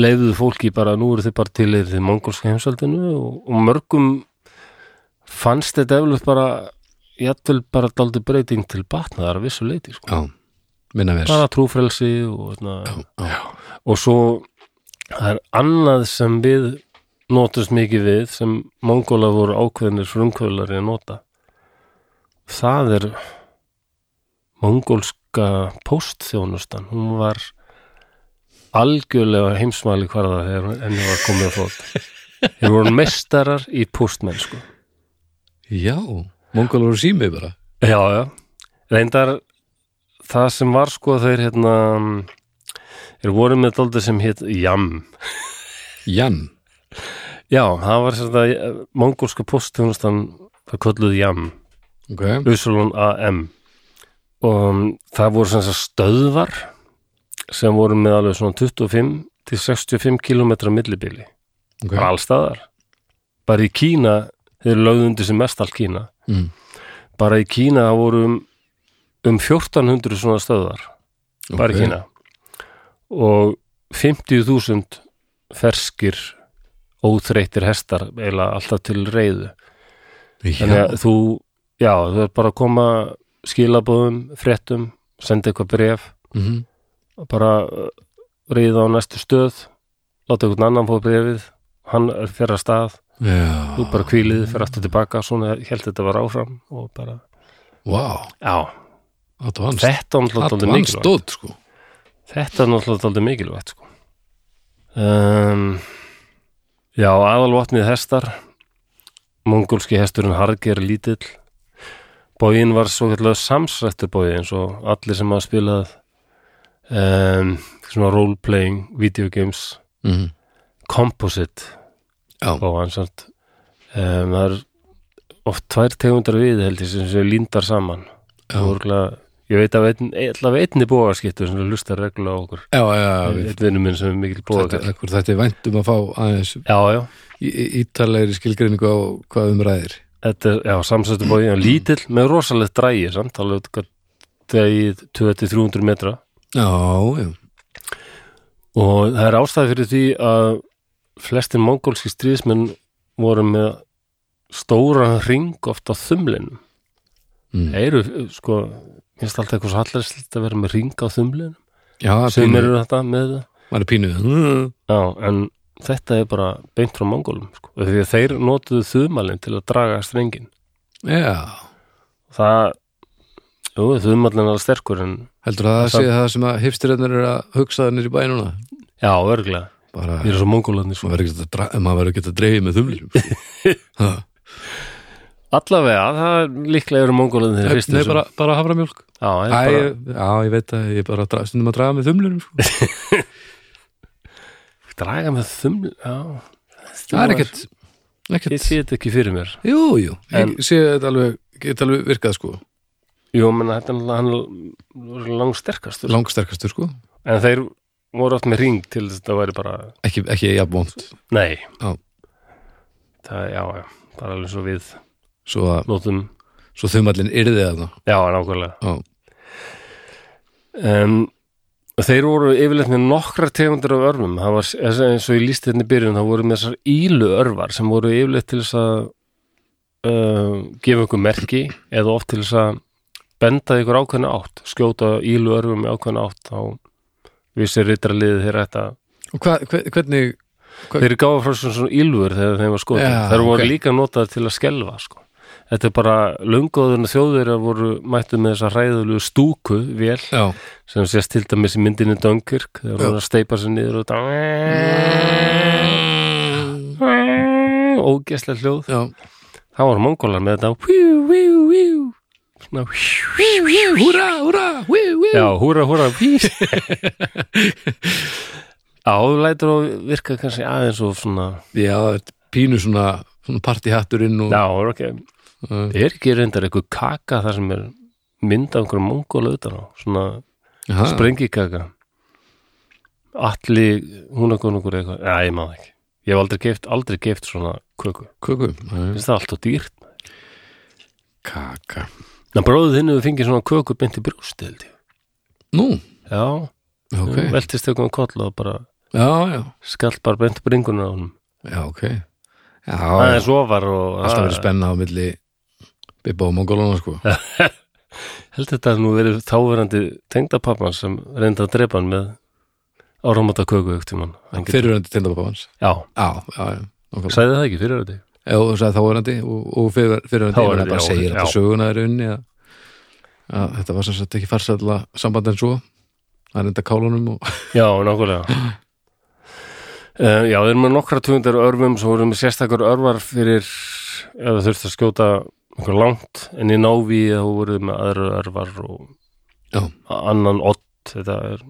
[SPEAKER 1] leiðuðu fólki bara, nú eru þeir bara til þeir þeir mongolska heimsaldinu og, og mörgum fannst þetta eflut bara, jættul bara daldi breyting til batnaðar að vissu leiti sko.
[SPEAKER 2] já, minna vers
[SPEAKER 1] bara trúfrelsi og, svona,
[SPEAKER 2] já, já,
[SPEAKER 1] og svo það er annað sem við notast mikið við sem mongóla voru ákveðinir frumkvöðlari að nota það er mongólska póstþjónustan hún var algjörlega heimsmæli hverða þegar henni var komið að fót þeir voru mestarar í sko. póstmennsku
[SPEAKER 2] já mongolur og sími bara
[SPEAKER 1] Já, já. Reyndar það sem var sko þeir hérna þeir voru með daldið sem hétt Jam.
[SPEAKER 2] Jan,
[SPEAKER 1] Já, það var sérst að mongolska postþjónustan það kölluð Jam,
[SPEAKER 2] ok
[SPEAKER 1] Usulun AM og það voru sem sagt stöðvar sem voru með alveg svona 25 til 65 kilometra millibili,
[SPEAKER 2] ok,
[SPEAKER 1] bara allstaðar bara í Kína, þeir lögðu undir sem mest all Kína
[SPEAKER 2] mm.
[SPEAKER 1] bara í Kína það voru um, um 1400 svona stöðvar bara í
[SPEAKER 2] Ok.
[SPEAKER 1] Kína og 50.000 ferskir óþreytir hestar eiginlega alltaf til reyðu þannig að
[SPEAKER 2] já,
[SPEAKER 1] þú já, þú er bara að koma skilabóðum, fréttum, senda eitthvað bref
[SPEAKER 2] mhm,
[SPEAKER 1] bara uh, reyða á næstu stöð láta einhvern annan fóð brefið hann er fyrir að stað,
[SPEAKER 2] já
[SPEAKER 1] þú bara kvílið fyrir aftur tilbaka, svona held þetta var áfram og bara,
[SPEAKER 2] wow,
[SPEAKER 1] já,
[SPEAKER 2] advanced
[SPEAKER 1] þetta er náttúrulega dálítið
[SPEAKER 2] advanced
[SPEAKER 1] mikilvægt
[SPEAKER 2] dot, sko
[SPEAKER 1] Þetta er náttúrulega daldið mikilvægt sko. um, Já, aðalvopnið hestar mongolski hesturinn Harger lítill Bógin var svo kallega samsrættu bógi eins og allir sem hafa spilað um, svona role-playing video games
[SPEAKER 2] mhm,
[SPEAKER 1] composite
[SPEAKER 2] Já.
[SPEAKER 1] bógan um, það eh, er oft tvær tegundar við held ég sem séu líndar saman
[SPEAKER 2] já,
[SPEAKER 1] Úrlega, ég veit að einn, allavega einni bógaskiptu sem lustar reglulega á okkur
[SPEAKER 2] já, já, já við-
[SPEAKER 1] einn vinnum minn sem er mikil
[SPEAKER 2] þetta
[SPEAKER 1] bóðakall
[SPEAKER 2] akkur þetta er vænt um að fá aðeins
[SPEAKER 1] Já, já,
[SPEAKER 4] í- ítarlegri skilgreiningu á hvað um ræðir
[SPEAKER 1] Þetta er, já, samsættu bóði, já, lítill með rosalegt drægi, samt, alveg dægið 200-300 metra
[SPEAKER 2] Já, já,
[SPEAKER 1] og það er ástæði fyrir því að flestir mongólski stríðismenn voru með stóra ring oft á þumlinum
[SPEAKER 2] Mm.
[SPEAKER 1] Það eru, sko, minnst alltaf eitthvað svo hallarslegt að vera með ring á þumlinum
[SPEAKER 2] já það er
[SPEAKER 1] sem
[SPEAKER 2] pínu,
[SPEAKER 1] eru þetta með það
[SPEAKER 2] maður er pínu mm,
[SPEAKER 1] Já, en þetta er bara beint frá mongólum, sko, af því að þeir notuðu þumalinn til að draga strengin
[SPEAKER 2] Já,
[SPEAKER 1] það, jú, þumallinn er alveg sterkur en,
[SPEAKER 2] heldur að það
[SPEAKER 1] Það-
[SPEAKER 2] sé það sem að hipstiröðnir eru að hugsa þannir í bænuna
[SPEAKER 1] já, örgulega
[SPEAKER 2] bara,
[SPEAKER 1] þeir eru svo mongólarnir, sko
[SPEAKER 2] maður verður ekki að dra- maður verður ekki að dreifja með þumlinum sko. Ha,
[SPEAKER 1] Allavega, það er líklega eru mongólarnir þeir fyrstu
[SPEAKER 2] Nei, bara, bara haframjólk
[SPEAKER 1] Já,
[SPEAKER 2] Æ,
[SPEAKER 1] þeir bara,
[SPEAKER 2] ég, Já, ég veit að ég er bara að dra- stundum að draga með þumlinum sko.
[SPEAKER 1] draga með þuml já,
[SPEAKER 2] Það er ekkert,
[SPEAKER 1] ég
[SPEAKER 2] ekkert
[SPEAKER 1] sé þetta ekki fyrir mér
[SPEAKER 2] Jú, jú,
[SPEAKER 1] En-
[SPEAKER 2] ég sé þetta alveg, get alveg virkað sko,
[SPEAKER 1] jú, menn þetta er náttúrulega hann langsterkastur
[SPEAKER 2] langsterkastur sko
[SPEAKER 1] en þeir voru oft með ring til þess að það væri bara,
[SPEAKER 2] ekki, ekki jafn vond
[SPEAKER 1] nei
[SPEAKER 2] Já.
[SPEAKER 1] það, já, já, bara alveg svo við
[SPEAKER 2] svo, að-
[SPEAKER 1] notum,
[SPEAKER 2] svo þumallin yrði þarna
[SPEAKER 1] já, nákvæmlega
[SPEAKER 2] Já.
[SPEAKER 1] en þeir voru yfirleitt með nokkra tegundir af örfum það var, eins og ég lísti hérna í byrjun það voru með þessar ílu örvar sem voru yfirleitt til þess að uh, gefa ykkur merki eða oft til þess að benda ykkur ákveðna átt skjóta ílu örfum í ákveðna átt þá vissi rittarliðið þeir ætta
[SPEAKER 2] og hva, hver, hvernig
[SPEAKER 1] þeir gáfa frá svona, svona ílfur þegar þeim var skotin
[SPEAKER 2] Já,
[SPEAKER 1] þeir voru
[SPEAKER 2] ok.
[SPEAKER 1] líka notaðir til að skelfa sko. þetta er bara lungoðurinn þjóðir að voru mættu með þessa hræðulegu stúku vél
[SPEAKER 2] já,
[SPEAKER 1] sem sést til dæmis í myndinni Dunkirk þegar hún er að steipa sér niður og það ógeslega hljóð
[SPEAKER 2] já,
[SPEAKER 1] það voru mongólar með þetta hvíu, hvíu, hvíu svona hvíu, hvíu, hvíu
[SPEAKER 2] húra, húra hú, hú.
[SPEAKER 1] Já, húra, húra, pís Já, þú lætur og virka kannski aðeins og svona
[SPEAKER 2] já, það er pínu svona, svona partyhatturinn og
[SPEAKER 1] Já, ok
[SPEAKER 2] uh,
[SPEAKER 1] Er ekki reyndar einhver kaka þar sem er mynd af einhverjum mongóla utan á svona
[SPEAKER 2] aha,
[SPEAKER 1] sprengikaka Alli húnakonungur eða eitthvað, já ég maður ekki Ég hef aldrei geift, aldrei geift svona köku
[SPEAKER 2] köku, Nei,
[SPEAKER 1] Finnst það allt og dýrt
[SPEAKER 2] kaka
[SPEAKER 1] Ná, bróðið þinn hefur fengið svona köku beint í brjósti held ég
[SPEAKER 2] nú,
[SPEAKER 1] Já,
[SPEAKER 2] ok
[SPEAKER 1] okay. veltist eitthvað um koll og bara
[SPEAKER 2] já, já,
[SPEAKER 1] skall bara beint bringuna á honum
[SPEAKER 2] já, ok já,
[SPEAKER 1] Það
[SPEAKER 2] Ah, já,
[SPEAKER 1] er sofar og
[SPEAKER 2] alltaf verið spenna á milli Bibba og Mongolana sko
[SPEAKER 1] held þetta að nú verið þáverandi tengdapappan sem reyndi að drepa hann með áramóta köku auktumann
[SPEAKER 2] fyrirverandi tindababba hans
[SPEAKER 1] Já,
[SPEAKER 2] já, já, já, nákvæmlega.
[SPEAKER 1] sagði það ekki fyrir þetta
[SPEAKER 2] Já, og sagði þáverandi og, og fyrir, fyrirverandi
[SPEAKER 1] Þáverandi,
[SPEAKER 2] þáverandi, bara
[SPEAKER 1] já,
[SPEAKER 2] segir
[SPEAKER 1] já.
[SPEAKER 2] þetta söguna er unni að, að þetta var sem sagt ekki farsætla samband en svo að reynda kálunum og
[SPEAKER 1] Já, nákvæmlega Uh, já, þeir eru með nokkra tugundar örfum sem voru með sérstakur örvar fyrir ef það þurfti að skjóta einhver langt en í návi þá voru þeir með aðra örvar og
[SPEAKER 2] Já.
[SPEAKER 1] annan ott þetta er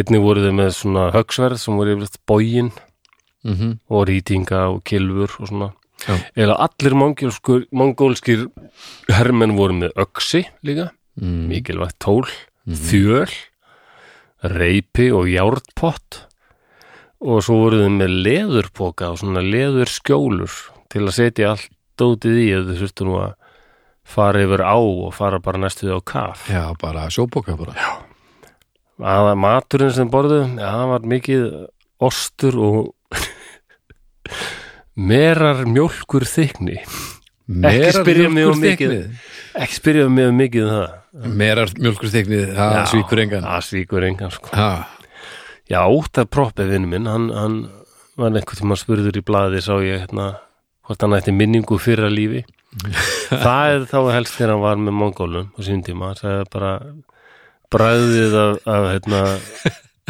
[SPEAKER 1] einnig voru þeir með svona högsverð sem voru yfirleitt bógin
[SPEAKER 2] mm -hmm.
[SPEAKER 1] og rýtinga og kilfur og svona
[SPEAKER 2] Já.
[SPEAKER 1] eða allir mongólskur, mongólskir hermenn voru með öksi líka,
[SPEAKER 2] mm,
[SPEAKER 1] mikilvægt tól
[SPEAKER 2] Mhm.
[SPEAKER 1] þjöl reypi og járnpott og svo voru þau með leðurpoka og svona leðurskjólur til að setja allt dótið í eða þau þurftu nú að fara yfir á og fara bara næstuði á kaf
[SPEAKER 2] já, bara sjóbóka bara já,
[SPEAKER 1] að maturinn sem borðu já, það var mikið ostur og merar mjólkur þykni Ekki spyrja mig um mikið. ekki spyrjaðu mig um mikið um það
[SPEAKER 2] merar mjölkur þyknið, það
[SPEAKER 1] Já,
[SPEAKER 2] svíkur engan
[SPEAKER 1] það svíkur engan sko.
[SPEAKER 2] ha,
[SPEAKER 1] já, óttar proppið vinnu minn hann, hann var einhvern tímann spurður í blaði sá ég hérna hvort hann ætti minningu fyrra lífi það er þá helst þegar hann var með mongólum á sínum tíma, hann sagði bara bræðið af, af hérna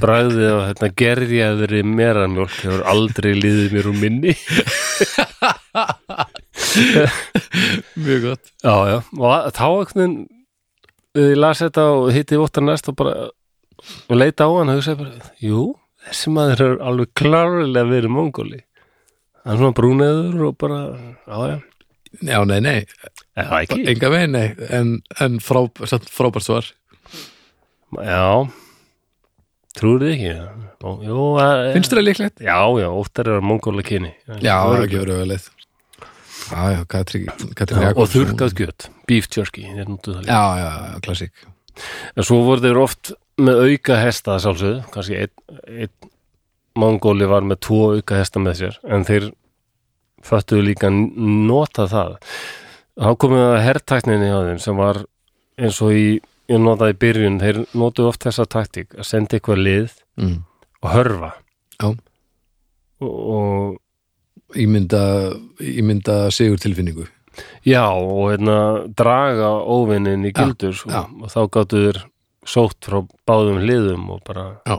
[SPEAKER 1] bræðið af hérna gerjaðri meramjólk hefur aldrei liðið mér úr minni
[SPEAKER 2] mjög gott
[SPEAKER 1] já, já, og að- þá einhvern veginn þegar ég las þetta og hitti Óttar næst og bara og leita á hann og hugsaði bara, jú, þessi maður er alveg klárlega verið mongóli hann er svona brúneður og bara já, já,
[SPEAKER 2] já, nei, nei,
[SPEAKER 1] er það ekki
[SPEAKER 2] enga veginn nei. Eh. en, en frá, samt frábært svar
[SPEAKER 1] já, Trúir þið ekki? Ó, Jú, að- eh,
[SPEAKER 5] Finnst þér það líklegt?
[SPEAKER 1] Já, já, óttar eru mongóla kyni
[SPEAKER 2] Já, það er ekki verið auðvitað Já, já, Katrín, Katrín
[SPEAKER 1] Og
[SPEAKER 2] Jakobs
[SPEAKER 1] þurrkað gjöt, beef jerky þeir notuðu það líka.
[SPEAKER 2] Já, já, já, klassík
[SPEAKER 1] En svo voru þeir oft með auka hesta að sjálfsögðu, kannski einn ein, mongóli var með tvo auka hesta með sér, en þeir föttuðu líka að nota það. Þá komum við að herrtækninni á þeim sem var eins og í, ég notaði í byrjun, þeir notuðu oft þessa taktík að senda eitthvað lið
[SPEAKER 2] mm.
[SPEAKER 1] og hörfa.
[SPEAKER 2] Já.
[SPEAKER 1] Og, og
[SPEAKER 2] Ímynda, ímynda sigur tilfinningu
[SPEAKER 1] Já, og hérna draga óvinnin í gildur og,
[SPEAKER 2] já.
[SPEAKER 1] og þá gáttu þér sótt frá báðum hliðum og bara
[SPEAKER 2] Já.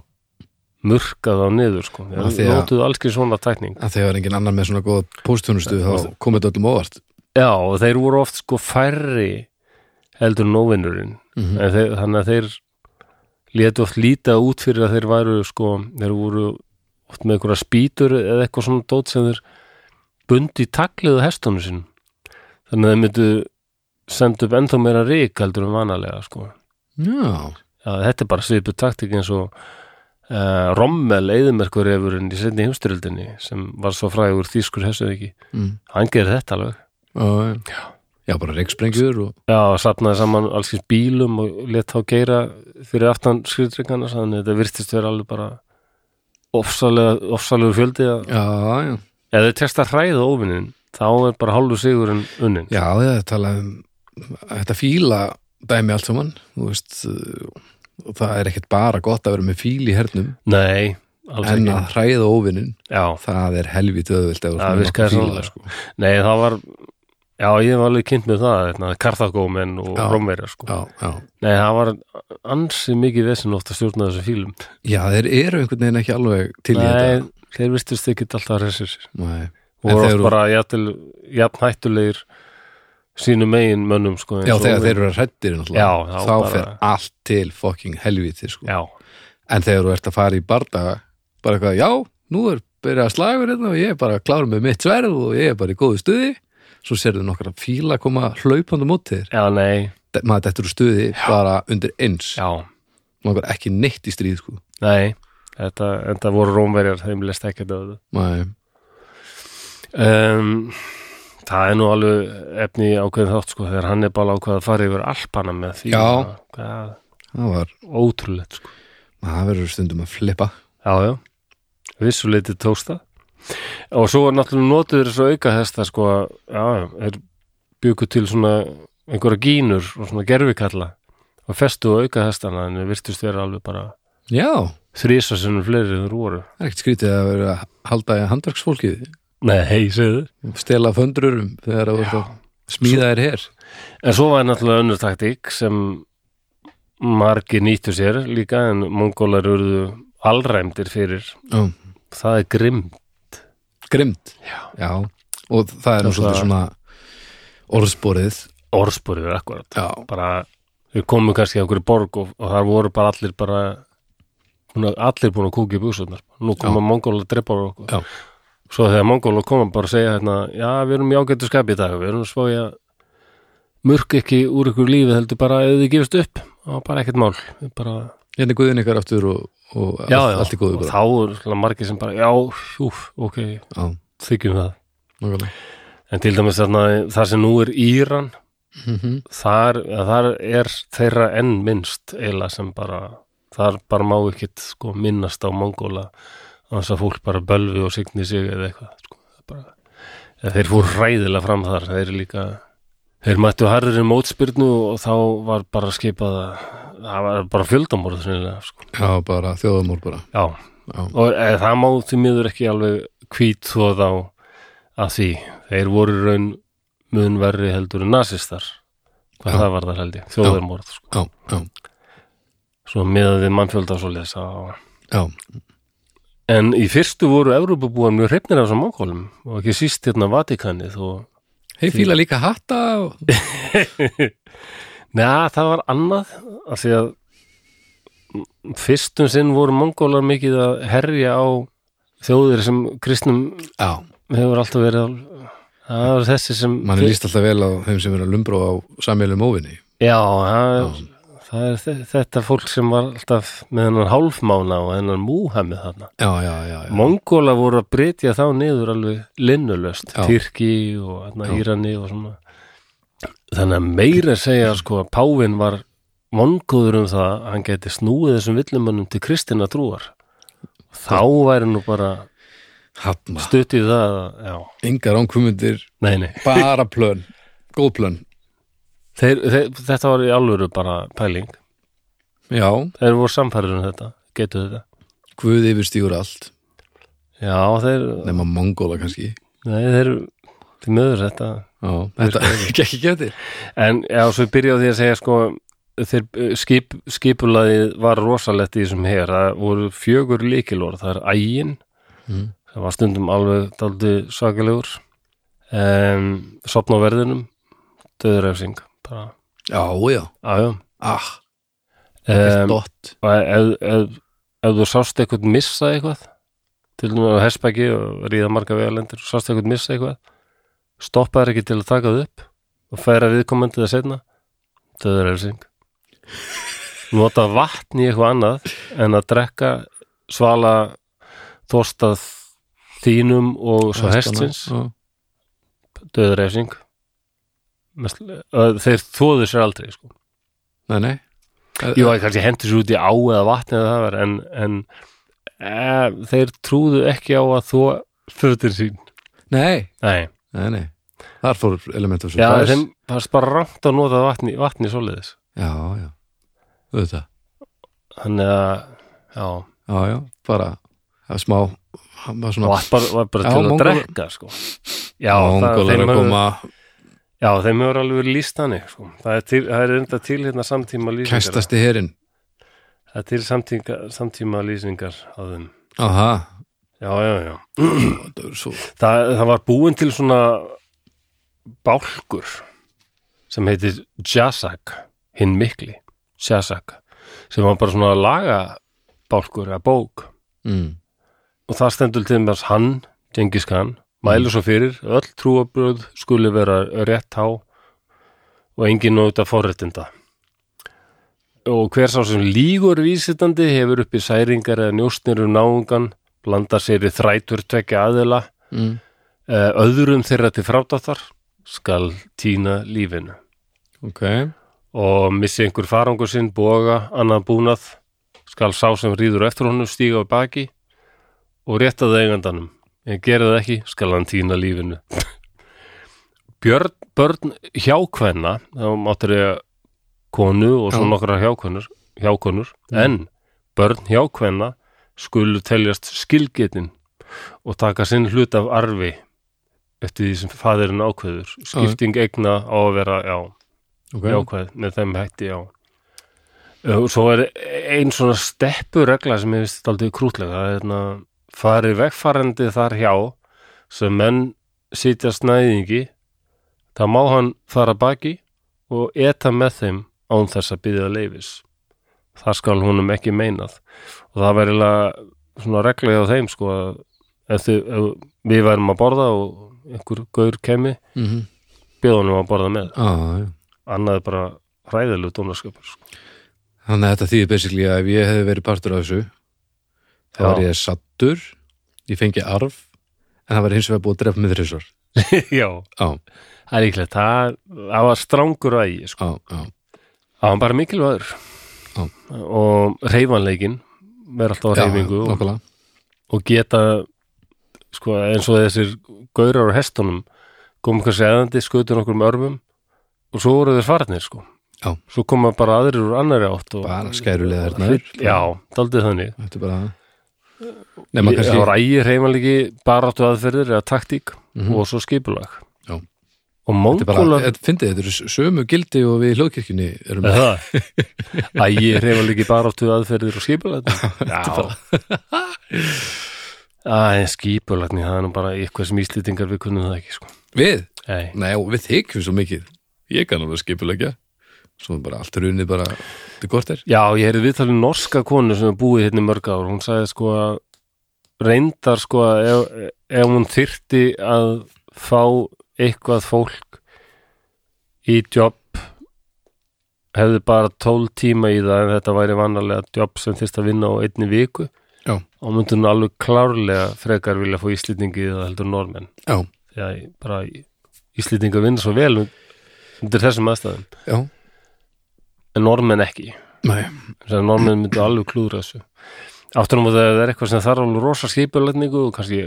[SPEAKER 1] murkað á niður sko.
[SPEAKER 2] Af því
[SPEAKER 1] Þeir
[SPEAKER 2] að-
[SPEAKER 1] notuðu allski svona tækning.
[SPEAKER 2] að þegar engin annar með svona góða póstþjónustu þá
[SPEAKER 1] Já.
[SPEAKER 2] komið þetta öllum óvart
[SPEAKER 1] Já, og þeir voru oft sko færri heldur en óvinnurinn.
[SPEAKER 2] Mhm.
[SPEAKER 1] En þeir, þannig að þeir létu oft líta út fyrir að þeir væru sko, þeir voru oft með einhverja spýtur eða eitthvað svona dót sem þeir bundi í tagliðu hestunum sinn. Þannig að þeir myndu senda upp ennþá meira rík heldur en vanalega sko.
[SPEAKER 2] Já,
[SPEAKER 1] Já, þetta er bara svipu taktik eins og uh, Rommel eðumerkurefurinn í setni heimstyröldinni sem var svo frægur þýskur hessuðiki
[SPEAKER 2] mm.
[SPEAKER 1] hann gerir þetta alveg
[SPEAKER 2] já, já. já bara reiksprengjur og
[SPEAKER 1] Já, sapnaði saman allskins bílum og let þá geira fyrir aftan skriðtryggana þannig að þetta virtist vera alveg bara ofsalega, ofsalegur fjöldi að,
[SPEAKER 2] Já, já,
[SPEAKER 1] ef þau tekst að hræða óvinnin þá er bara hálfu sigurinn unnin
[SPEAKER 2] já, það er talað um þetta fíla dæmi allt saman þú veist, uh, og það er ekkert bara gott að vera með fíl í hernum
[SPEAKER 1] Nei, alls
[SPEAKER 2] en
[SPEAKER 1] ekki
[SPEAKER 2] að hræða óvinnin
[SPEAKER 1] Já,
[SPEAKER 2] það er helvítið auðvilt ef þú ert
[SPEAKER 1] Það
[SPEAKER 2] með
[SPEAKER 1] virkaði
[SPEAKER 2] nokkuð
[SPEAKER 1] sannlega,
[SPEAKER 2] sko.
[SPEAKER 1] nei, það var Já, ég var alveg kynnt með það, hérna, Karthagómen og
[SPEAKER 2] Já.
[SPEAKER 1] Rómverjar sko.
[SPEAKER 2] Já, já,
[SPEAKER 1] Nei, það var ansi mikið vesinn oft að stjórna þessu fílum.
[SPEAKER 2] já, þeir eru einhvern veginn ekki alveg til í
[SPEAKER 1] Nei,
[SPEAKER 2] þetta
[SPEAKER 1] þeir vistust ekki alltaf að resur sér.
[SPEAKER 2] Nei.
[SPEAKER 1] Og
[SPEAKER 2] En
[SPEAKER 1] voru
[SPEAKER 2] þeir
[SPEAKER 1] oft
[SPEAKER 2] eru-
[SPEAKER 1] bara jafnvel- jafn hættulegir sínum eigin mönnum, sko. eins
[SPEAKER 2] Já,
[SPEAKER 1] og-
[SPEAKER 2] þegar þeir eru hrættir
[SPEAKER 1] Já,
[SPEAKER 2] náttúrulega,
[SPEAKER 1] þá
[SPEAKER 2] þá
[SPEAKER 1] bara-
[SPEAKER 2] fer allt til fucking helvítið sko.
[SPEAKER 1] Já,
[SPEAKER 2] en þegar þú ert að fara í bardaga bara eitthvað, já, nú er byrjað að slagur hérna og ég er bara að klára með mitt sverð og ég er bara í góðu stuði svo sérðu nokkra fíla að koma hlaupandi á móti þér,
[SPEAKER 1] já, nei,
[SPEAKER 2] De- maður dettur úr stuði bara undir eins,
[SPEAKER 1] já,
[SPEAKER 2] maður er ekki neitt í stríð sko.
[SPEAKER 1] nei. Þetta, þetta voru Rómverjar, þeim leist ekki þetta.
[SPEAKER 2] Nei.
[SPEAKER 1] Um, það er nú alveg efni í ákveðin þátt, sko, þegar hann er bara ákveð að fara yfir alpana með því.
[SPEAKER 2] Já.
[SPEAKER 1] Hvað,
[SPEAKER 2] það var,
[SPEAKER 1] ótrúlegt, sko.
[SPEAKER 2] maður verður stundum að flippa
[SPEAKER 1] Já, já, vissuleiti tósta og svo var náttúrulega notuður þessu auka hesta sko að, já, er byggu til svona einhverja gínur og svona gerfikalla og festu á auka hestana en við virtust vera alveg bara
[SPEAKER 2] já, það
[SPEAKER 1] þrísa sinnum fleiri en þeir voru
[SPEAKER 2] er ekkert skrítið að vera að halda í handverksfólkið
[SPEAKER 1] Nei, hei, segðu
[SPEAKER 2] stela föndururum þegar þú ert að smíða þér hér
[SPEAKER 1] En svo var náttúrulega önnur taktík sem margir nýttu sér líka en mongólar urðu alræmdir fyrir
[SPEAKER 2] Já.
[SPEAKER 1] það er grimm
[SPEAKER 2] grimt
[SPEAKER 1] Já.
[SPEAKER 2] og það er nú
[SPEAKER 1] Það-
[SPEAKER 2] svolítið svona orðsporið
[SPEAKER 1] orðspurður akkurat
[SPEAKER 2] já,
[SPEAKER 1] bara, við komum kannski á einhverju borg og, og þar voru bara allir bara búna, allir búin að kúka í búsunar nú koma mongóla að drepa á okkur
[SPEAKER 2] Já.
[SPEAKER 1] svo þegar mongóla koma bara að segja hérna, já, við erum í ágættu skapi í dag við erum svo í að mörg ekki úr ykkur lífi heldur bara ef þið gefist upp og bara ekkert mál Við bara,
[SPEAKER 2] hérna er guðin ykkar aftur og, og
[SPEAKER 1] já,
[SPEAKER 2] allt,
[SPEAKER 1] já,
[SPEAKER 2] allt í góðu
[SPEAKER 1] og
[SPEAKER 2] bara
[SPEAKER 1] þá er svona margir sem bara, já, úf, ok
[SPEAKER 2] Já,
[SPEAKER 1] þykjum það,
[SPEAKER 2] nákvæmlega.
[SPEAKER 1] en til dæmis þarna þar sem nú er Íran
[SPEAKER 2] Mhm.
[SPEAKER 1] þar, eða þar er þeirra enn minnst eiginlega sem bara þar bara má ekkit sko minnast á Mongóla á þess að fólk bara bölvi og signi sig eða eitthvað sko, það er bara, eða þeir fór ræðilega fram þar þeir líka þeir mættu harðurinn mótspyrnu og þá var bara skipað að það var bara fjöldamorð sinnilega sko.
[SPEAKER 2] já, bara þjóðumór bara
[SPEAKER 1] já,
[SPEAKER 2] Já.
[SPEAKER 1] og eða, það má því miður ekki alveg hvít þóð á að því þeir voru í raun mun verri heldur en nasistar hvað
[SPEAKER 2] Já.
[SPEAKER 1] það var þar held ég, þjóðarmorð sko
[SPEAKER 2] Já, já,
[SPEAKER 1] svo miðað við mannfjölda og svo lesa
[SPEAKER 2] já,
[SPEAKER 1] en í fyrstu voru Evrópubúar mjög hreifnir af þessum mongólum og ekki síst hérna Vatikanið og
[SPEAKER 2] hei fíla líka hatta og...
[SPEAKER 1] neða það var annað af því að fyrstum sinn voru mongólar mikið að herja á þjóðir sem kristnum
[SPEAKER 2] Já,
[SPEAKER 1] hefur alltaf verið al- það var þessi sem
[SPEAKER 2] mann er líst alltaf vel á þeim sem er að lumbra á samjölu móvinni
[SPEAKER 1] já, það, það er þe- þetta fólk sem var alltaf með hennan hálfmána og hennan múhamið þarna
[SPEAKER 2] já, já, já, já.
[SPEAKER 1] Mongóla voru að breytja þá niður alveg linnulöst,
[SPEAKER 2] Já.
[SPEAKER 1] Tyrki og hérna, Írani og svona þannig að meira að segja sko að Pávin var mongóður um það að hann geti snúið þessum villumönnum til kristina trúar þá væri nú bara
[SPEAKER 2] Hanna,
[SPEAKER 1] stutt í það að- já,
[SPEAKER 2] engar ánkvumundir
[SPEAKER 1] nei, nei
[SPEAKER 2] bara plön, góð plön
[SPEAKER 1] þeir, þeir, þetta var í alvöru bara pæling
[SPEAKER 2] já,
[SPEAKER 1] þeir voru samfærður um þetta, getur þetta
[SPEAKER 2] guð yfirstýgur allt
[SPEAKER 1] já, þeir,
[SPEAKER 2] nema mongóla kannski
[SPEAKER 1] nei, þeir þeir möður þetta
[SPEAKER 2] já, þetta gekk ekki eftir
[SPEAKER 1] En já, svo ég byrja á því að segja sko þeir, eh, skip, skipulaðið var rosalegt í þessum her það voru fjögur líkilor, það er ægin
[SPEAKER 2] Mm.
[SPEAKER 1] það var stundum alveg daldi sakalegur um, sopna á verðinum döðurefsing bara,
[SPEAKER 2] já, já,
[SPEAKER 1] aðjá
[SPEAKER 2] ah, um,
[SPEAKER 1] um,
[SPEAKER 2] dott
[SPEAKER 1] ef, ef, ef þú sást eitthvað missa eitthvað til dæmis á hespæki og ríða marga vegalendur sást eitthvað missa eitthvað stoppaður ekki til að taka það upp og færa viðkomandi það setna döður er syng nota vatn í eitthvað annað en að drekka svala þorstað þínum og svo hestins
[SPEAKER 2] já,
[SPEAKER 1] döður er syng þeir þóðu sér aldrei sko
[SPEAKER 2] nei, nei
[SPEAKER 1] Jú, það kannski hendur sér út í á eða vatni eða það var, en, en e, þeir trúðu ekki á að þú fötir sín.
[SPEAKER 2] nei,
[SPEAKER 1] Nei,
[SPEAKER 2] nei, nei þar fór element of
[SPEAKER 1] já,
[SPEAKER 2] surprise
[SPEAKER 1] þeim fannst bara rangt að nota vatni, vatni svoleiðis.
[SPEAKER 2] já, já, auðvitað
[SPEAKER 1] Þannig að, já,
[SPEAKER 2] já, já, bara það er smá hann var svona
[SPEAKER 1] var bara, var bara
[SPEAKER 2] Já,
[SPEAKER 1] til að
[SPEAKER 2] Mongólar-
[SPEAKER 1] drekka, sko. Já, það,
[SPEAKER 2] mongólar
[SPEAKER 1] þeim
[SPEAKER 2] að
[SPEAKER 1] hefur,
[SPEAKER 2] koma
[SPEAKER 1] já, þeim hefur alveg verið lýst þannig, sko. Það er, til, það er enda til hérna samtíma lýsingar.
[SPEAKER 2] kæstasti herin
[SPEAKER 1] Það er til samtíma, samtíma lýsingar á þeim.
[SPEAKER 2] aha,
[SPEAKER 1] Já, já, já.
[SPEAKER 2] það er svo
[SPEAKER 1] það, það var búin til svona bálkur sem heitir Jasak hinn mikli, Jasak sem var bara svona laga bálkur eða bók
[SPEAKER 2] mm.
[SPEAKER 1] og það stendur til með hann Genghis Khan, mælu svo fyrir öll trúabröð skuli vera rétt há og engin nóta forréttinda og hver sá sem lígur vísitandi hefur uppi særingar eða njóstnir um náungan blandar sér í þrætur tvekja aðila
[SPEAKER 2] Mm.
[SPEAKER 1] Eh, öðrum þeirra til frádáttar skal týna lífinu
[SPEAKER 2] ok,
[SPEAKER 1] og missi einhver farangur sinn, boga, annað búnað skal sá sem rýður eftir honum stíga á baki og rétta það eigandanum en gera það ekki, skal hann týna lífinu Björn, börn hjákvenna þá máttur ég konu og svo
[SPEAKER 2] Já.
[SPEAKER 1] nokkra hjákonur, hjákonur en börn hjákvenna skulu teljast skilgetin og taka sinn hlut af arfi eftir því sem faðirinn ákveður skipting eigna á að vera já,
[SPEAKER 2] ok
[SPEAKER 1] jákvæð með þeim hætti já og svo er ein svona steppuregla sem ég veist aldrei krútlega það er hérna farið vegfarandi þar hjá sem menn sitja snæðingi þá má hann fara baki og eta með þeim án þess að byggja leifis það skal honum ekki meinað og það væri eiginlega svona regla hjá þeim sko að ef þau, ef við værum að borða og einhver gaur kemi
[SPEAKER 2] mm -hmm.
[SPEAKER 1] bjóða honum að borða með
[SPEAKER 2] ah, já
[SPEAKER 1] annað er bara hræðilegu dónaskapur sko.
[SPEAKER 2] Þannig að þetta þýðir basically að ef ég hefði verið partur af þessu þá
[SPEAKER 1] Já.
[SPEAKER 2] var ég sattur ég fengi arf en það var hins vegar búið að drefa mig þrjusvar
[SPEAKER 1] já,
[SPEAKER 2] Já,
[SPEAKER 1] það er líklegt það, það var strangur ægi sko.
[SPEAKER 2] já, já,
[SPEAKER 1] það var bara mikilvægur
[SPEAKER 2] Já.
[SPEAKER 1] og reyfanleikin verður alltaf á
[SPEAKER 2] já
[SPEAKER 1] reyfingu og,
[SPEAKER 2] nokkulega
[SPEAKER 1] og geta sko, eins og þessir gaurar á hestunum komu kannski eðandi, skutu nokkrum um örmum og svo voru þeir farnir sko.
[SPEAKER 2] Já.
[SPEAKER 1] svo koma bara aðrir úr annari átt og,
[SPEAKER 2] Bara skærulega þarna
[SPEAKER 1] já, daldið þannig
[SPEAKER 2] Þetta er bara Nei, maður
[SPEAKER 1] það var
[SPEAKER 2] kannski
[SPEAKER 1] ægi reyfanleiki baráttu aðferðir eða taktík og svo skipulag
[SPEAKER 2] Mhm. Já.
[SPEAKER 1] og
[SPEAKER 2] Þetta er bara,
[SPEAKER 1] mongólar
[SPEAKER 2] þetta- fyndið, þetta eru sömu gildi og við í hljóðkirkjunni erum
[SPEAKER 1] Er það? Æ, ég reyfa líki bara áttu aðferðir og skipulatni. Já. Æ, skipulatni, það er nú bara eitthvað sem íslýtingar við kunnum það ekki, sko.
[SPEAKER 2] Við?
[SPEAKER 1] Nei.
[SPEAKER 2] Nei, og við þykjum svo mikið Ég kann alveg skipulegja Svo er bara allt runið bara til kortir
[SPEAKER 1] Já, ég heyrði viðtalið norska konu sem er búið hérna í mörg ár. Hún sagði sko að reyndar sko að ef, ef hún þyrti að fá eitthvað fólk í jobb hefði bara 12 tíma í það en þetta væri vannarlega jobb sem þyrst að vinna á einni viku
[SPEAKER 2] Já.
[SPEAKER 1] og myndi hún alveg klárlega frekar vilja fá íslendingi í það heldur en norðmenn
[SPEAKER 2] Já,
[SPEAKER 1] því að bara íslendinga vinna svo vel undir þessum aðstæðum
[SPEAKER 2] já,
[SPEAKER 1] en norðmenn ekki
[SPEAKER 2] nei,
[SPEAKER 1] þannig að norðmenn myndi alveg klúðra þessu áttunum að það er eitthvað sem þarf alveg rosa skipulegningu og kannski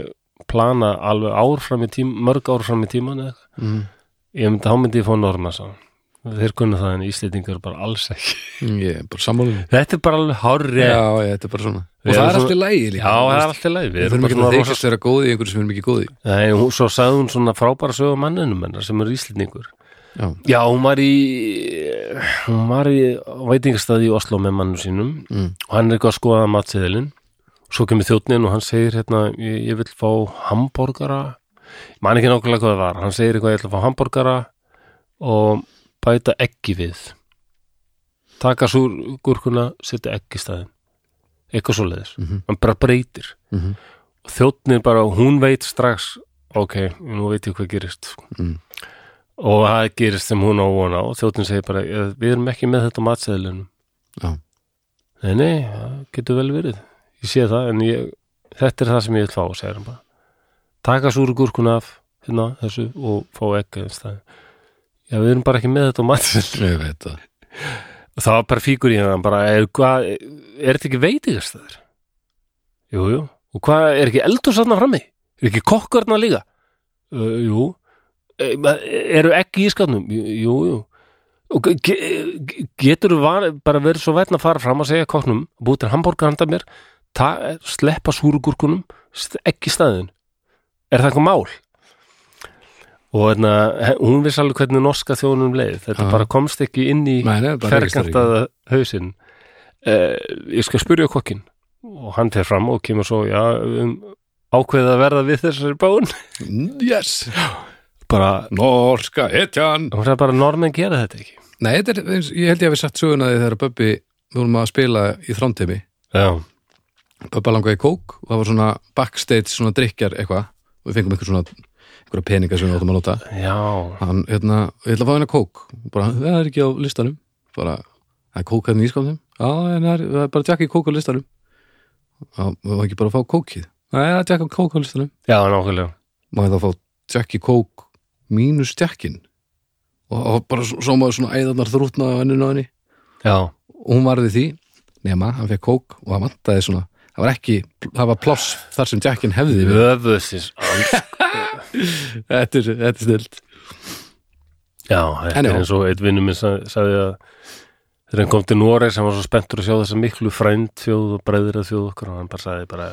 [SPEAKER 1] plana alveg ár fram í tíma, mörg ár fram í tíman eða eitthvað.
[SPEAKER 2] mm,
[SPEAKER 1] ég myndi, þá myndi ég fá norðmenn sá þeir kunna það en íslendingar bara alls ekki
[SPEAKER 2] Mm, ég er bara sammála um.
[SPEAKER 1] þetta er bara alveg hárrið
[SPEAKER 2] Já, ég, þetta er bara svona
[SPEAKER 1] Við
[SPEAKER 2] Og það
[SPEAKER 1] erum
[SPEAKER 2] er
[SPEAKER 1] svona-
[SPEAKER 2] allt í lægi
[SPEAKER 1] Já,
[SPEAKER 2] líka
[SPEAKER 1] það er alltaf leið Við
[SPEAKER 2] Við
[SPEAKER 1] erum
[SPEAKER 2] þurfum
[SPEAKER 1] bara
[SPEAKER 2] ekki
[SPEAKER 1] svona
[SPEAKER 2] að
[SPEAKER 1] rosa
[SPEAKER 2] þykast vera góði í einhverju sem við erum ekki góði
[SPEAKER 1] Nei, hún, Svo sagði hún svona frábæra sögum manninum hennar sem er íslendingur
[SPEAKER 2] Já,
[SPEAKER 1] Já, hún var í hún var í veitingastæði í Oslo með mannum sínum
[SPEAKER 2] Mm.
[SPEAKER 1] og hann er eitthvað að skoða matsiðilinn svo kemur þjónninn og hann segir hérna, ég, ég vil fá hambúrgara man ekki nákvæmlega hvað það var hann segir eitthvað, ég ætla að fá hambúrgara og bæta ekki við taka súr gúrkuna setja ekki staðin eitthvað svo leiðis,
[SPEAKER 2] Mhm.
[SPEAKER 1] hann bara breytir
[SPEAKER 2] Mhm.
[SPEAKER 1] og þjónninn bara hún veit strax, ok nú veit ég hvað gerist sko
[SPEAKER 2] Mm.
[SPEAKER 1] og það gerist sem hún á von á og þjóttin segir bara, "Eh, við erum ekki með þetta matseðlunum
[SPEAKER 2] Já.
[SPEAKER 1] Nei, nei, það getur vel verið ég sé það, en ég, þetta er það sem ég vil fá, segir hann bara taka súru gúrkuna af hérna, þessu og fá ekki eins það Já, við erum bara ekki með þetta á matseðlunum
[SPEAKER 2] ég veit það
[SPEAKER 1] og það var bara fíkur í hann bara, er, hvað, er þetta ekki veitingastæður? Jú, jú og hvað, er ekki eldur sannar frammi? Er ekki kokkarna líka? Uh, jú e, ma- eru ekki í skatnum? Jú, jú og ge- ge, getur bara verið svo vætn að fara fram að segja kokknum búið til hambúrgar handa mér ta, sleppa súrugúrkunum st- ekki í staðin er það eitthvað mál? og hérna, he- hún vissi alveg hvernig norska þjónum leið, þetta
[SPEAKER 2] Já.
[SPEAKER 1] bara komst ekki inn í
[SPEAKER 2] Nei, nei, bara registrera
[SPEAKER 1] ferkantaða hausinn eh, ég skal spyrja kokkin og hann fer fram og kemur svo já, um, ákveðið að verða við þessari bón
[SPEAKER 2] ekki. Mm, Yes,
[SPEAKER 1] bara,
[SPEAKER 2] norska hetjan
[SPEAKER 1] hún sagði bara normenn gera þetta ekki
[SPEAKER 2] Nei, þetta er, eins- ég held ég hafi sagt söguna því þegar Böbbi, við vorum að spila í þrámteimi
[SPEAKER 1] já,
[SPEAKER 2] Böbba langaði í kók og það var svona backstage, svona drikjar eitthvað og við fengum einhver svona einhverja peninga sem við áttum að nota
[SPEAKER 1] já
[SPEAKER 2] hann, hérna, ég ætla að fá hennar kók og bara, það er ekki á listanum bara, það er kók hérna í skofnum já, en það er, það er bara tjakk í kók á listanum já, það var ekki bara að fá kókið nei, það er tjakk á kók á listanum
[SPEAKER 1] já, nákvæmlega
[SPEAKER 2] má ég þá fá tjakk í kók mínus tjakkin og, og bara svo, svo maður svona æðarnar þrútna á enninu á henni
[SPEAKER 1] já,
[SPEAKER 2] og hún varði því nema, hann fekk kók og það vantaði svona það var ekki, það var pláss þar sem tjakkin hefði verið.
[SPEAKER 1] vöfusins
[SPEAKER 2] þetta er, þetta er snilt
[SPEAKER 1] já, þetta
[SPEAKER 2] En já.
[SPEAKER 1] er eins og einn vinnum minn sa- sagði að þegar hann kom til Noreg sem var svo spenntur að sjá þessa miklu frænd þjóð og breyðir að þjóð okkur og hann bara sagði bara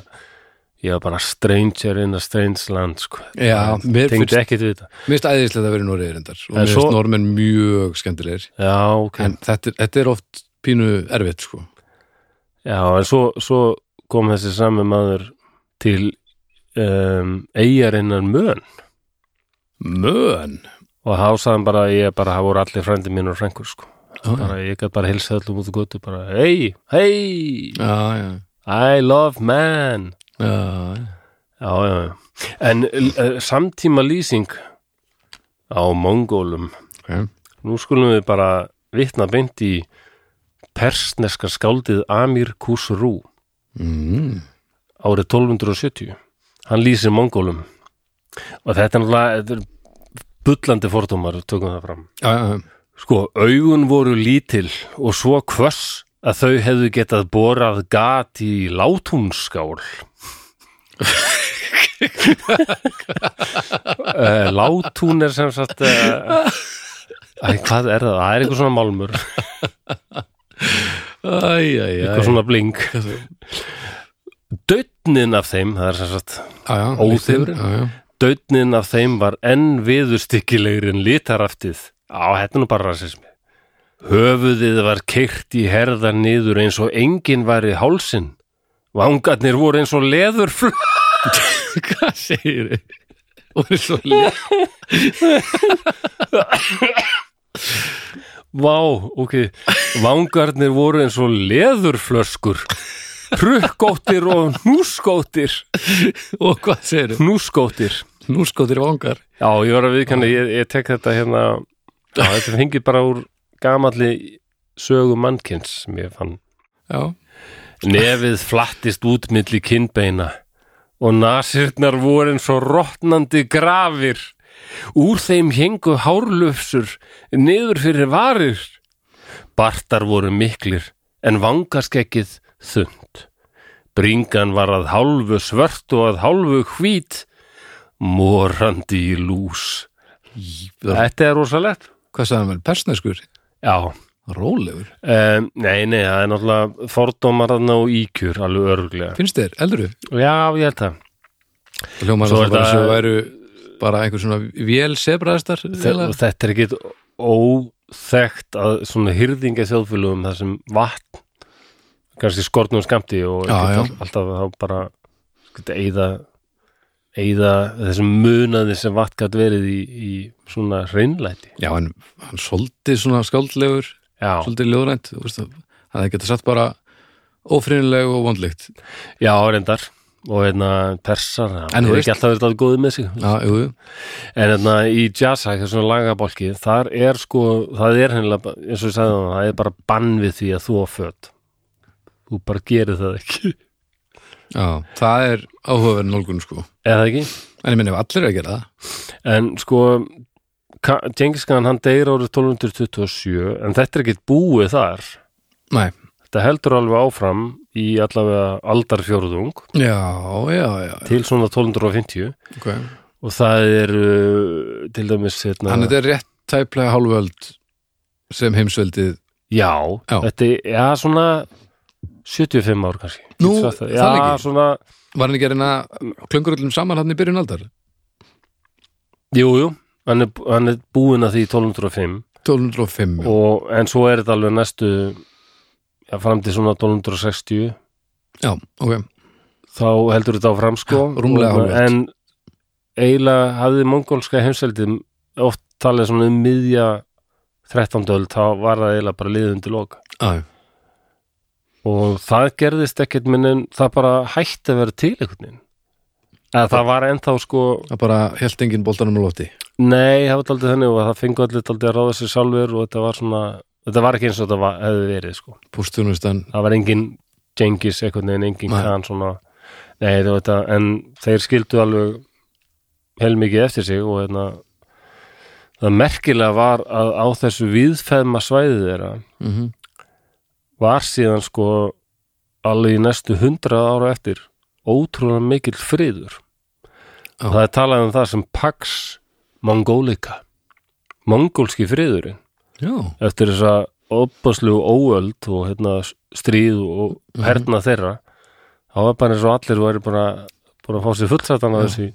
[SPEAKER 1] ég var bara stranger in a strange land sko.
[SPEAKER 2] já, mér finnst
[SPEAKER 1] tengdi ekkert við þetta
[SPEAKER 2] Mér finnst æðislega að vera í Noregi reyndar og
[SPEAKER 1] En
[SPEAKER 2] mér
[SPEAKER 1] svo-
[SPEAKER 2] finnst normenn mjög skemmtilegir
[SPEAKER 1] já, ok
[SPEAKER 2] en þetta, er- þetta er oft pínu erfitt sko
[SPEAKER 1] Já, en svo, svo kom þessi sami maður til um, eigarinnar mön
[SPEAKER 2] Mön
[SPEAKER 1] og þá sagði hann bara að ég bara hafa voru allir frændi mín og frængur sko.
[SPEAKER 2] Já,
[SPEAKER 1] bara, ég gæt bara hilsa öllum út og götu bara, hey, hey
[SPEAKER 2] já, já,
[SPEAKER 1] I love man
[SPEAKER 2] já,
[SPEAKER 1] Já, já, já En uh, samtíma lýsing á mongólum
[SPEAKER 2] Ok.
[SPEAKER 1] Nú skulum við bara vitna beint í persneska skáldið Amir Khusru
[SPEAKER 2] Mm.
[SPEAKER 1] árið 1270 hann lýsir mongólum og þetta er náttúrulega þetta er bullandi fordómar, tökum það fram
[SPEAKER 2] já, já, já.
[SPEAKER 1] sko, augun voru lítil og svo hvöss að þau hefðu getað borað gat í látúnskál Eh, Látún er sem sagt uh, Æ, hvað er það? Það er eitthvað svona málmur,
[SPEAKER 2] Æ, æ, æ,
[SPEAKER 1] eitthvað svona bling Dötnin af þeim, það er sem sagt
[SPEAKER 2] já, já,
[SPEAKER 1] Óþefurinn.
[SPEAKER 2] Já, já,
[SPEAKER 1] Dautnin af þeim var enn viðurstyggilegri en litaraftið. Á, þetta er nú bara rasismi. Höfuðið var keirt í herðar niður eins og enginn var í hálsin. Vangarnir voru eins og leðurflöð.
[SPEAKER 2] hvað segir þið? Og er svo lið
[SPEAKER 1] Vá, ok. Vangarnir voru eins og leðurflöskur. Prukkóttir og núskóttir.
[SPEAKER 2] Og hvað segir þið?
[SPEAKER 1] Núskóttir.
[SPEAKER 2] Nú skotir vangar
[SPEAKER 1] Já, ég var að viðkanna, ég, ég tek þetta hérna, já, þetta fengið bara úr gamalli sögu mannkins sem ég fann
[SPEAKER 2] já,
[SPEAKER 1] Nefið flattist út milli kinnbeina og nasirnar voru eins og rotnandi grafir. Úr þeim hengu hárlufsur niður fyrir varir. Bartar voru miklir en vangaskeggið þund. Bringan var að hálfu svört og að hálfu hvít, morandi í lús. Þetta er rosalegt.
[SPEAKER 2] hvað sagði hann vel, persneskur
[SPEAKER 1] Já,
[SPEAKER 2] rólegur,
[SPEAKER 1] um, nei, nei, það er náttúrulega fordómar þarna og íkjur alveg örglega.
[SPEAKER 2] finnst þér, eldru
[SPEAKER 1] Já, ég held það.
[SPEAKER 2] það hljóma
[SPEAKER 1] Svo er
[SPEAKER 2] hann bara
[SPEAKER 1] það-
[SPEAKER 2] sem væru bara einhver svona vél sebraðistar
[SPEAKER 1] Þe- og þetta er ekkit óþekkt að svona hyrðinga þjóðfélugum þar sem vatn kannski skornum skamti og
[SPEAKER 2] Já,
[SPEAKER 1] ekkert
[SPEAKER 2] já.
[SPEAKER 1] all- alltaf þá bara skilti, eyða, eyða þessum munaði sem vatn gætt verið í, í svona hreinlæti
[SPEAKER 2] já, en hann svolítið svona skáldlegur
[SPEAKER 1] Já,
[SPEAKER 2] svolítið ljóðrænt þú veist, hann hefði getað satt bara ófriðinleg og vondlegt
[SPEAKER 1] já, reyndar og hérna persar, það
[SPEAKER 2] En þú
[SPEAKER 1] er
[SPEAKER 2] veist-
[SPEAKER 1] ekki alltaf verið að góði með sig
[SPEAKER 2] já, jú, jú.
[SPEAKER 1] En þarna í jazzhæk, þessum lagabolki, þar er sko, það er hennilega, ba- eins og ég sagði það, það er bara bann við því að þú á föt. Þú bara gerir það ekki.
[SPEAKER 2] já, það er áhugaverð nálgun sko
[SPEAKER 1] Eða ekki?
[SPEAKER 2] en ég minni ef allir eru að gera það
[SPEAKER 1] En sko, Tengiskan hann deyr árið 1227, en þetta er ekkit búið þar.
[SPEAKER 2] Nei.
[SPEAKER 1] Þetta heldur alveg áfram í allavega aldarfjórðung
[SPEAKER 2] já, já, já,
[SPEAKER 1] til svona 1250
[SPEAKER 2] ok hann
[SPEAKER 1] og það er uh, til dæmis hérna,
[SPEAKER 2] þetta er rétt tæplega hálföld sem heimsveldið
[SPEAKER 1] já,
[SPEAKER 2] Já.
[SPEAKER 1] þetta er já, svona 75 ár kannski.
[SPEAKER 2] Nú,
[SPEAKER 1] Getur sagt það.
[SPEAKER 2] það
[SPEAKER 1] já,
[SPEAKER 2] lengi?
[SPEAKER 1] svona
[SPEAKER 2] var hann ekki að reyna að klöngur öllum saman hann í byrjun aldar
[SPEAKER 1] Jú, jú, hann er, hann er búin að því í 1205
[SPEAKER 2] 1205 já,
[SPEAKER 1] og, en svo er þetta alveg næstu ja, fram til svona 1260
[SPEAKER 2] já ok,
[SPEAKER 1] þá heldur þetta á framsko
[SPEAKER 2] Já, rúmlega hálföld.
[SPEAKER 1] en eiginlega hafði mongolska heimseldið oft talið svona um miðja 13. öld, þá var það eiginlega bara liðið undir loka
[SPEAKER 2] já, já.
[SPEAKER 1] og það gerðist ekkert minn en það bara hætti að vera til einhvern veginn eða það var ennþá sko
[SPEAKER 2] það bara held enginn boltanum á lofti
[SPEAKER 1] Nei, það var aldrei þannig og það fengu allir aldrei að ráða sér sjálfur og þetta var svona, þetta var ekki eins og þetta var, hefði verið sko.
[SPEAKER 2] pústunustan
[SPEAKER 1] Það var engin Genghis einhvern veginn, engin
[SPEAKER 2] Nei.
[SPEAKER 1] Khan svona, nei þú veit að, en þeir skildu alveg heilmikið eftir sig og hérna, það merkilega var að á þessu viðfæðma svæði þeirra
[SPEAKER 2] mm -hmm.
[SPEAKER 1] var síðan sko alveg í næstu hundrað ára eftir ótrúlega mikill friður
[SPEAKER 2] Já.
[SPEAKER 1] það er talað um það sem Pax Mongolica mongólski friðurinn
[SPEAKER 2] já,
[SPEAKER 1] eftir þess að opaslu óöld og hérna stríð og herna þeirra þá var bara eins og allir væri bara búin að fá sér fullsættan að þessi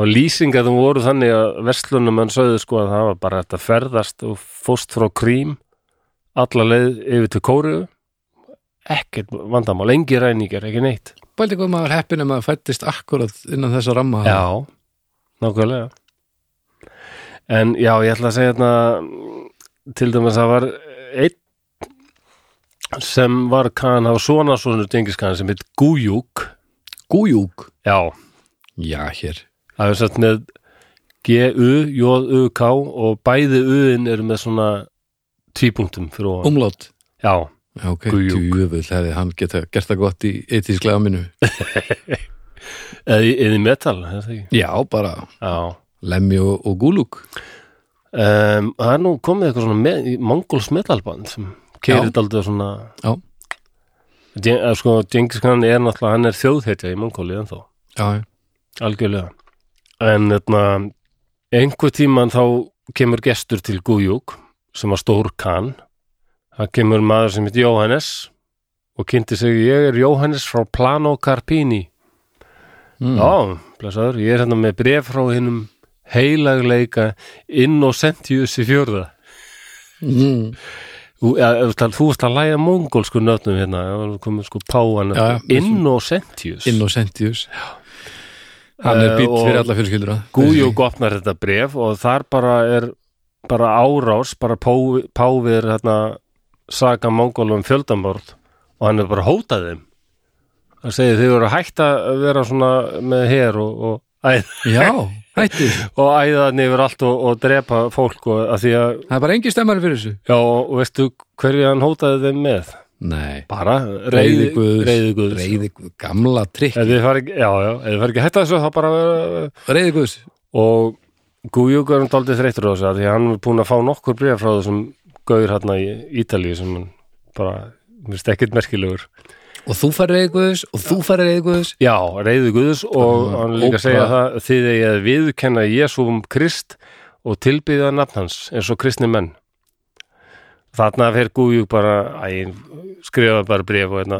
[SPEAKER 1] og lýsingar þeim voru þannig að verslunum enn sögðu sko að það var bara þetta ferðast og fóst frá krím alla leið yfir til kóriðu ekkert vandamál, engi ræningar, ekki neitt
[SPEAKER 2] bældi hvað maður heppin ef maður fættist akkurat innan þessa ramma
[SPEAKER 1] Já, nákvæmlega En já, ég ætla að segja hérna til dæmis að það var einn sem var kann hafa svona svona dengiskan sem heit Gujuk
[SPEAKER 2] gújúk
[SPEAKER 1] Já,
[SPEAKER 2] já, hér
[SPEAKER 1] það er satt með G-U, J-U-K og bæði U-in eru með svona tvípunktum fyrir ofan
[SPEAKER 2] umlát
[SPEAKER 1] Já,
[SPEAKER 2] Já, ok,
[SPEAKER 1] Guðjúk.
[SPEAKER 2] djúvöld hefði hann geta gert það gott í etísklega minu.
[SPEAKER 1] eða í- eða í metal, er það ekki?
[SPEAKER 2] Já, bara
[SPEAKER 1] Já
[SPEAKER 2] Lemmi og, og Gúlúk.
[SPEAKER 1] Um, það er nú komið eitthvað svona með, mongols metalband sem
[SPEAKER 2] Já.
[SPEAKER 1] keirir daldið svona
[SPEAKER 2] Já.
[SPEAKER 1] Gen- eða sko, Genghis Khan er náttúrulega hann er þjóðhetja í mongóli ennþá
[SPEAKER 2] Já, já.
[SPEAKER 1] algjörlega en etna, einhver tíman þá kemur gestur til Guðjúk sem var stór Khan það kemur maður sem heit Jóhannes og kynnti sig ég er Jóhannes frá Plano Carpini
[SPEAKER 2] Mm.
[SPEAKER 1] Já, blessaður, ég er hérna með bref frá hinnum heilagleika Innocentius í fjörða
[SPEAKER 2] Mm.
[SPEAKER 1] Þú, ja, ef þú ert að- þú ert að læja mongolsku nöfnum hérna, ef þú komið sko páan
[SPEAKER 2] Já, já.
[SPEAKER 1] Innocentius
[SPEAKER 2] Innocentius. Hann
[SPEAKER 1] Eh,
[SPEAKER 2] er býtt
[SPEAKER 1] og-
[SPEAKER 2] fyrir alla fjölskyldura.
[SPEAKER 1] Guðjúk opnar þetta bref og þar bara er bara árás, bara pá- páfið er hérna saga mongolum fjöldamorð og hann er bara hótað þeim hann segir þau eru að hætta að vera svona með her og, og Æð,
[SPEAKER 6] Já, hætti
[SPEAKER 1] og æða hann yfir allt og, og drepa fólk og að því að,
[SPEAKER 6] Það er bara engin stemmari fyrir þessu
[SPEAKER 1] já, og veistu hverju hann hótaði þeim með?
[SPEAKER 6] Nei,
[SPEAKER 1] Bara
[SPEAKER 6] Reiði
[SPEAKER 1] reyði
[SPEAKER 6] Guðs.
[SPEAKER 1] Reyði guðs.
[SPEAKER 6] reyði guð, gamla trikk
[SPEAKER 1] Ef þið fari, já, já, ef þið fari ekki að hætta þessu þá bara uh,
[SPEAKER 6] Reyði guðs
[SPEAKER 1] og Guðjúk er hann daldið þreyttur á þessu af því að hann er búin að fá nokkur bréf frá þessum gauður hérna í Ítalíu sem hann bara, mér finnst ekkert merkilegur
[SPEAKER 6] Og þú fær reyði guðs og þú fær reyði guðs
[SPEAKER 1] Já, reyði Guðs og
[SPEAKER 6] Ah,
[SPEAKER 1] hann er líka að
[SPEAKER 6] ópra.
[SPEAKER 1] segja það þið eigi að viðkenna Jésúum Krist og tilbyða nafn hans eins og kristni menn Þarna fer Guðjúk bara æ, skrifa bara bréf og hérna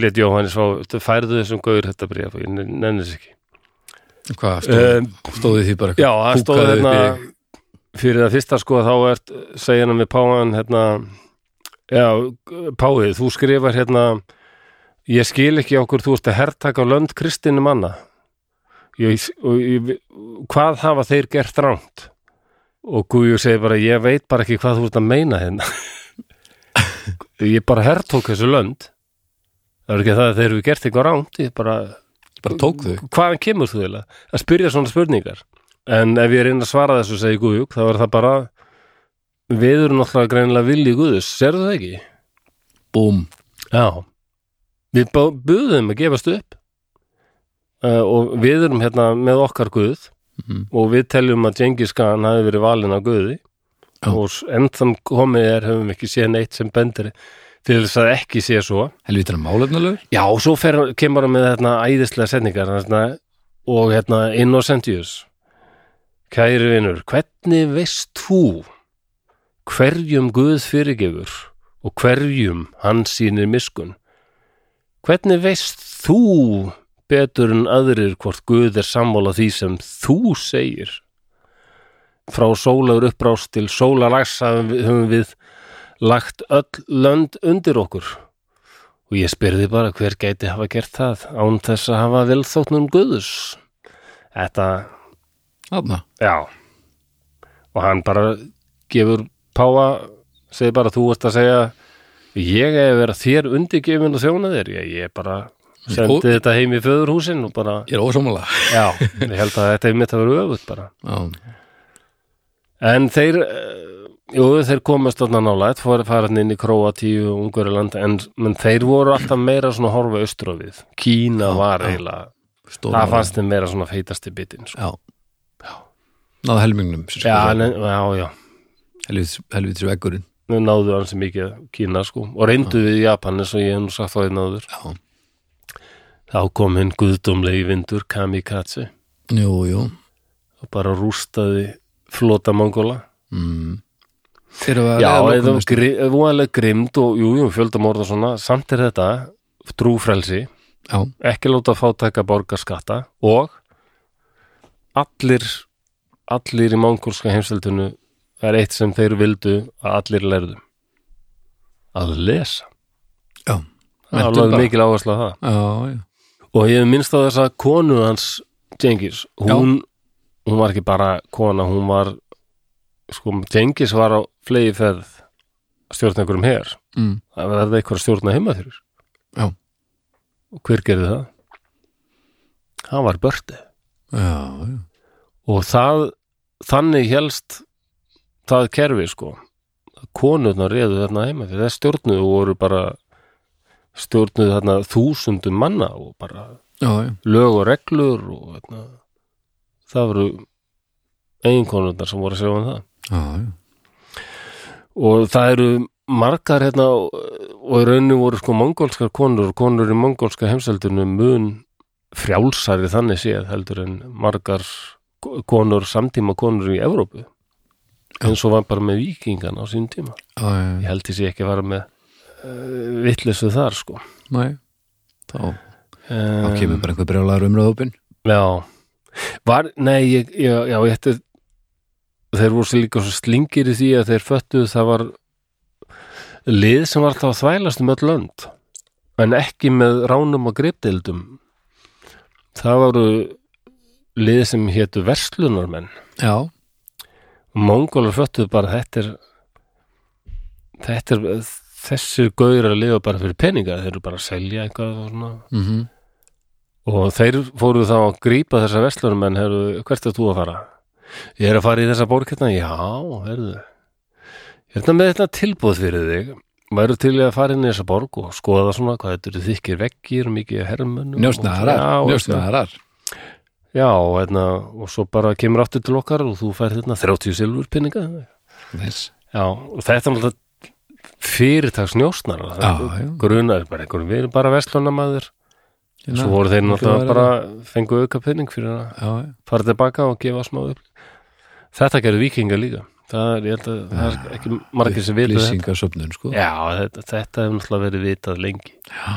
[SPEAKER 1] let Jóhannes fá, færðu þessum gauður þetta bréf og ég nenni þess ekki
[SPEAKER 6] Hvað,
[SPEAKER 1] Eh,
[SPEAKER 6] stóð, stóði því bara
[SPEAKER 1] Já, það stóð
[SPEAKER 6] kúkaði upp
[SPEAKER 1] hérna
[SPEAKER 6] í-
[SPEAKER 1] fyrir það fyrsta sko þá ert segja hann við Páan hérna já, Páið, þú skrifar hérna ég skil ekki okkur þú ert að hertaka lönd kristinu manna ég, og, ég, hvað hafa þeir gert rámt og Guðjú segir bara ég veit bara ekki hvað þú ert að meina hérna ég bara hertók þessu lönd það er ekki það að þeir eru gert eitthvað rámt ég bara
[SPEAKER 6] Bara tók þau
[SPEAKER 1] hvaðan kemur þú eiginlega að spyrja svona spurningar en ef ég reyna að svara þessu segi Guðjúk þá er það bara við erum náttúrulega greinilega vilji Guðus, sérðu það ekki?
[SPEAKER 6] Búm
[SPEAKER 1] Já Við bá- buðum að gefast upp uh, og við erum hérna með okkar Guð
[SPEAKER 6] Mhm.
[SPEAKER 1] og við teljum að Genghis Khan hafi verið valinn af Guði
[SPEAKER 6] Já.
[SPEAKER 1] og s- enn þann komið er höfum ekki séð neitt sem bendir til þess að ekki sé svo
[SPEAKER 6] Helvítur er málefnulegur
[SPEAKER 1] Já, og svo fer, kemur hann með hérna, æðislega setningar hérna, og hérna Innocentius Kæri vinur, hvernig veist þú hverjum Guð fyrirgefur og hverjum hann sýnir miskun? Hvernig veist þú betur en aðrir hvort Guð er sammála því sem þú segir? Frá sólaur upprást til sólarlags höfum við- höfum við lagt öll lönd undir okkur og ég spyrði bara hver gæti hafa gert það án þess að hafa vel þóknum guðus þetta,
[SPEAKER 6] Þarna
[SPEAKER 1] já og hann bara gefur Páa segir bara þú ert að segja ég hef verið þér undirgefin og þjóna þér ég, ég bara sendi
[SPEAKER 6] Og-
[SPEAKER 1] þetta heim í föðurhúsin og bara,
[SPEAKER 6] Ég er ósámála
[SPEAKER 1] já, ég held að þetta er mitt að vera öfut bara
[SPEAKER 6] Já,
[SPEAKER 1] En þeir, eh, jú, þeir komast þarna nálægt, fóru farin inn í Króatíu og Unguriland, en menn þeir voru alltaf meira svona að horfa austur á við. Kína var eiginlega,
[SPEAKER 6] stóð
[SPEAKER 1] það fannst þeim meira svona feitasti bitin. Sko.
[SPEAKER 6] Já Náða helmingnum sem
[SPEAKER 1] Já,
[SPEAKER 6] sagt.
[SPEAKER 1] en, já, já,
[SPEAKER 6] Helvítur- Helvítur veggurinn
[SPEAKER 1] nú náðu hann sem mikið Kína, sko, og reyndu við Japan eins og ég hef nú sagt þá einn áður.
[SPEAKER 6] Já.
[SPEAKER 1] Þá kom hinn guðdómlegi vindur, Kamikaze,
[SPEAKER 6] Jú, jú
[SPEAKER 1] og bara rústaði flota mongóla.
[SPEAKER 6] mm. Þeir eru að
[SPEAKER 1] Já,
[SPEAKER 6] leiða
[SPEAKER 1] eða
[SPEAKER 6] lokum næst-
[SPEAKER 1] gri, voðalega grimd og jú, jú, fjöldamorð og svona, samt er þetta trúfrelsi,
[SPEAKER 6] Já,
[SPEAKER 1] ekki láta fátæka borga skatta og allir allir í mongolska heimsveldinu það er eitt sem þeir vildu að allir lærðu að lesa
[SPEAKER 6] já
[SPEAKER 1] það er
[SPEAKER 6] Menntun
[SPEAKER 1] alveg
[SPEAKER 6] bara.
[SPEAKER 1] mikil áhersla á það
[SPEAKER 6] Já, já
[SPEAKER 1] og ég hef minnst á þessa konu hans Gengis, hún, hún var ekki bara kona, hún var sko, Gengis var á flegi ferð stjórna einhverjum her
[SPEAKER 6] mm.
[SPEAKER 1] það verði eitthvað að stjórna heima fyrir
[SPEAKER 6] Já.
[SPEAKER 1] og hver gerði það? hann var börti
[SPEAKER 6] Já, já
[SPEAKER 1] og það, þannig helst það kerfi sko konurnar reyðu þarna heima fyrir það stjórnuðu og voru bara stjórnuðu þarna þúsundum manna og bara
[SPEAKER 6] Já, já,
[SPEAKER 1] lög og reglur og þarna, það voru eiginkonurnar sem voru að segja um það
[SPEAKER 6] já, já.
[SPEAKER 1] og það eru margar hérna og í rauninu voru sko mongolskar konur og konur í mongolska heimsældinu mun frjálsari þannig séð heldur en margar ko- konur samtíma konur í Evrópu eins og var bara með vikingan á sín tíma
[SPEAKER 6] já, já,
[SPEAKER 1] ég
[SPEAKER 6] já.
[SPEAKER 1] held þessi ekki að vara með uh, vitleysu þar sko
[SPEAKER 6] Nei, þá, þá
[SPEAKER 1] um,
[SPEAKER 6] kemur bara einhver brjólaður umröðupin
[SPEAKER 1] Já, var, nei, ég, ég, já, ég hætti, þeir voru svo líka svo slingir í því að þeir föttuðu það var lið sem var alltaf að þvælast um öll lönd, en ekki með ránum og greipdeildum. Það voru lið sem hétu verslunarmenn.
[SPEAKER 6] Já,
[SPEAKER 1] Mongólar föttuðu bara þetta er, þetta er, þessir gauður að lifa bara fyrir peninga, þeir eru bara að selja eitthvað og svona
[SPEAKER 6] mhm
[SPEAKER 1] og þeir fóru þá að grípa þessa verslunum en herru, hvert er þú að fara? Ég er að fara í þessa borg hérna, já, herru hérna með þetta tilbúð fyrir þig væru til í að fara inn í þessa borg og skoða svona hvað þetta eru þykir veggir og mikið hermönnum
[SPEAKER 2] Njósnarar,
[SPEAKER 1] og, já,
[SPEAKER 2] njósnarar
[SPEAKER 1] já, og hérna, og svo bara kemur aftur til okkar og þú fær hérna 30 silfur pinninga
[SPEAKER 2] Nice.
[SPEAKER 1] já, og þetta er náttúrulega fyrirtags njósnarar
[SPEAKER 2] Já, já.
[SPEAKER 1] grunar bara einhverjum, við erum bara verslunamaður
[SPEAKER 2] Hérna,
[SPEAKER 1] Svo voru þeir náttúrulega
[SPEAKER 2] mikilvægara.
[SPEAKER 1] bara fengu auka penning fyrir að
[SPEAKER 2] Já, já.
[SPEAKER 1] fara tilbaka og gefa smá upp. Þetta gerðu vikingar líka. Það er, ég held að það er ekki margir sem vitu þetta.
[SPEAKER 2] Upplýsingasöfnun, sko
[SPEAKER 1] Já, þetta, þetta hefur náttúrulega verið vitað lengi.
[SPEAKER 2] Já,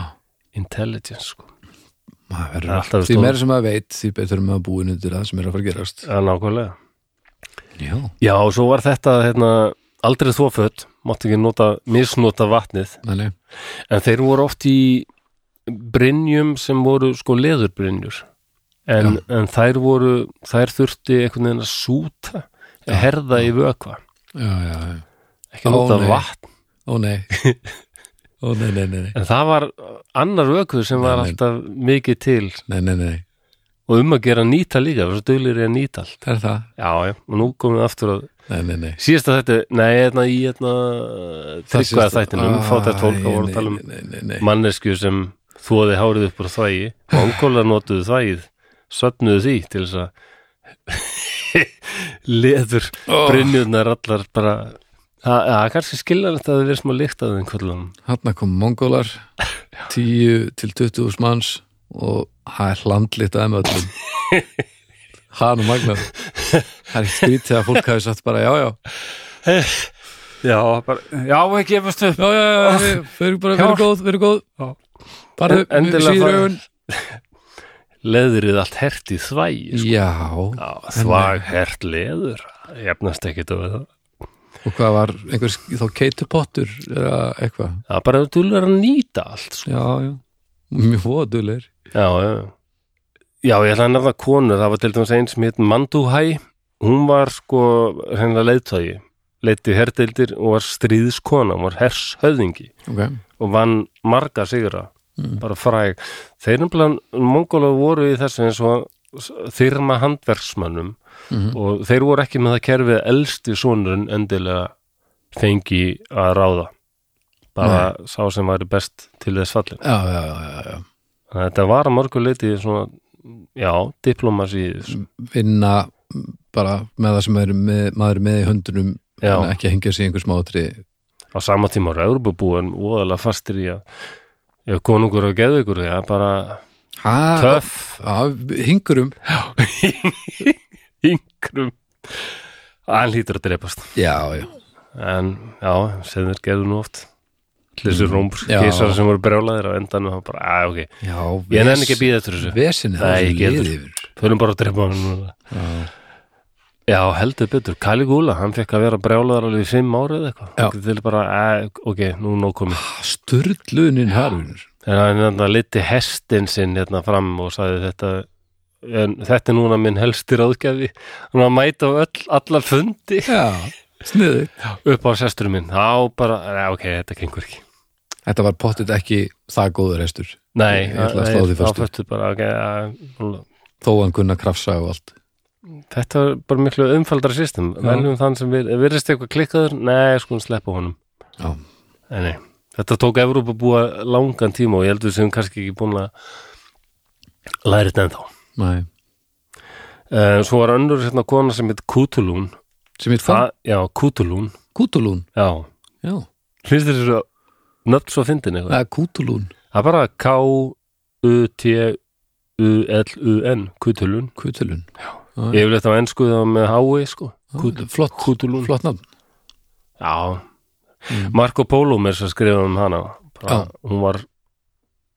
[SPEAKER 1] Intelligence, sko.
[SPEAKER 2] maður
[SPEAKER 1] Það er
[SPEAKER 2] verður
[SPEAKER 1] alltaf
[SPEAKER 2] Því
[SPEAKER 1] stór-
[SPEAKER 2] meira sem maður veit, því betur maður búin undir það sem er að fara að gerast
[SPEAKER 1] Það er nákvæmlega.
[SPEAKER 2] Já,
[SPEAKER 1] Já, og svo var þetta, hérna, aldrei þvoföld, mátti ekki nota, misnota vatnið,
[SPEAKER 2] þannig
[SPEAKER 1] en þeir voru oft í brynjum sem voru, sko, leðurbrynjur. En, en þær voru, þær þurfti einhvern veginn að súta, herða í vökva.
[SPEAKER 2] Já, já, já
[SPEAKER 1] ekki
[SPEAKER 2] Ó,
[SPEAKER 1] nota
[SPEAKER 2] nei.
[SPEAKER 1] vatn
[SPEAKER 2] Ó nei Ó nei, nei, nei, nei,
[SPEAKER 1] en það var annar vökuð sem var
[SPEAKER 2] Nei, nei.
[SPEAKER 1] alltaf mikið til
[SPEAKER 2] nei, nei, nei.
[SPEAKER 1] og um að gera að nýta líka, það var svo duglir í að nýta allt
[SPEAKER 2] Það er það
[SPEAKER 1] já, já, og nú komum við aftur að
[SPEAKER 2] Nei, nei, nei
[SPEAKER 1] síðasta þetta, nei, hérna í hérna tryggvaða þættinu um fátætt fólk
[SPEAKER 2] Æ,
[SPEAKER 1] og voru að
[SPEAKER 2] nei,
[SPEAKER 1] tala um
[SPEAKER 2] Nei, nei, nei
[SPEAKER 1] mannesku sem þóði hárið upp úr þvægi og angólar notuðu þvægið söfnuðu því til þess að leður oh. brinnjurnar allar bara það það er kannski skiljanlegt að það verið smá líkt að þeim kvöldunum
[SPEAKER 2] Hanna kom mongólar 10 til 20 manns og það er hlandlít aðeim öllum Hann og Magnar Það er ekkert skrítið að fólk hafi sagt bara já, já
[SPEAKER 1] Já, bara, já, ekki efast upp
[SPEAKER 2] Já, já, já, já, veru bara, veru
[SPEAKER 1] Hjálp.
[SPEAKER 2] góð, veru góð Bara
[SPEAKER 1] En- endilega
[SPEAKER 2] síður
[SPEAKER 1] fara-
[SPEAKER 2] augun
[SPEAKER 1] Leðrið allt hert í þvægi sko.
[SPEAKER 2] Já,
[SPEAKER 1] Já, þvæg hert leður Jafnast ekkit á við það
[SPEAKER 2] og hvað var einhver þá keitupottur eða eitthvað
[SPEAKER 1] Það er bara að þú er að nýta allt sko.
[SPEAKER 2] já, já, mjög vodulir
[SPEAKER 1] Já, já Já, ég ætla að nefna konur, það var til dæmis einn sem hétt Manduhæ Hún var sko hennar leiðtögi Leiti herdeildir og var stríðskona Hún var hershöðingi
[SPEAKER 2] ok,
[SPEAKER 1] og vann marga sigra bara fræg þeir nefnilega mongóla voru í þessu eins og þyrma handverksmönnum og þeir voru ekki með það kerfið að elsti sonurinn endilega fengi að ráða bara sá sem væri best til þess fallin
[SPEAKER 2] já, já, já, já, já.
[SPEAKER 1] Þannig að þetta var að mörgu leiti svona já, diplomasi í þessu.
[SPEAKER 2] vinna bara með það sem maður er með, maður er með í höndunum
[SPEAKER 1] Já.
[SPEAKER 2] en ekki hengja sig í einhver smátri
[SPEAKER 1] á sama tíma eru Európubúin óðalega fastir í að já, konungur og geðugur, já, bara
[SPEAKER 2] töff
[SPEAKER 1] töff
[SPEAKER 2] hingurum,
[SPEAKER 1] yngrum hann hlýtur að drepast
[SPEAKER 2] já, já
[SPEAKER 1] en já, sem þeir gerðu nú oft þessu rómbursk
[SPEAKER 2] Mm. Já.
[SPEAKER 1] keisar sem voru brjálaðir á endanum hann bara, að ok,
[SPEAKER 2] já,
[SPEAKER 1] ég nenni ekki að býða eftir þessu
[SPEAKER 2] vesinni
[SPEAKER 1] Nei, ég get
[SPEAKER 2] liði
[SPEAKER 1] þetta.
[SPEAKER 2] yfir
[SPEAKER 1] förum bara að drepa hann núna
[SPEAKER 2] Já.
[SPEAKER 1] já, heldur betur, Caligula hann fekk að vera brjálaðir alveg í fimm árið eitthvað
[SPEAKER 2] Já.
[SPEAKER 1] Hann til bara, að, ok, nú er nóg komið
[SPEAKER 2] sturlunin harfunur
[SPEAKER 1] en hann hérna liti hestin sinn hérna fram og sagði þetta en þetta er núna minn helsti ráðgjafi hann var að mæta á öll, allar fundi
[SPEAKER 2] já, sniðu
[SPEAKER 1] upp á sestur minn, þá bara, "Nei, ok, þetta gengur ekki
[SPEAKER 2] þetta var pottit ekki það góður hestur
[SPEAKER 1] Nei,
[SPEAKER 2] Ég ætla að
[SPEAKER 1] það- það-
[SPEAKER 2] slá því
[SPEAKER 1] þá
[SPEAKER 2] föstu.
[SPEAKER 1] föstu bara, okay, að,
[SPEAKER 2] þó hann kunna krafsa og allt
[SPEAKER 1] Þetta er bara miklu umfaldra system Veljum þann sem við, virðist eitthvað klikkaður Nei, sko, sleppa honum
[SPEAKER 2] já,
[SPEAKER 1] Nei, nei. Þetta tók Evrópa að búa langan tíma og ég heldur sem kannski ekki búin að læra þetta ennþá
[SPEAKER 2] næ,
[SPEAKER 1] uh, Svo var önnur hérna kona sem heit Kútulún
[SPEAKER 2] sem ég fann
[SPEAKER 1] Þa, Já, Kútulún
[SPEAKER 2] kútulún,
[SPEAKER 1] Já,
[SPEAKER 2] já,
[SPEAKER 1] finnst þér þessu nöfn svo fyndin eitthvað?
[SPEAKER 2] það er kútulún
[SPEAKER 1] Það er bara K-U-T-U-L-U-N Kútulún
[SPEAKER 2] kútulún,
[SPEAKER 1] Yfirleitt á ennsku það var með hái sko
[SPEAKER 2] Kút, flott,
[SPEAKER 1] Kútulún
[SPEAKER 2] flott nafn
[SPEAKER 1] Já,
[SPEAKER 2] Mm.
[SPEAKER 1] Marco Polo mér sem skrifaði um hana bara, hún var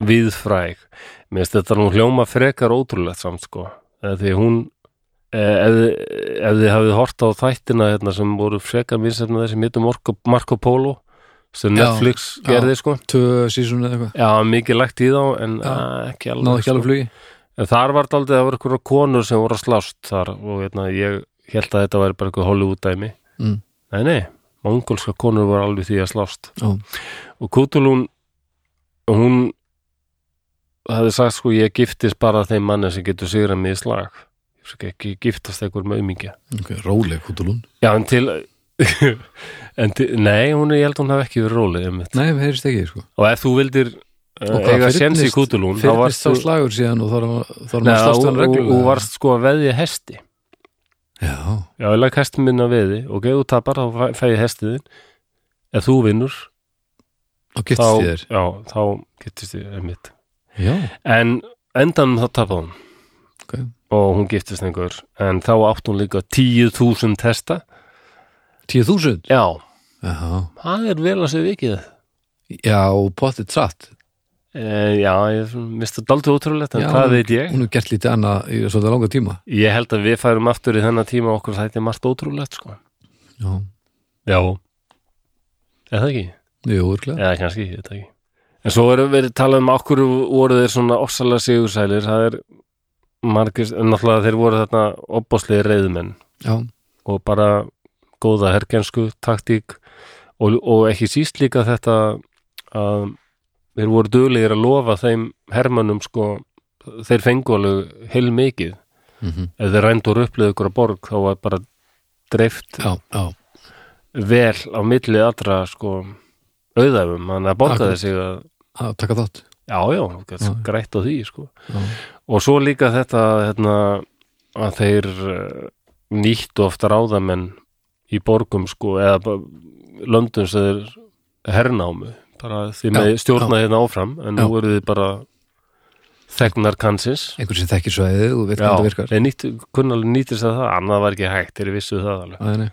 [SPEAKER 1] viðfræg mér finnst þetta nú hljóma frekar ótrúlegt samt sko Eh, því hún eh, ef, ef þið hafið hort á þættina hérna, sem voru frekar vinsefna þessi mittum Marco, Marco Polo sem
[SPEAKER 2] Já,
[SPEAKER 1] Netflix
[SPEAKER 2] já.
[SPEAKER 1] gerði sko
[SPEAKER 2] tvö sísun eða eitthvað
[SPEAKER 1] já, mikið lægt í þá en
[SPEAKER 2] Já.
[SPEAKER 1] að, ekki alveg, sko.
[SPEAKER 2] náðu ekki alveg flugi
[SPEAKER 1] En þar var daldið að vera einhverja konur sem voru að slást þar og hérna, ég held að þetta væri bara eitthvað Hollywood-dæmi.
[SPEAKER 2] Mm.
[SPEAKER 1] Nei, nei, mongolska konur voru alveg því að slást.
[SPEAKER 2] Já.
[SPEAKER 1] Og Kútulún, hún hafði sagt sko ég giftist bara þeim manni sem getur sigrað mig í slag ég skal ekki giftast einhver með umingja
[SPEAKER 2] Ok, róleg kútulún
[SPEAKER 1] já en til en til, nei hún er ég held að hún hafði ekki verið róli um
[SPEAKER 2] Nei, við heyrist ekki, sko
[SPEAKER 1] og ef þú vildir
[SPEAKER 2] Og
[SPEAKER 1] uh,
[SPEAKER 2] hvað,
[SPEAKER 1] eiga séns í
[SPEAKER 2] fyrnist-
[SPEAKER 1] kútulún þá
[SPEAKER 2] Fyrnist
[SPEAKER 1] varst
[SPEAKER 2] þá
[SPEAKER 1] þú
[SPEAKER 2] slagur síðan og þarf að þarf
[SPEAKER 1] Nei,
[SPEAKER 2] maður að slást
[SPEAKER 1] og,
[SPEAKER 2] hann
[SPEAKER 1] og,
[SPEAKER 2] reglulega
[SPEAKER 1] og varst sko að veðja hesti
[SPEAKER 2] Já,
[SPEAKER 1] já, ég lag hestin minn að veði ok, þú tapar, þá fæ- fæ ég hestiðin ef þú vinnur
[SPEAKER 2] þá getist
[SPEAKER 1] þá,
[SPEAKER 2] þér
[SPEAKER 1] já, þá getist þér einmitt.
[SPEAKER 2] Já,
[SPEAKER 1] en endanum þá tapaði hún
[SPEAKER 2] ok
[SPEAKER 1] og hún giftist einhver en þá átt hún líka 10.000 testa
[SPEAKER 2] Tíu þúsund?
[SPEAKER 1] já,
[SPEAKER 2] Já,
[SPEAKER 1] það er vel að segja vikið
[SPEAKER 2] já, og potið satt
[SPEAKER 1] Eh, já, ég misti daldið ótrúlegt en
[SPEAKER 2] Já,
[SPEAKER 1] það veit ég
[SPEAKER 2] Hún hefur gert lítið annað í svolítið langa tíma
[SPEAKER 1] Ég held að við færum aftur í þennan tíma og okkur þætti margt ótrúlegt sko
[SPEAKER 2] Já,
[SPEAKER 1] Já Er það ekki?
[SPEAKER 2] jú, örglega
[SPEAKER 1] Já, kannski, ég veit það ekki En svo erum við talað um okkur voru þeir svona ofsalega sigursælir það er margir, en náttúrulega þeir voru þarna opbáslega reyðmenn
[SPEAKER 2] Já,
[SPEAKER 1] og bara góða hergensku taktík og, og ekki síst líka þetta að þeir voru duglegir að lofa þeim hermannum sko þeir fengu alveg heil mikið
[SPEAKER 2] mhm.
[SPEAKER 1] ef þeir rændur upplið ykkur að borg þá var bara dreift
[SPEAKER 2] já, já
[SPEAKER 1] vel á milli allra sko auðæfum, þannig að borgaði
[SPEAKER 2] Akkurat.
[SPEAKER 1] sig að
[SPEAKER 2] að taka þátt
[SPEAKER 1] já, já, þú gæst
[SPEAKER 2] Já.
[SPEAKER 1] grætt á því sko.
[SPEAKER 2] Já,
[SPEAKER 1] og svo líka þetta hérna, að þeir eh, nýttu ofta ráðamenn í borgum sko, eða bara löndum sem þeir hernámu bara því með
[SPEAKER 2] Já,
[SPEAKER 1] stjórna hérna áfram en nú
[SPEAKER 2] Já.
[SPEAKER 1] eru þið bara þegnar kansins
[SPEAKER 2] einhver sem þekkir svæðið og veit hvað það virkar
[SPEAKER 1] þeir nýttu, kunnalega nýttir sér það annað var ekki hægt, þeir vissu það alveg
[SPEAKER 2] Æ, nei.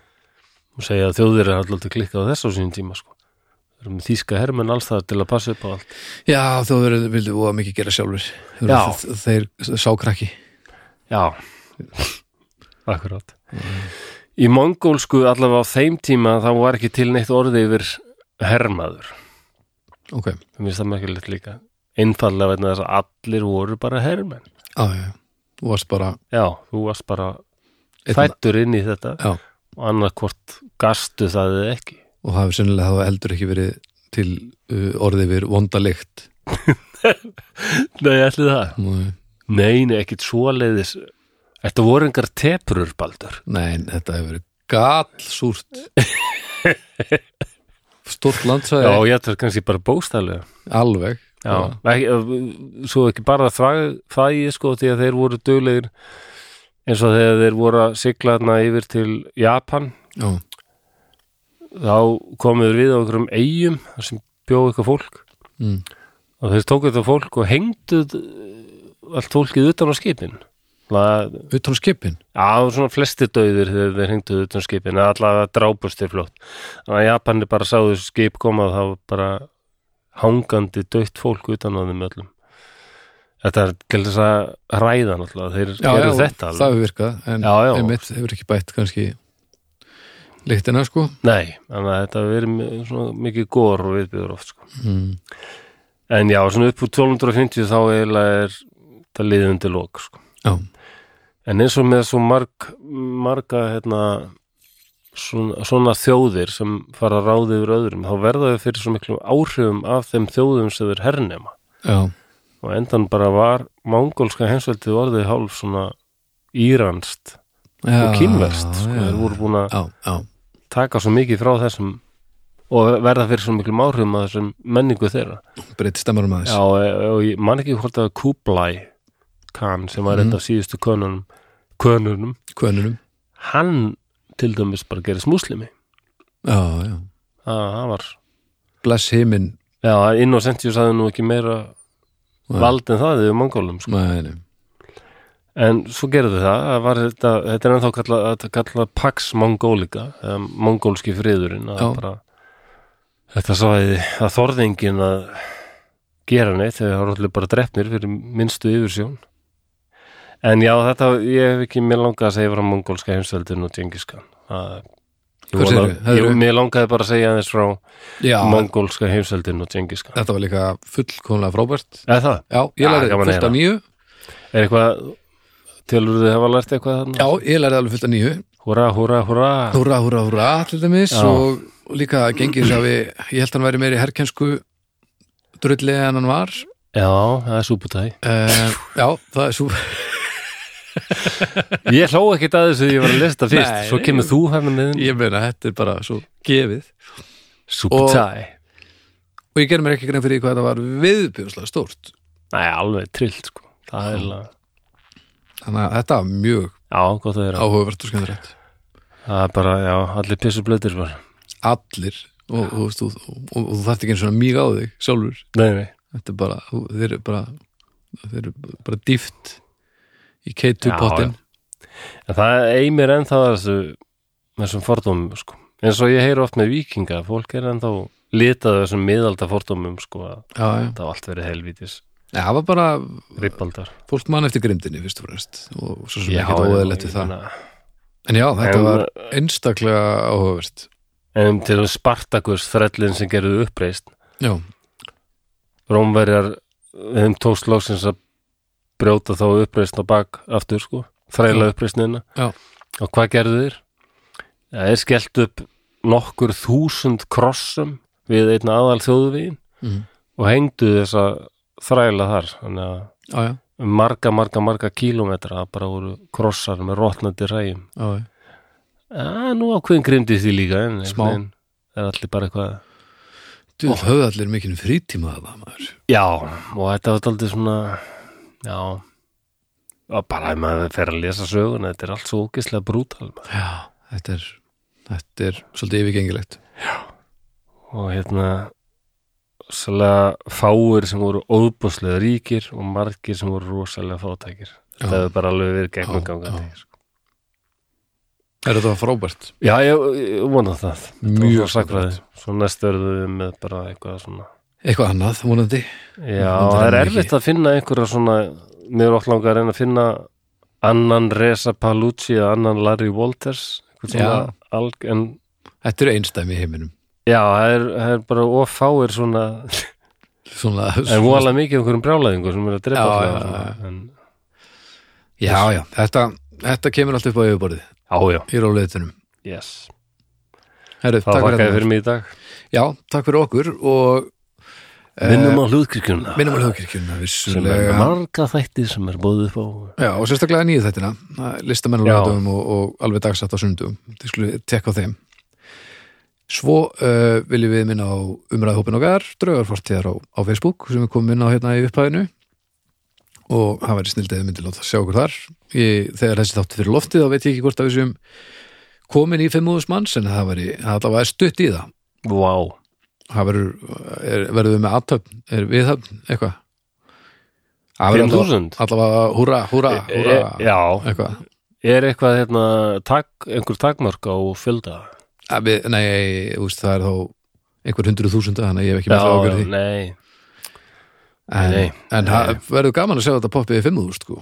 [SPEAKER 1] og segja að þjóðir er alltaf klikkað á þess á sínum tíma sko. Við erum með þýska hermenn alls það til að passa upp á allt
[SPEAKER 2] Já, þú verður, vildu voða mikið gera sjálfur Þeir-
[SPEAKER 1] Já.
[SPEAKER 2] Þeir sá krakki
[SPEAKER 1] Já, akkurát Í mongólsku allavega á þeim tíma þá var ekki til neitt orði yfir hermaður
[SPEAKER 2] Ok,
[SPEAKER 1] mér finnst það merkilegt líka einfallega vegna þess að allir voru bara hermenn
[SPEAKER 2] já, já, já Þú varst bara
[SPEAKER 1] Já, þú varst bara
[SPEAKER 2] einn-
[SPEAKER 1] fættur inn í þetta
[SPEAKER 2] Já,
[SPEAKER 1] og annarkvort gastu það eða ekki
[SPEAKER 2] og hafi sennilega hafa eldur ekki verið til uh, orðið við vondalikt
[SPEAKER 1] Nei, ætli það
[SPEAKER 2] Nei,
[SPEAKER 1] Nei, nei, ekkit svoleiðis Þetta voru engar teprur, Baldur
[SPEAKER 2] nei, þetta hefur verið gallsúrt Stórt landsvæði
[SPEAKER 1] Já, ég ætla kannski bara bóstælega
[SPEAKER 2] Alveg
[SPEAKER 1] Já, ekki, eh, svo ekki bara þvæ- þvægi sko því að þeir voru duglegir eins og þegar þeir voru að sigla þarna yfir til Japan
[SPEAKER 2] já,
[SPEAKER 1] þá komuður við á einhverjum eigum þar sem bjóðu eitthvað fólk
[SPEAKER 2] mm.
[SPEAKER 1] og þeir tóku þetta fólk og hengdu allt fólkið utan á skipin Það,
[SPEAKER 2] utan á skipin
[SPEAKER 1] já, það voru svona flesti döður þegar þeir hengdu utan á skipin eða allavega drápust þeir flott þannig að Japani bara sáðu skip koma þá var bara hangandi dögt fólk utan á þeim öllum Þetta er til þess að ræða náttúrulega, þeir gerðu þetta alveg
[SPEAKER 2] Það hefur virkað, en
[SPEAKER 1] Já, já.
[SPEAKER 2] einmitt hefur ekki bætt kannski lyktina sko
[SPEAKER 1] Nei, þannig að þetta hefur verið mi- svona mikið gór og viðbjöður oft sko.
[SPEAKER 2] mm.
[SPEAKER 1] En já, svona upp úr 1250 þá eiginlega er þetta liðundi lók sko.
[SPEAKER 2] Já,
[SPEAKER 1] En eins og með svo marg, marga hérna, svona, svona þjóðir sem fara að ráði yfir öðrum, þá verða þau fyrir svo miklu áhrifum af þeim þjóðum sem þeir hernema.
[SPEAKER 2] já,
[SPEAKER 1] Og á endan bara var mongólska hensveldið orðið hálf svona íranst
[SPEAKER 2] já
[SPEAKER 1] og kínverst. Sko.
[SPEAKER 2] já,
[SPEAKER 1] Þeir voru búin að
[SPEAKER 2] já, já,
[SPEAKER 1] taka svo mikið frá þessum og verða fyrir svo miklu áhrifum að þessum menningu þeirra.
[SPEAKER 2] breytt stemmar um
[SPEAKER 1] Já,
[SPEAKER 2] aðeins
[SPEAKER 1] og- og ég man ekki hvort að Kublai Khan sem var
[SPEAKER 2] Mhm.
[SPEAKER 1] mm. af síðustu könunum, könunum
[SPEAKER 2] Kvönunum,
[SPEAKER 1] hann til dæmis bara gerist múslimi
[SPEAKER 2] já, já
[SPEAKER 1] það það var
[SPEAKER 2] Bless heiminn
[SPEAKER 1] Já, Innocentius hafði nú ekki meira vald en það yfir mongólum sko.
[SPEAKER 2] Nei, nei,
[SPEAKER 1] en svo gerðu það, það var þetta, þetta er ennþá kallað þetta er kallað Pax Mongolica eða mongólski friðurinn að
[SPEAKER 2] Já.
[SPEAKER 1] bara, þetta svæði að þorðingin að gera neitt þegar það var allir bara drefnir fyrir minnstu yfirsjón en já, þetta, ég hef ekki mér langað að segja frá mongólska heimstöldin og Gengiskan
[SPEAKER 2] Hvað segirðu? Hefðirðu-
[SPEAKER 1] Mér langaði bara að segja þess frá
[SPEAKER 2] já,
[SPEAKER 1] mongólska heimstöldin og Gengiskan
[SPEAKER 2] þetta var líka fullkomlega frábært
[SPEAKER 1] Eða það?
[SPEAKER 2] Já, ég
[SPEAKER 1] Já,
[SPEAKER 2] lærði
[SPEAKER 1] gaman að
[SPEAKER 2] fullt af
[SPEAKER 1] heyra.
[SPEAKER 2] nýju
[SPEAKER 1] Er eitthvað, telur þið hafa lært eitthvað þarna?
[SPEAKER 2] Já, ég lærði alveg fullt af nýju
[SPEAKER 1] Húra, húra, húra
[SPEAKER 2] Húra, húra, húra, til dæmis
[SPEAKER 1] Já.
[SPEAKER 2] og, og líka gengið hafi, ég held hann væri meiri herkensku drulli en hann var
[SPEAKER 1] Já, það er súputæ
[SPEAKER 2] uh,
[SPEAKER 7] Já, það er svo
[SPEAKER 1] Ég hló ekkit að þessu því ég var að lista fyrst
[SPEAKER 2] Nei.
[SPEAKER 1] Svo kemur þú hérna með
[SPEAKER 2] Ég meina, þetta er bara svo gefið
[SPEAKER 1] Súputæ
[SPEAKER 2] Og ég gerði mér ekki grein fyrir því hvað þetta var viðbjörslega stórt
[SPEAKER 1] Nei, alveg trillt sko Það er alveg
[SPEAKER 2] Þannig að þetta var mjög
[SPEAKER 1] Já, gott að vera
[SPEAKER 2] áhugavert og skemmtilegt
[SPEAKER 1] Það er bara, já, allir pissu blöðir bara
[SPEAKER 2] Allir Og, og, og, og, og, og þú þarft ekki einu svona mýg á þig sjálfur
[SPEAKER 1] Nei, nei
[SPEAKER 2] Þetta er bara, þú- þeir eru bara Þeir eru bara dýft Í
[SPEAKER 1] Já,
[SPEAKER 2] K2 pottin
[SPEAKER 1] En það eimir ennþá þessu þessum fordómum sko eins og ég heyri oft með vikinga fólk er ennþá litað þessum miðalda fordómum sko að
[SPEAKER 2] Já, já.
[SPEAKER 1] það allt verið helvítis
[SPEAKER 2] Já, það var bara
[SPEAKER 1] ribbaldar
[SPEAKER 2] Fólk mann eftir grimdinni fyrst og fremst Og svo sem ekki óðalegt við það En já, þetta
[SPEAKER 1] En-
[SPEAKER 2] var einstaklega áhugavert
[SPEAKER 1] en til þess Spartakus þrællin sem gerðu uppreist
[SPEAKER 2] Já,
[SPEAKER 1] Rómverjar þeim tókst loksins að brjóta þá uppreist á bak aftur sko, þræla uppreistnina
[SPEAKER 2] Já.
[SPEAKER 1] og hvað gerðu þeir? Það er skellt upp nokkur þúsund krossum við einn aðal þjóðuvegin
[SPEAKER 2] Mhm.
[SPEAKER 1] og hengdu þessa þræla þar þannig að
[SPEAKER 2] já, já,
[SPEAKER 1] um marga, marga, marga kílómetra það bara voru krossar með rotnandi ræjum
[SPEAKER 2] já, já.
[SPEAKER 1] Já, nú ákveðin grimdi því líka en einhvern
[SPEAKER 2] Smá.
[SPEAKER 1] veginn er allir bara eitthvað
[SPEAKER 2] Þú höfðu allir mikinn frítíma að það maður
[SPEAKER 1] Já, og þetta var aldrei svona já og bara ef maður fer að lesa söguna þetta er allt svo ógeðslega brútal maður.
[SPEAKER 2] Já, þetta er, þetta er svolítið yfirgengilegt
[SPEAKER 1] og hérna svolítið fáir sem voru óbúslega ríkir og margir sem voru rosalega fátækir
[SPEAKER 2] Já.
[SPEAKER 1] þetta hefur bara alveg verið gegnum
[SPEAKER 2] Já, já.
[SPEAKER 1] gangandi sko.
[SPEAKER 2] Er þetta frábært?
[SPEAKER 1] Já, ég, ég vona það Þetta var
[SPEAKER 2] Mjög
[SPEAKER 1] svona sakraði, svo næst verðum við með bara eitthvað svona
[SPEAKER 2] Eitthvað annað, vonandi
[SPEAKER 1] Já,
[SPEAKER 2] Vonandi
[SPEAKER 1] það er
[SPEAKER 2] rennur
[SPEAKER 1] erfitt að finna einhverja svona mér er allanga að reyna að finna annan Reza Palucci eða annan Larry Walters einhvern svona alg, en
[SPEAKER 2] Þetta eru einstæmi í heiminum
[SPEAKER 1] já, það er, það er bara ofáir svona
[SPEAKER 2] Svona,
[SPEAKER 1] en
[SPEAKER 2] svona,
[SPEAKER 1] vola mikið einhverjum brjálæðingur sem er að drepa
[SPEAKER 2] Já,
[SPEAKER 1] alla
[SPEAKER 2] já,
[SPEAKER 1] svona,
[SPEAKER 2] já,
[SPEAKER 1] en,
[SPEAKER 2] Já, já, þetta, þetta kemur allt upp á yfirborðið
[SPEAKER 1] já, já,
[SPEAKER 2] Í ráleitunum
[SPEAKER 1] yes
[SPEAKER 2] Herru,
[SPEAKER 1] það
[SPEAKER 2] takk
[SPEAKER 1] þakkaði
[SPEAKER 2] fyrir,
[SPEAKER 1] fyrir mig í dag
[SPEAKER 2] Já, takk fyrir okkur og Eh,
[SPEAKER 1] minnum á hlúðkirkjuna
[SPEAKER 2] minnum alveg kirkjuna
[SPEAKER 1] sem er
[SPEAKER 2] vissulega
[SPEAKER 1] marga þætti sem er bóðið upp á
[SPEAKER 2] Já, og sérstaklega nýju þættina, listamenn á
[SPEAKER 1] Já.
[SPEAKER 2] lögatum og, og alveg dagsatt á sundum. Þið skulle tekka á þeim. Svo uh, viljum við minna á umræðhópin okkar, draugarfortíðar á, á Facebook sem við komum inn á hérna í upphæðinu og það væri snildið myndi láta sjá okkur þar. Ég, þegar þessi þáttu fyrir loftið þá veit ég ekki hvort að við séum komin í fimmúðus manns en það væri það allavega er stutt í það.
[SPEAKER 1] wow.
[SPEAKER 2] Það verður, er, verður við með aðtöfn, er viðhöfn, eitthvað. Það verður allavega-
[SPEAKER 1] 5000
[SPEAKER 2] Allavega húra, húra, húra,
[SPEAKER 1] E- já,
[SPEAKER 2] eitthvað.
[SPEAKER 1] er eitthvað hérna, tak, einhver takmörk á fjölda
[SPEAKER 2] Að Við, nei, þú veist, það er þá einhver hundruð þúsunda, þannig að ég hef ekki með það okkur
[SPEAKER 1] já,
[SPEAKER 2] því
[SPEAKER 1] nei
[SPEAKER 2] en,
[SPEAKER 1] nei,
[SPEAKER 2] en það verður gaman að sjá þetta poppið í fimmúðust sko.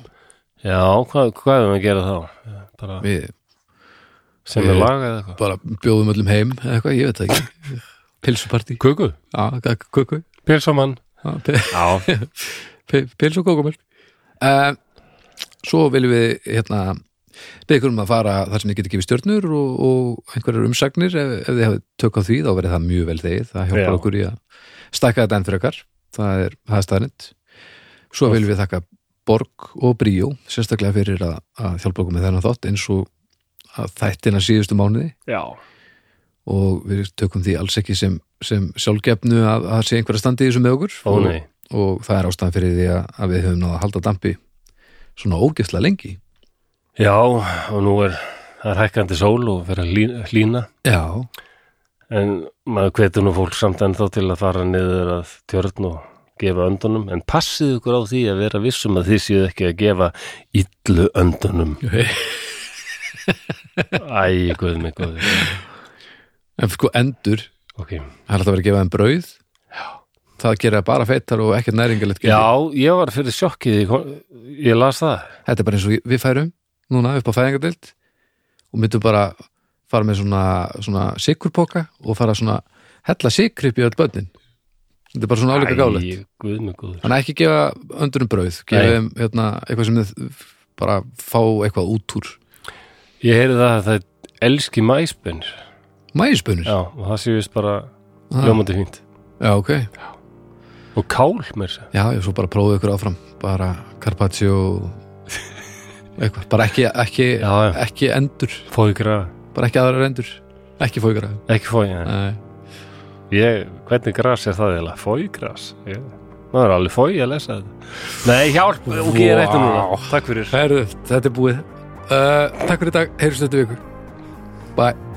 [SPEAKER 1] Já, hvað, hvað er það að gera þá? Bara
[SPEAKER 2] við
[SPEAKER 1] sem
[SPEAKER 2] Ég-
[SPEAKER 1] er laga eða eitthvað?
[SPEAKER 2] bara bjóðum öllum heim eða eitthvað, ég veit það ekki pilsupartí,
[SPEAKER 1] Kuku?
[SPEAKER 2] já, kukku
[SPEAKER 1] Pilsamann? Já,
[SPEAKER 2] pils og kókumöl uh, svo viljum við hérna byggur um að fara þar sem þið getur gefið stjörnur og, og einhverjar umsagnir ef, ef þið hafið tök á því þá verið það mjög vel þegið það hjálpar
[SPEAKER 1] Já.
[SPEAKER 2] okkur í að stækka þetta enn fyrir okkar það er, það er staðnind svo viljum við þakka Borg og Bríó sérstaklega fyrir að, að hjálpa okkur með þennan þátt eins og að þættina síðustu mánuði
[SPEAKER 1] já,
[SPEAKER 2] og við tökum því alls ekki sem, sem sjálfgefnu að, að sé einhverja standi í þessu með okkur
[SPEAKER 1] ó
[SPEAKER 2] og,
[SPEAKER 1] nei
[SPEAKER 2] og það er ástæðan fyrir því að, að við höfum náða að halda dampi svona ógæslega lengi
[SPEAKER 1] Já, og nú er það er hækkandi sól og fyrir að lí- hlýna
[SPEAKER 2] já,
[SPEAKER 1] en maður hvetur nú fólk samt ennþá til að fara niður að tjörn og gefa öndunum en passið ykkur á því að vera vissum að þið séu ekki að gefa illu öndunum Æ, guð mig, guð
[SPEAKER 2] en sko endur
[SPEAKER 1] Ok,
[SPEAKER 2] það er alltaf verið að gefa þeim brauð já. það gera bara feitar og ekkert næringalegt
[SPEAKER 1] já, ég var fyrir sjokkið ég, kom- ég las það
[SPEAKER 2] þetta er bara eins og við færum núna upp á fæðingardild og myndum bara fara með svona, svona sikurpoka og fara svona hella sikri upp í öll börnin þetta er bara svona álíka gálegt
[SPEAKER 1] Æ, guð mig, guð
[SPEAKER 2] þannig að ekki gefa öndurum brauð gefa
[SPEAKER 1] Nei.
[SPEAKER 2] þeim hérna, eitthvað sem þið bara fá eitthvað út úr
[SPEAKER 1] Ég heyrði það að það elski mæspunir
[SPEAKER 2] mægispunir
[SPEAKER 1] Já, og það sé vist bara
[SPEAKER 2] Ah,
[SPEAKER 1] ljómandi fínt
[SPEAKER 2] já, ok
[SPEAKER 1] og kál mér sér
[SPEAKER 2] Já, ég svo bara prófið ykkur áfram bara Carpaccio eitthvað, bara ekki, ekki,
[SPEAKER 1] Já, já.
[SPEAKER 2] ekki endur,
[SPEAKER 1] fói grafa,
[SPEAKER 2] bara ekki aðrar endur ekki fókara
[SPEAKER 1] ekki fói ja.
[SPEAKER 2] Nei,
[SPEAKER 1] ég, hvernig gras er það eiginlega, fói gras ég, maður er alveg fói að lesa þetta nei, hjálp, ok, ég reytum núna takk fyrir
[SPEAKER 2] Herðu, þetta er búið uh, Takk fyrir í dag, heyrjum stöttu vikur Bye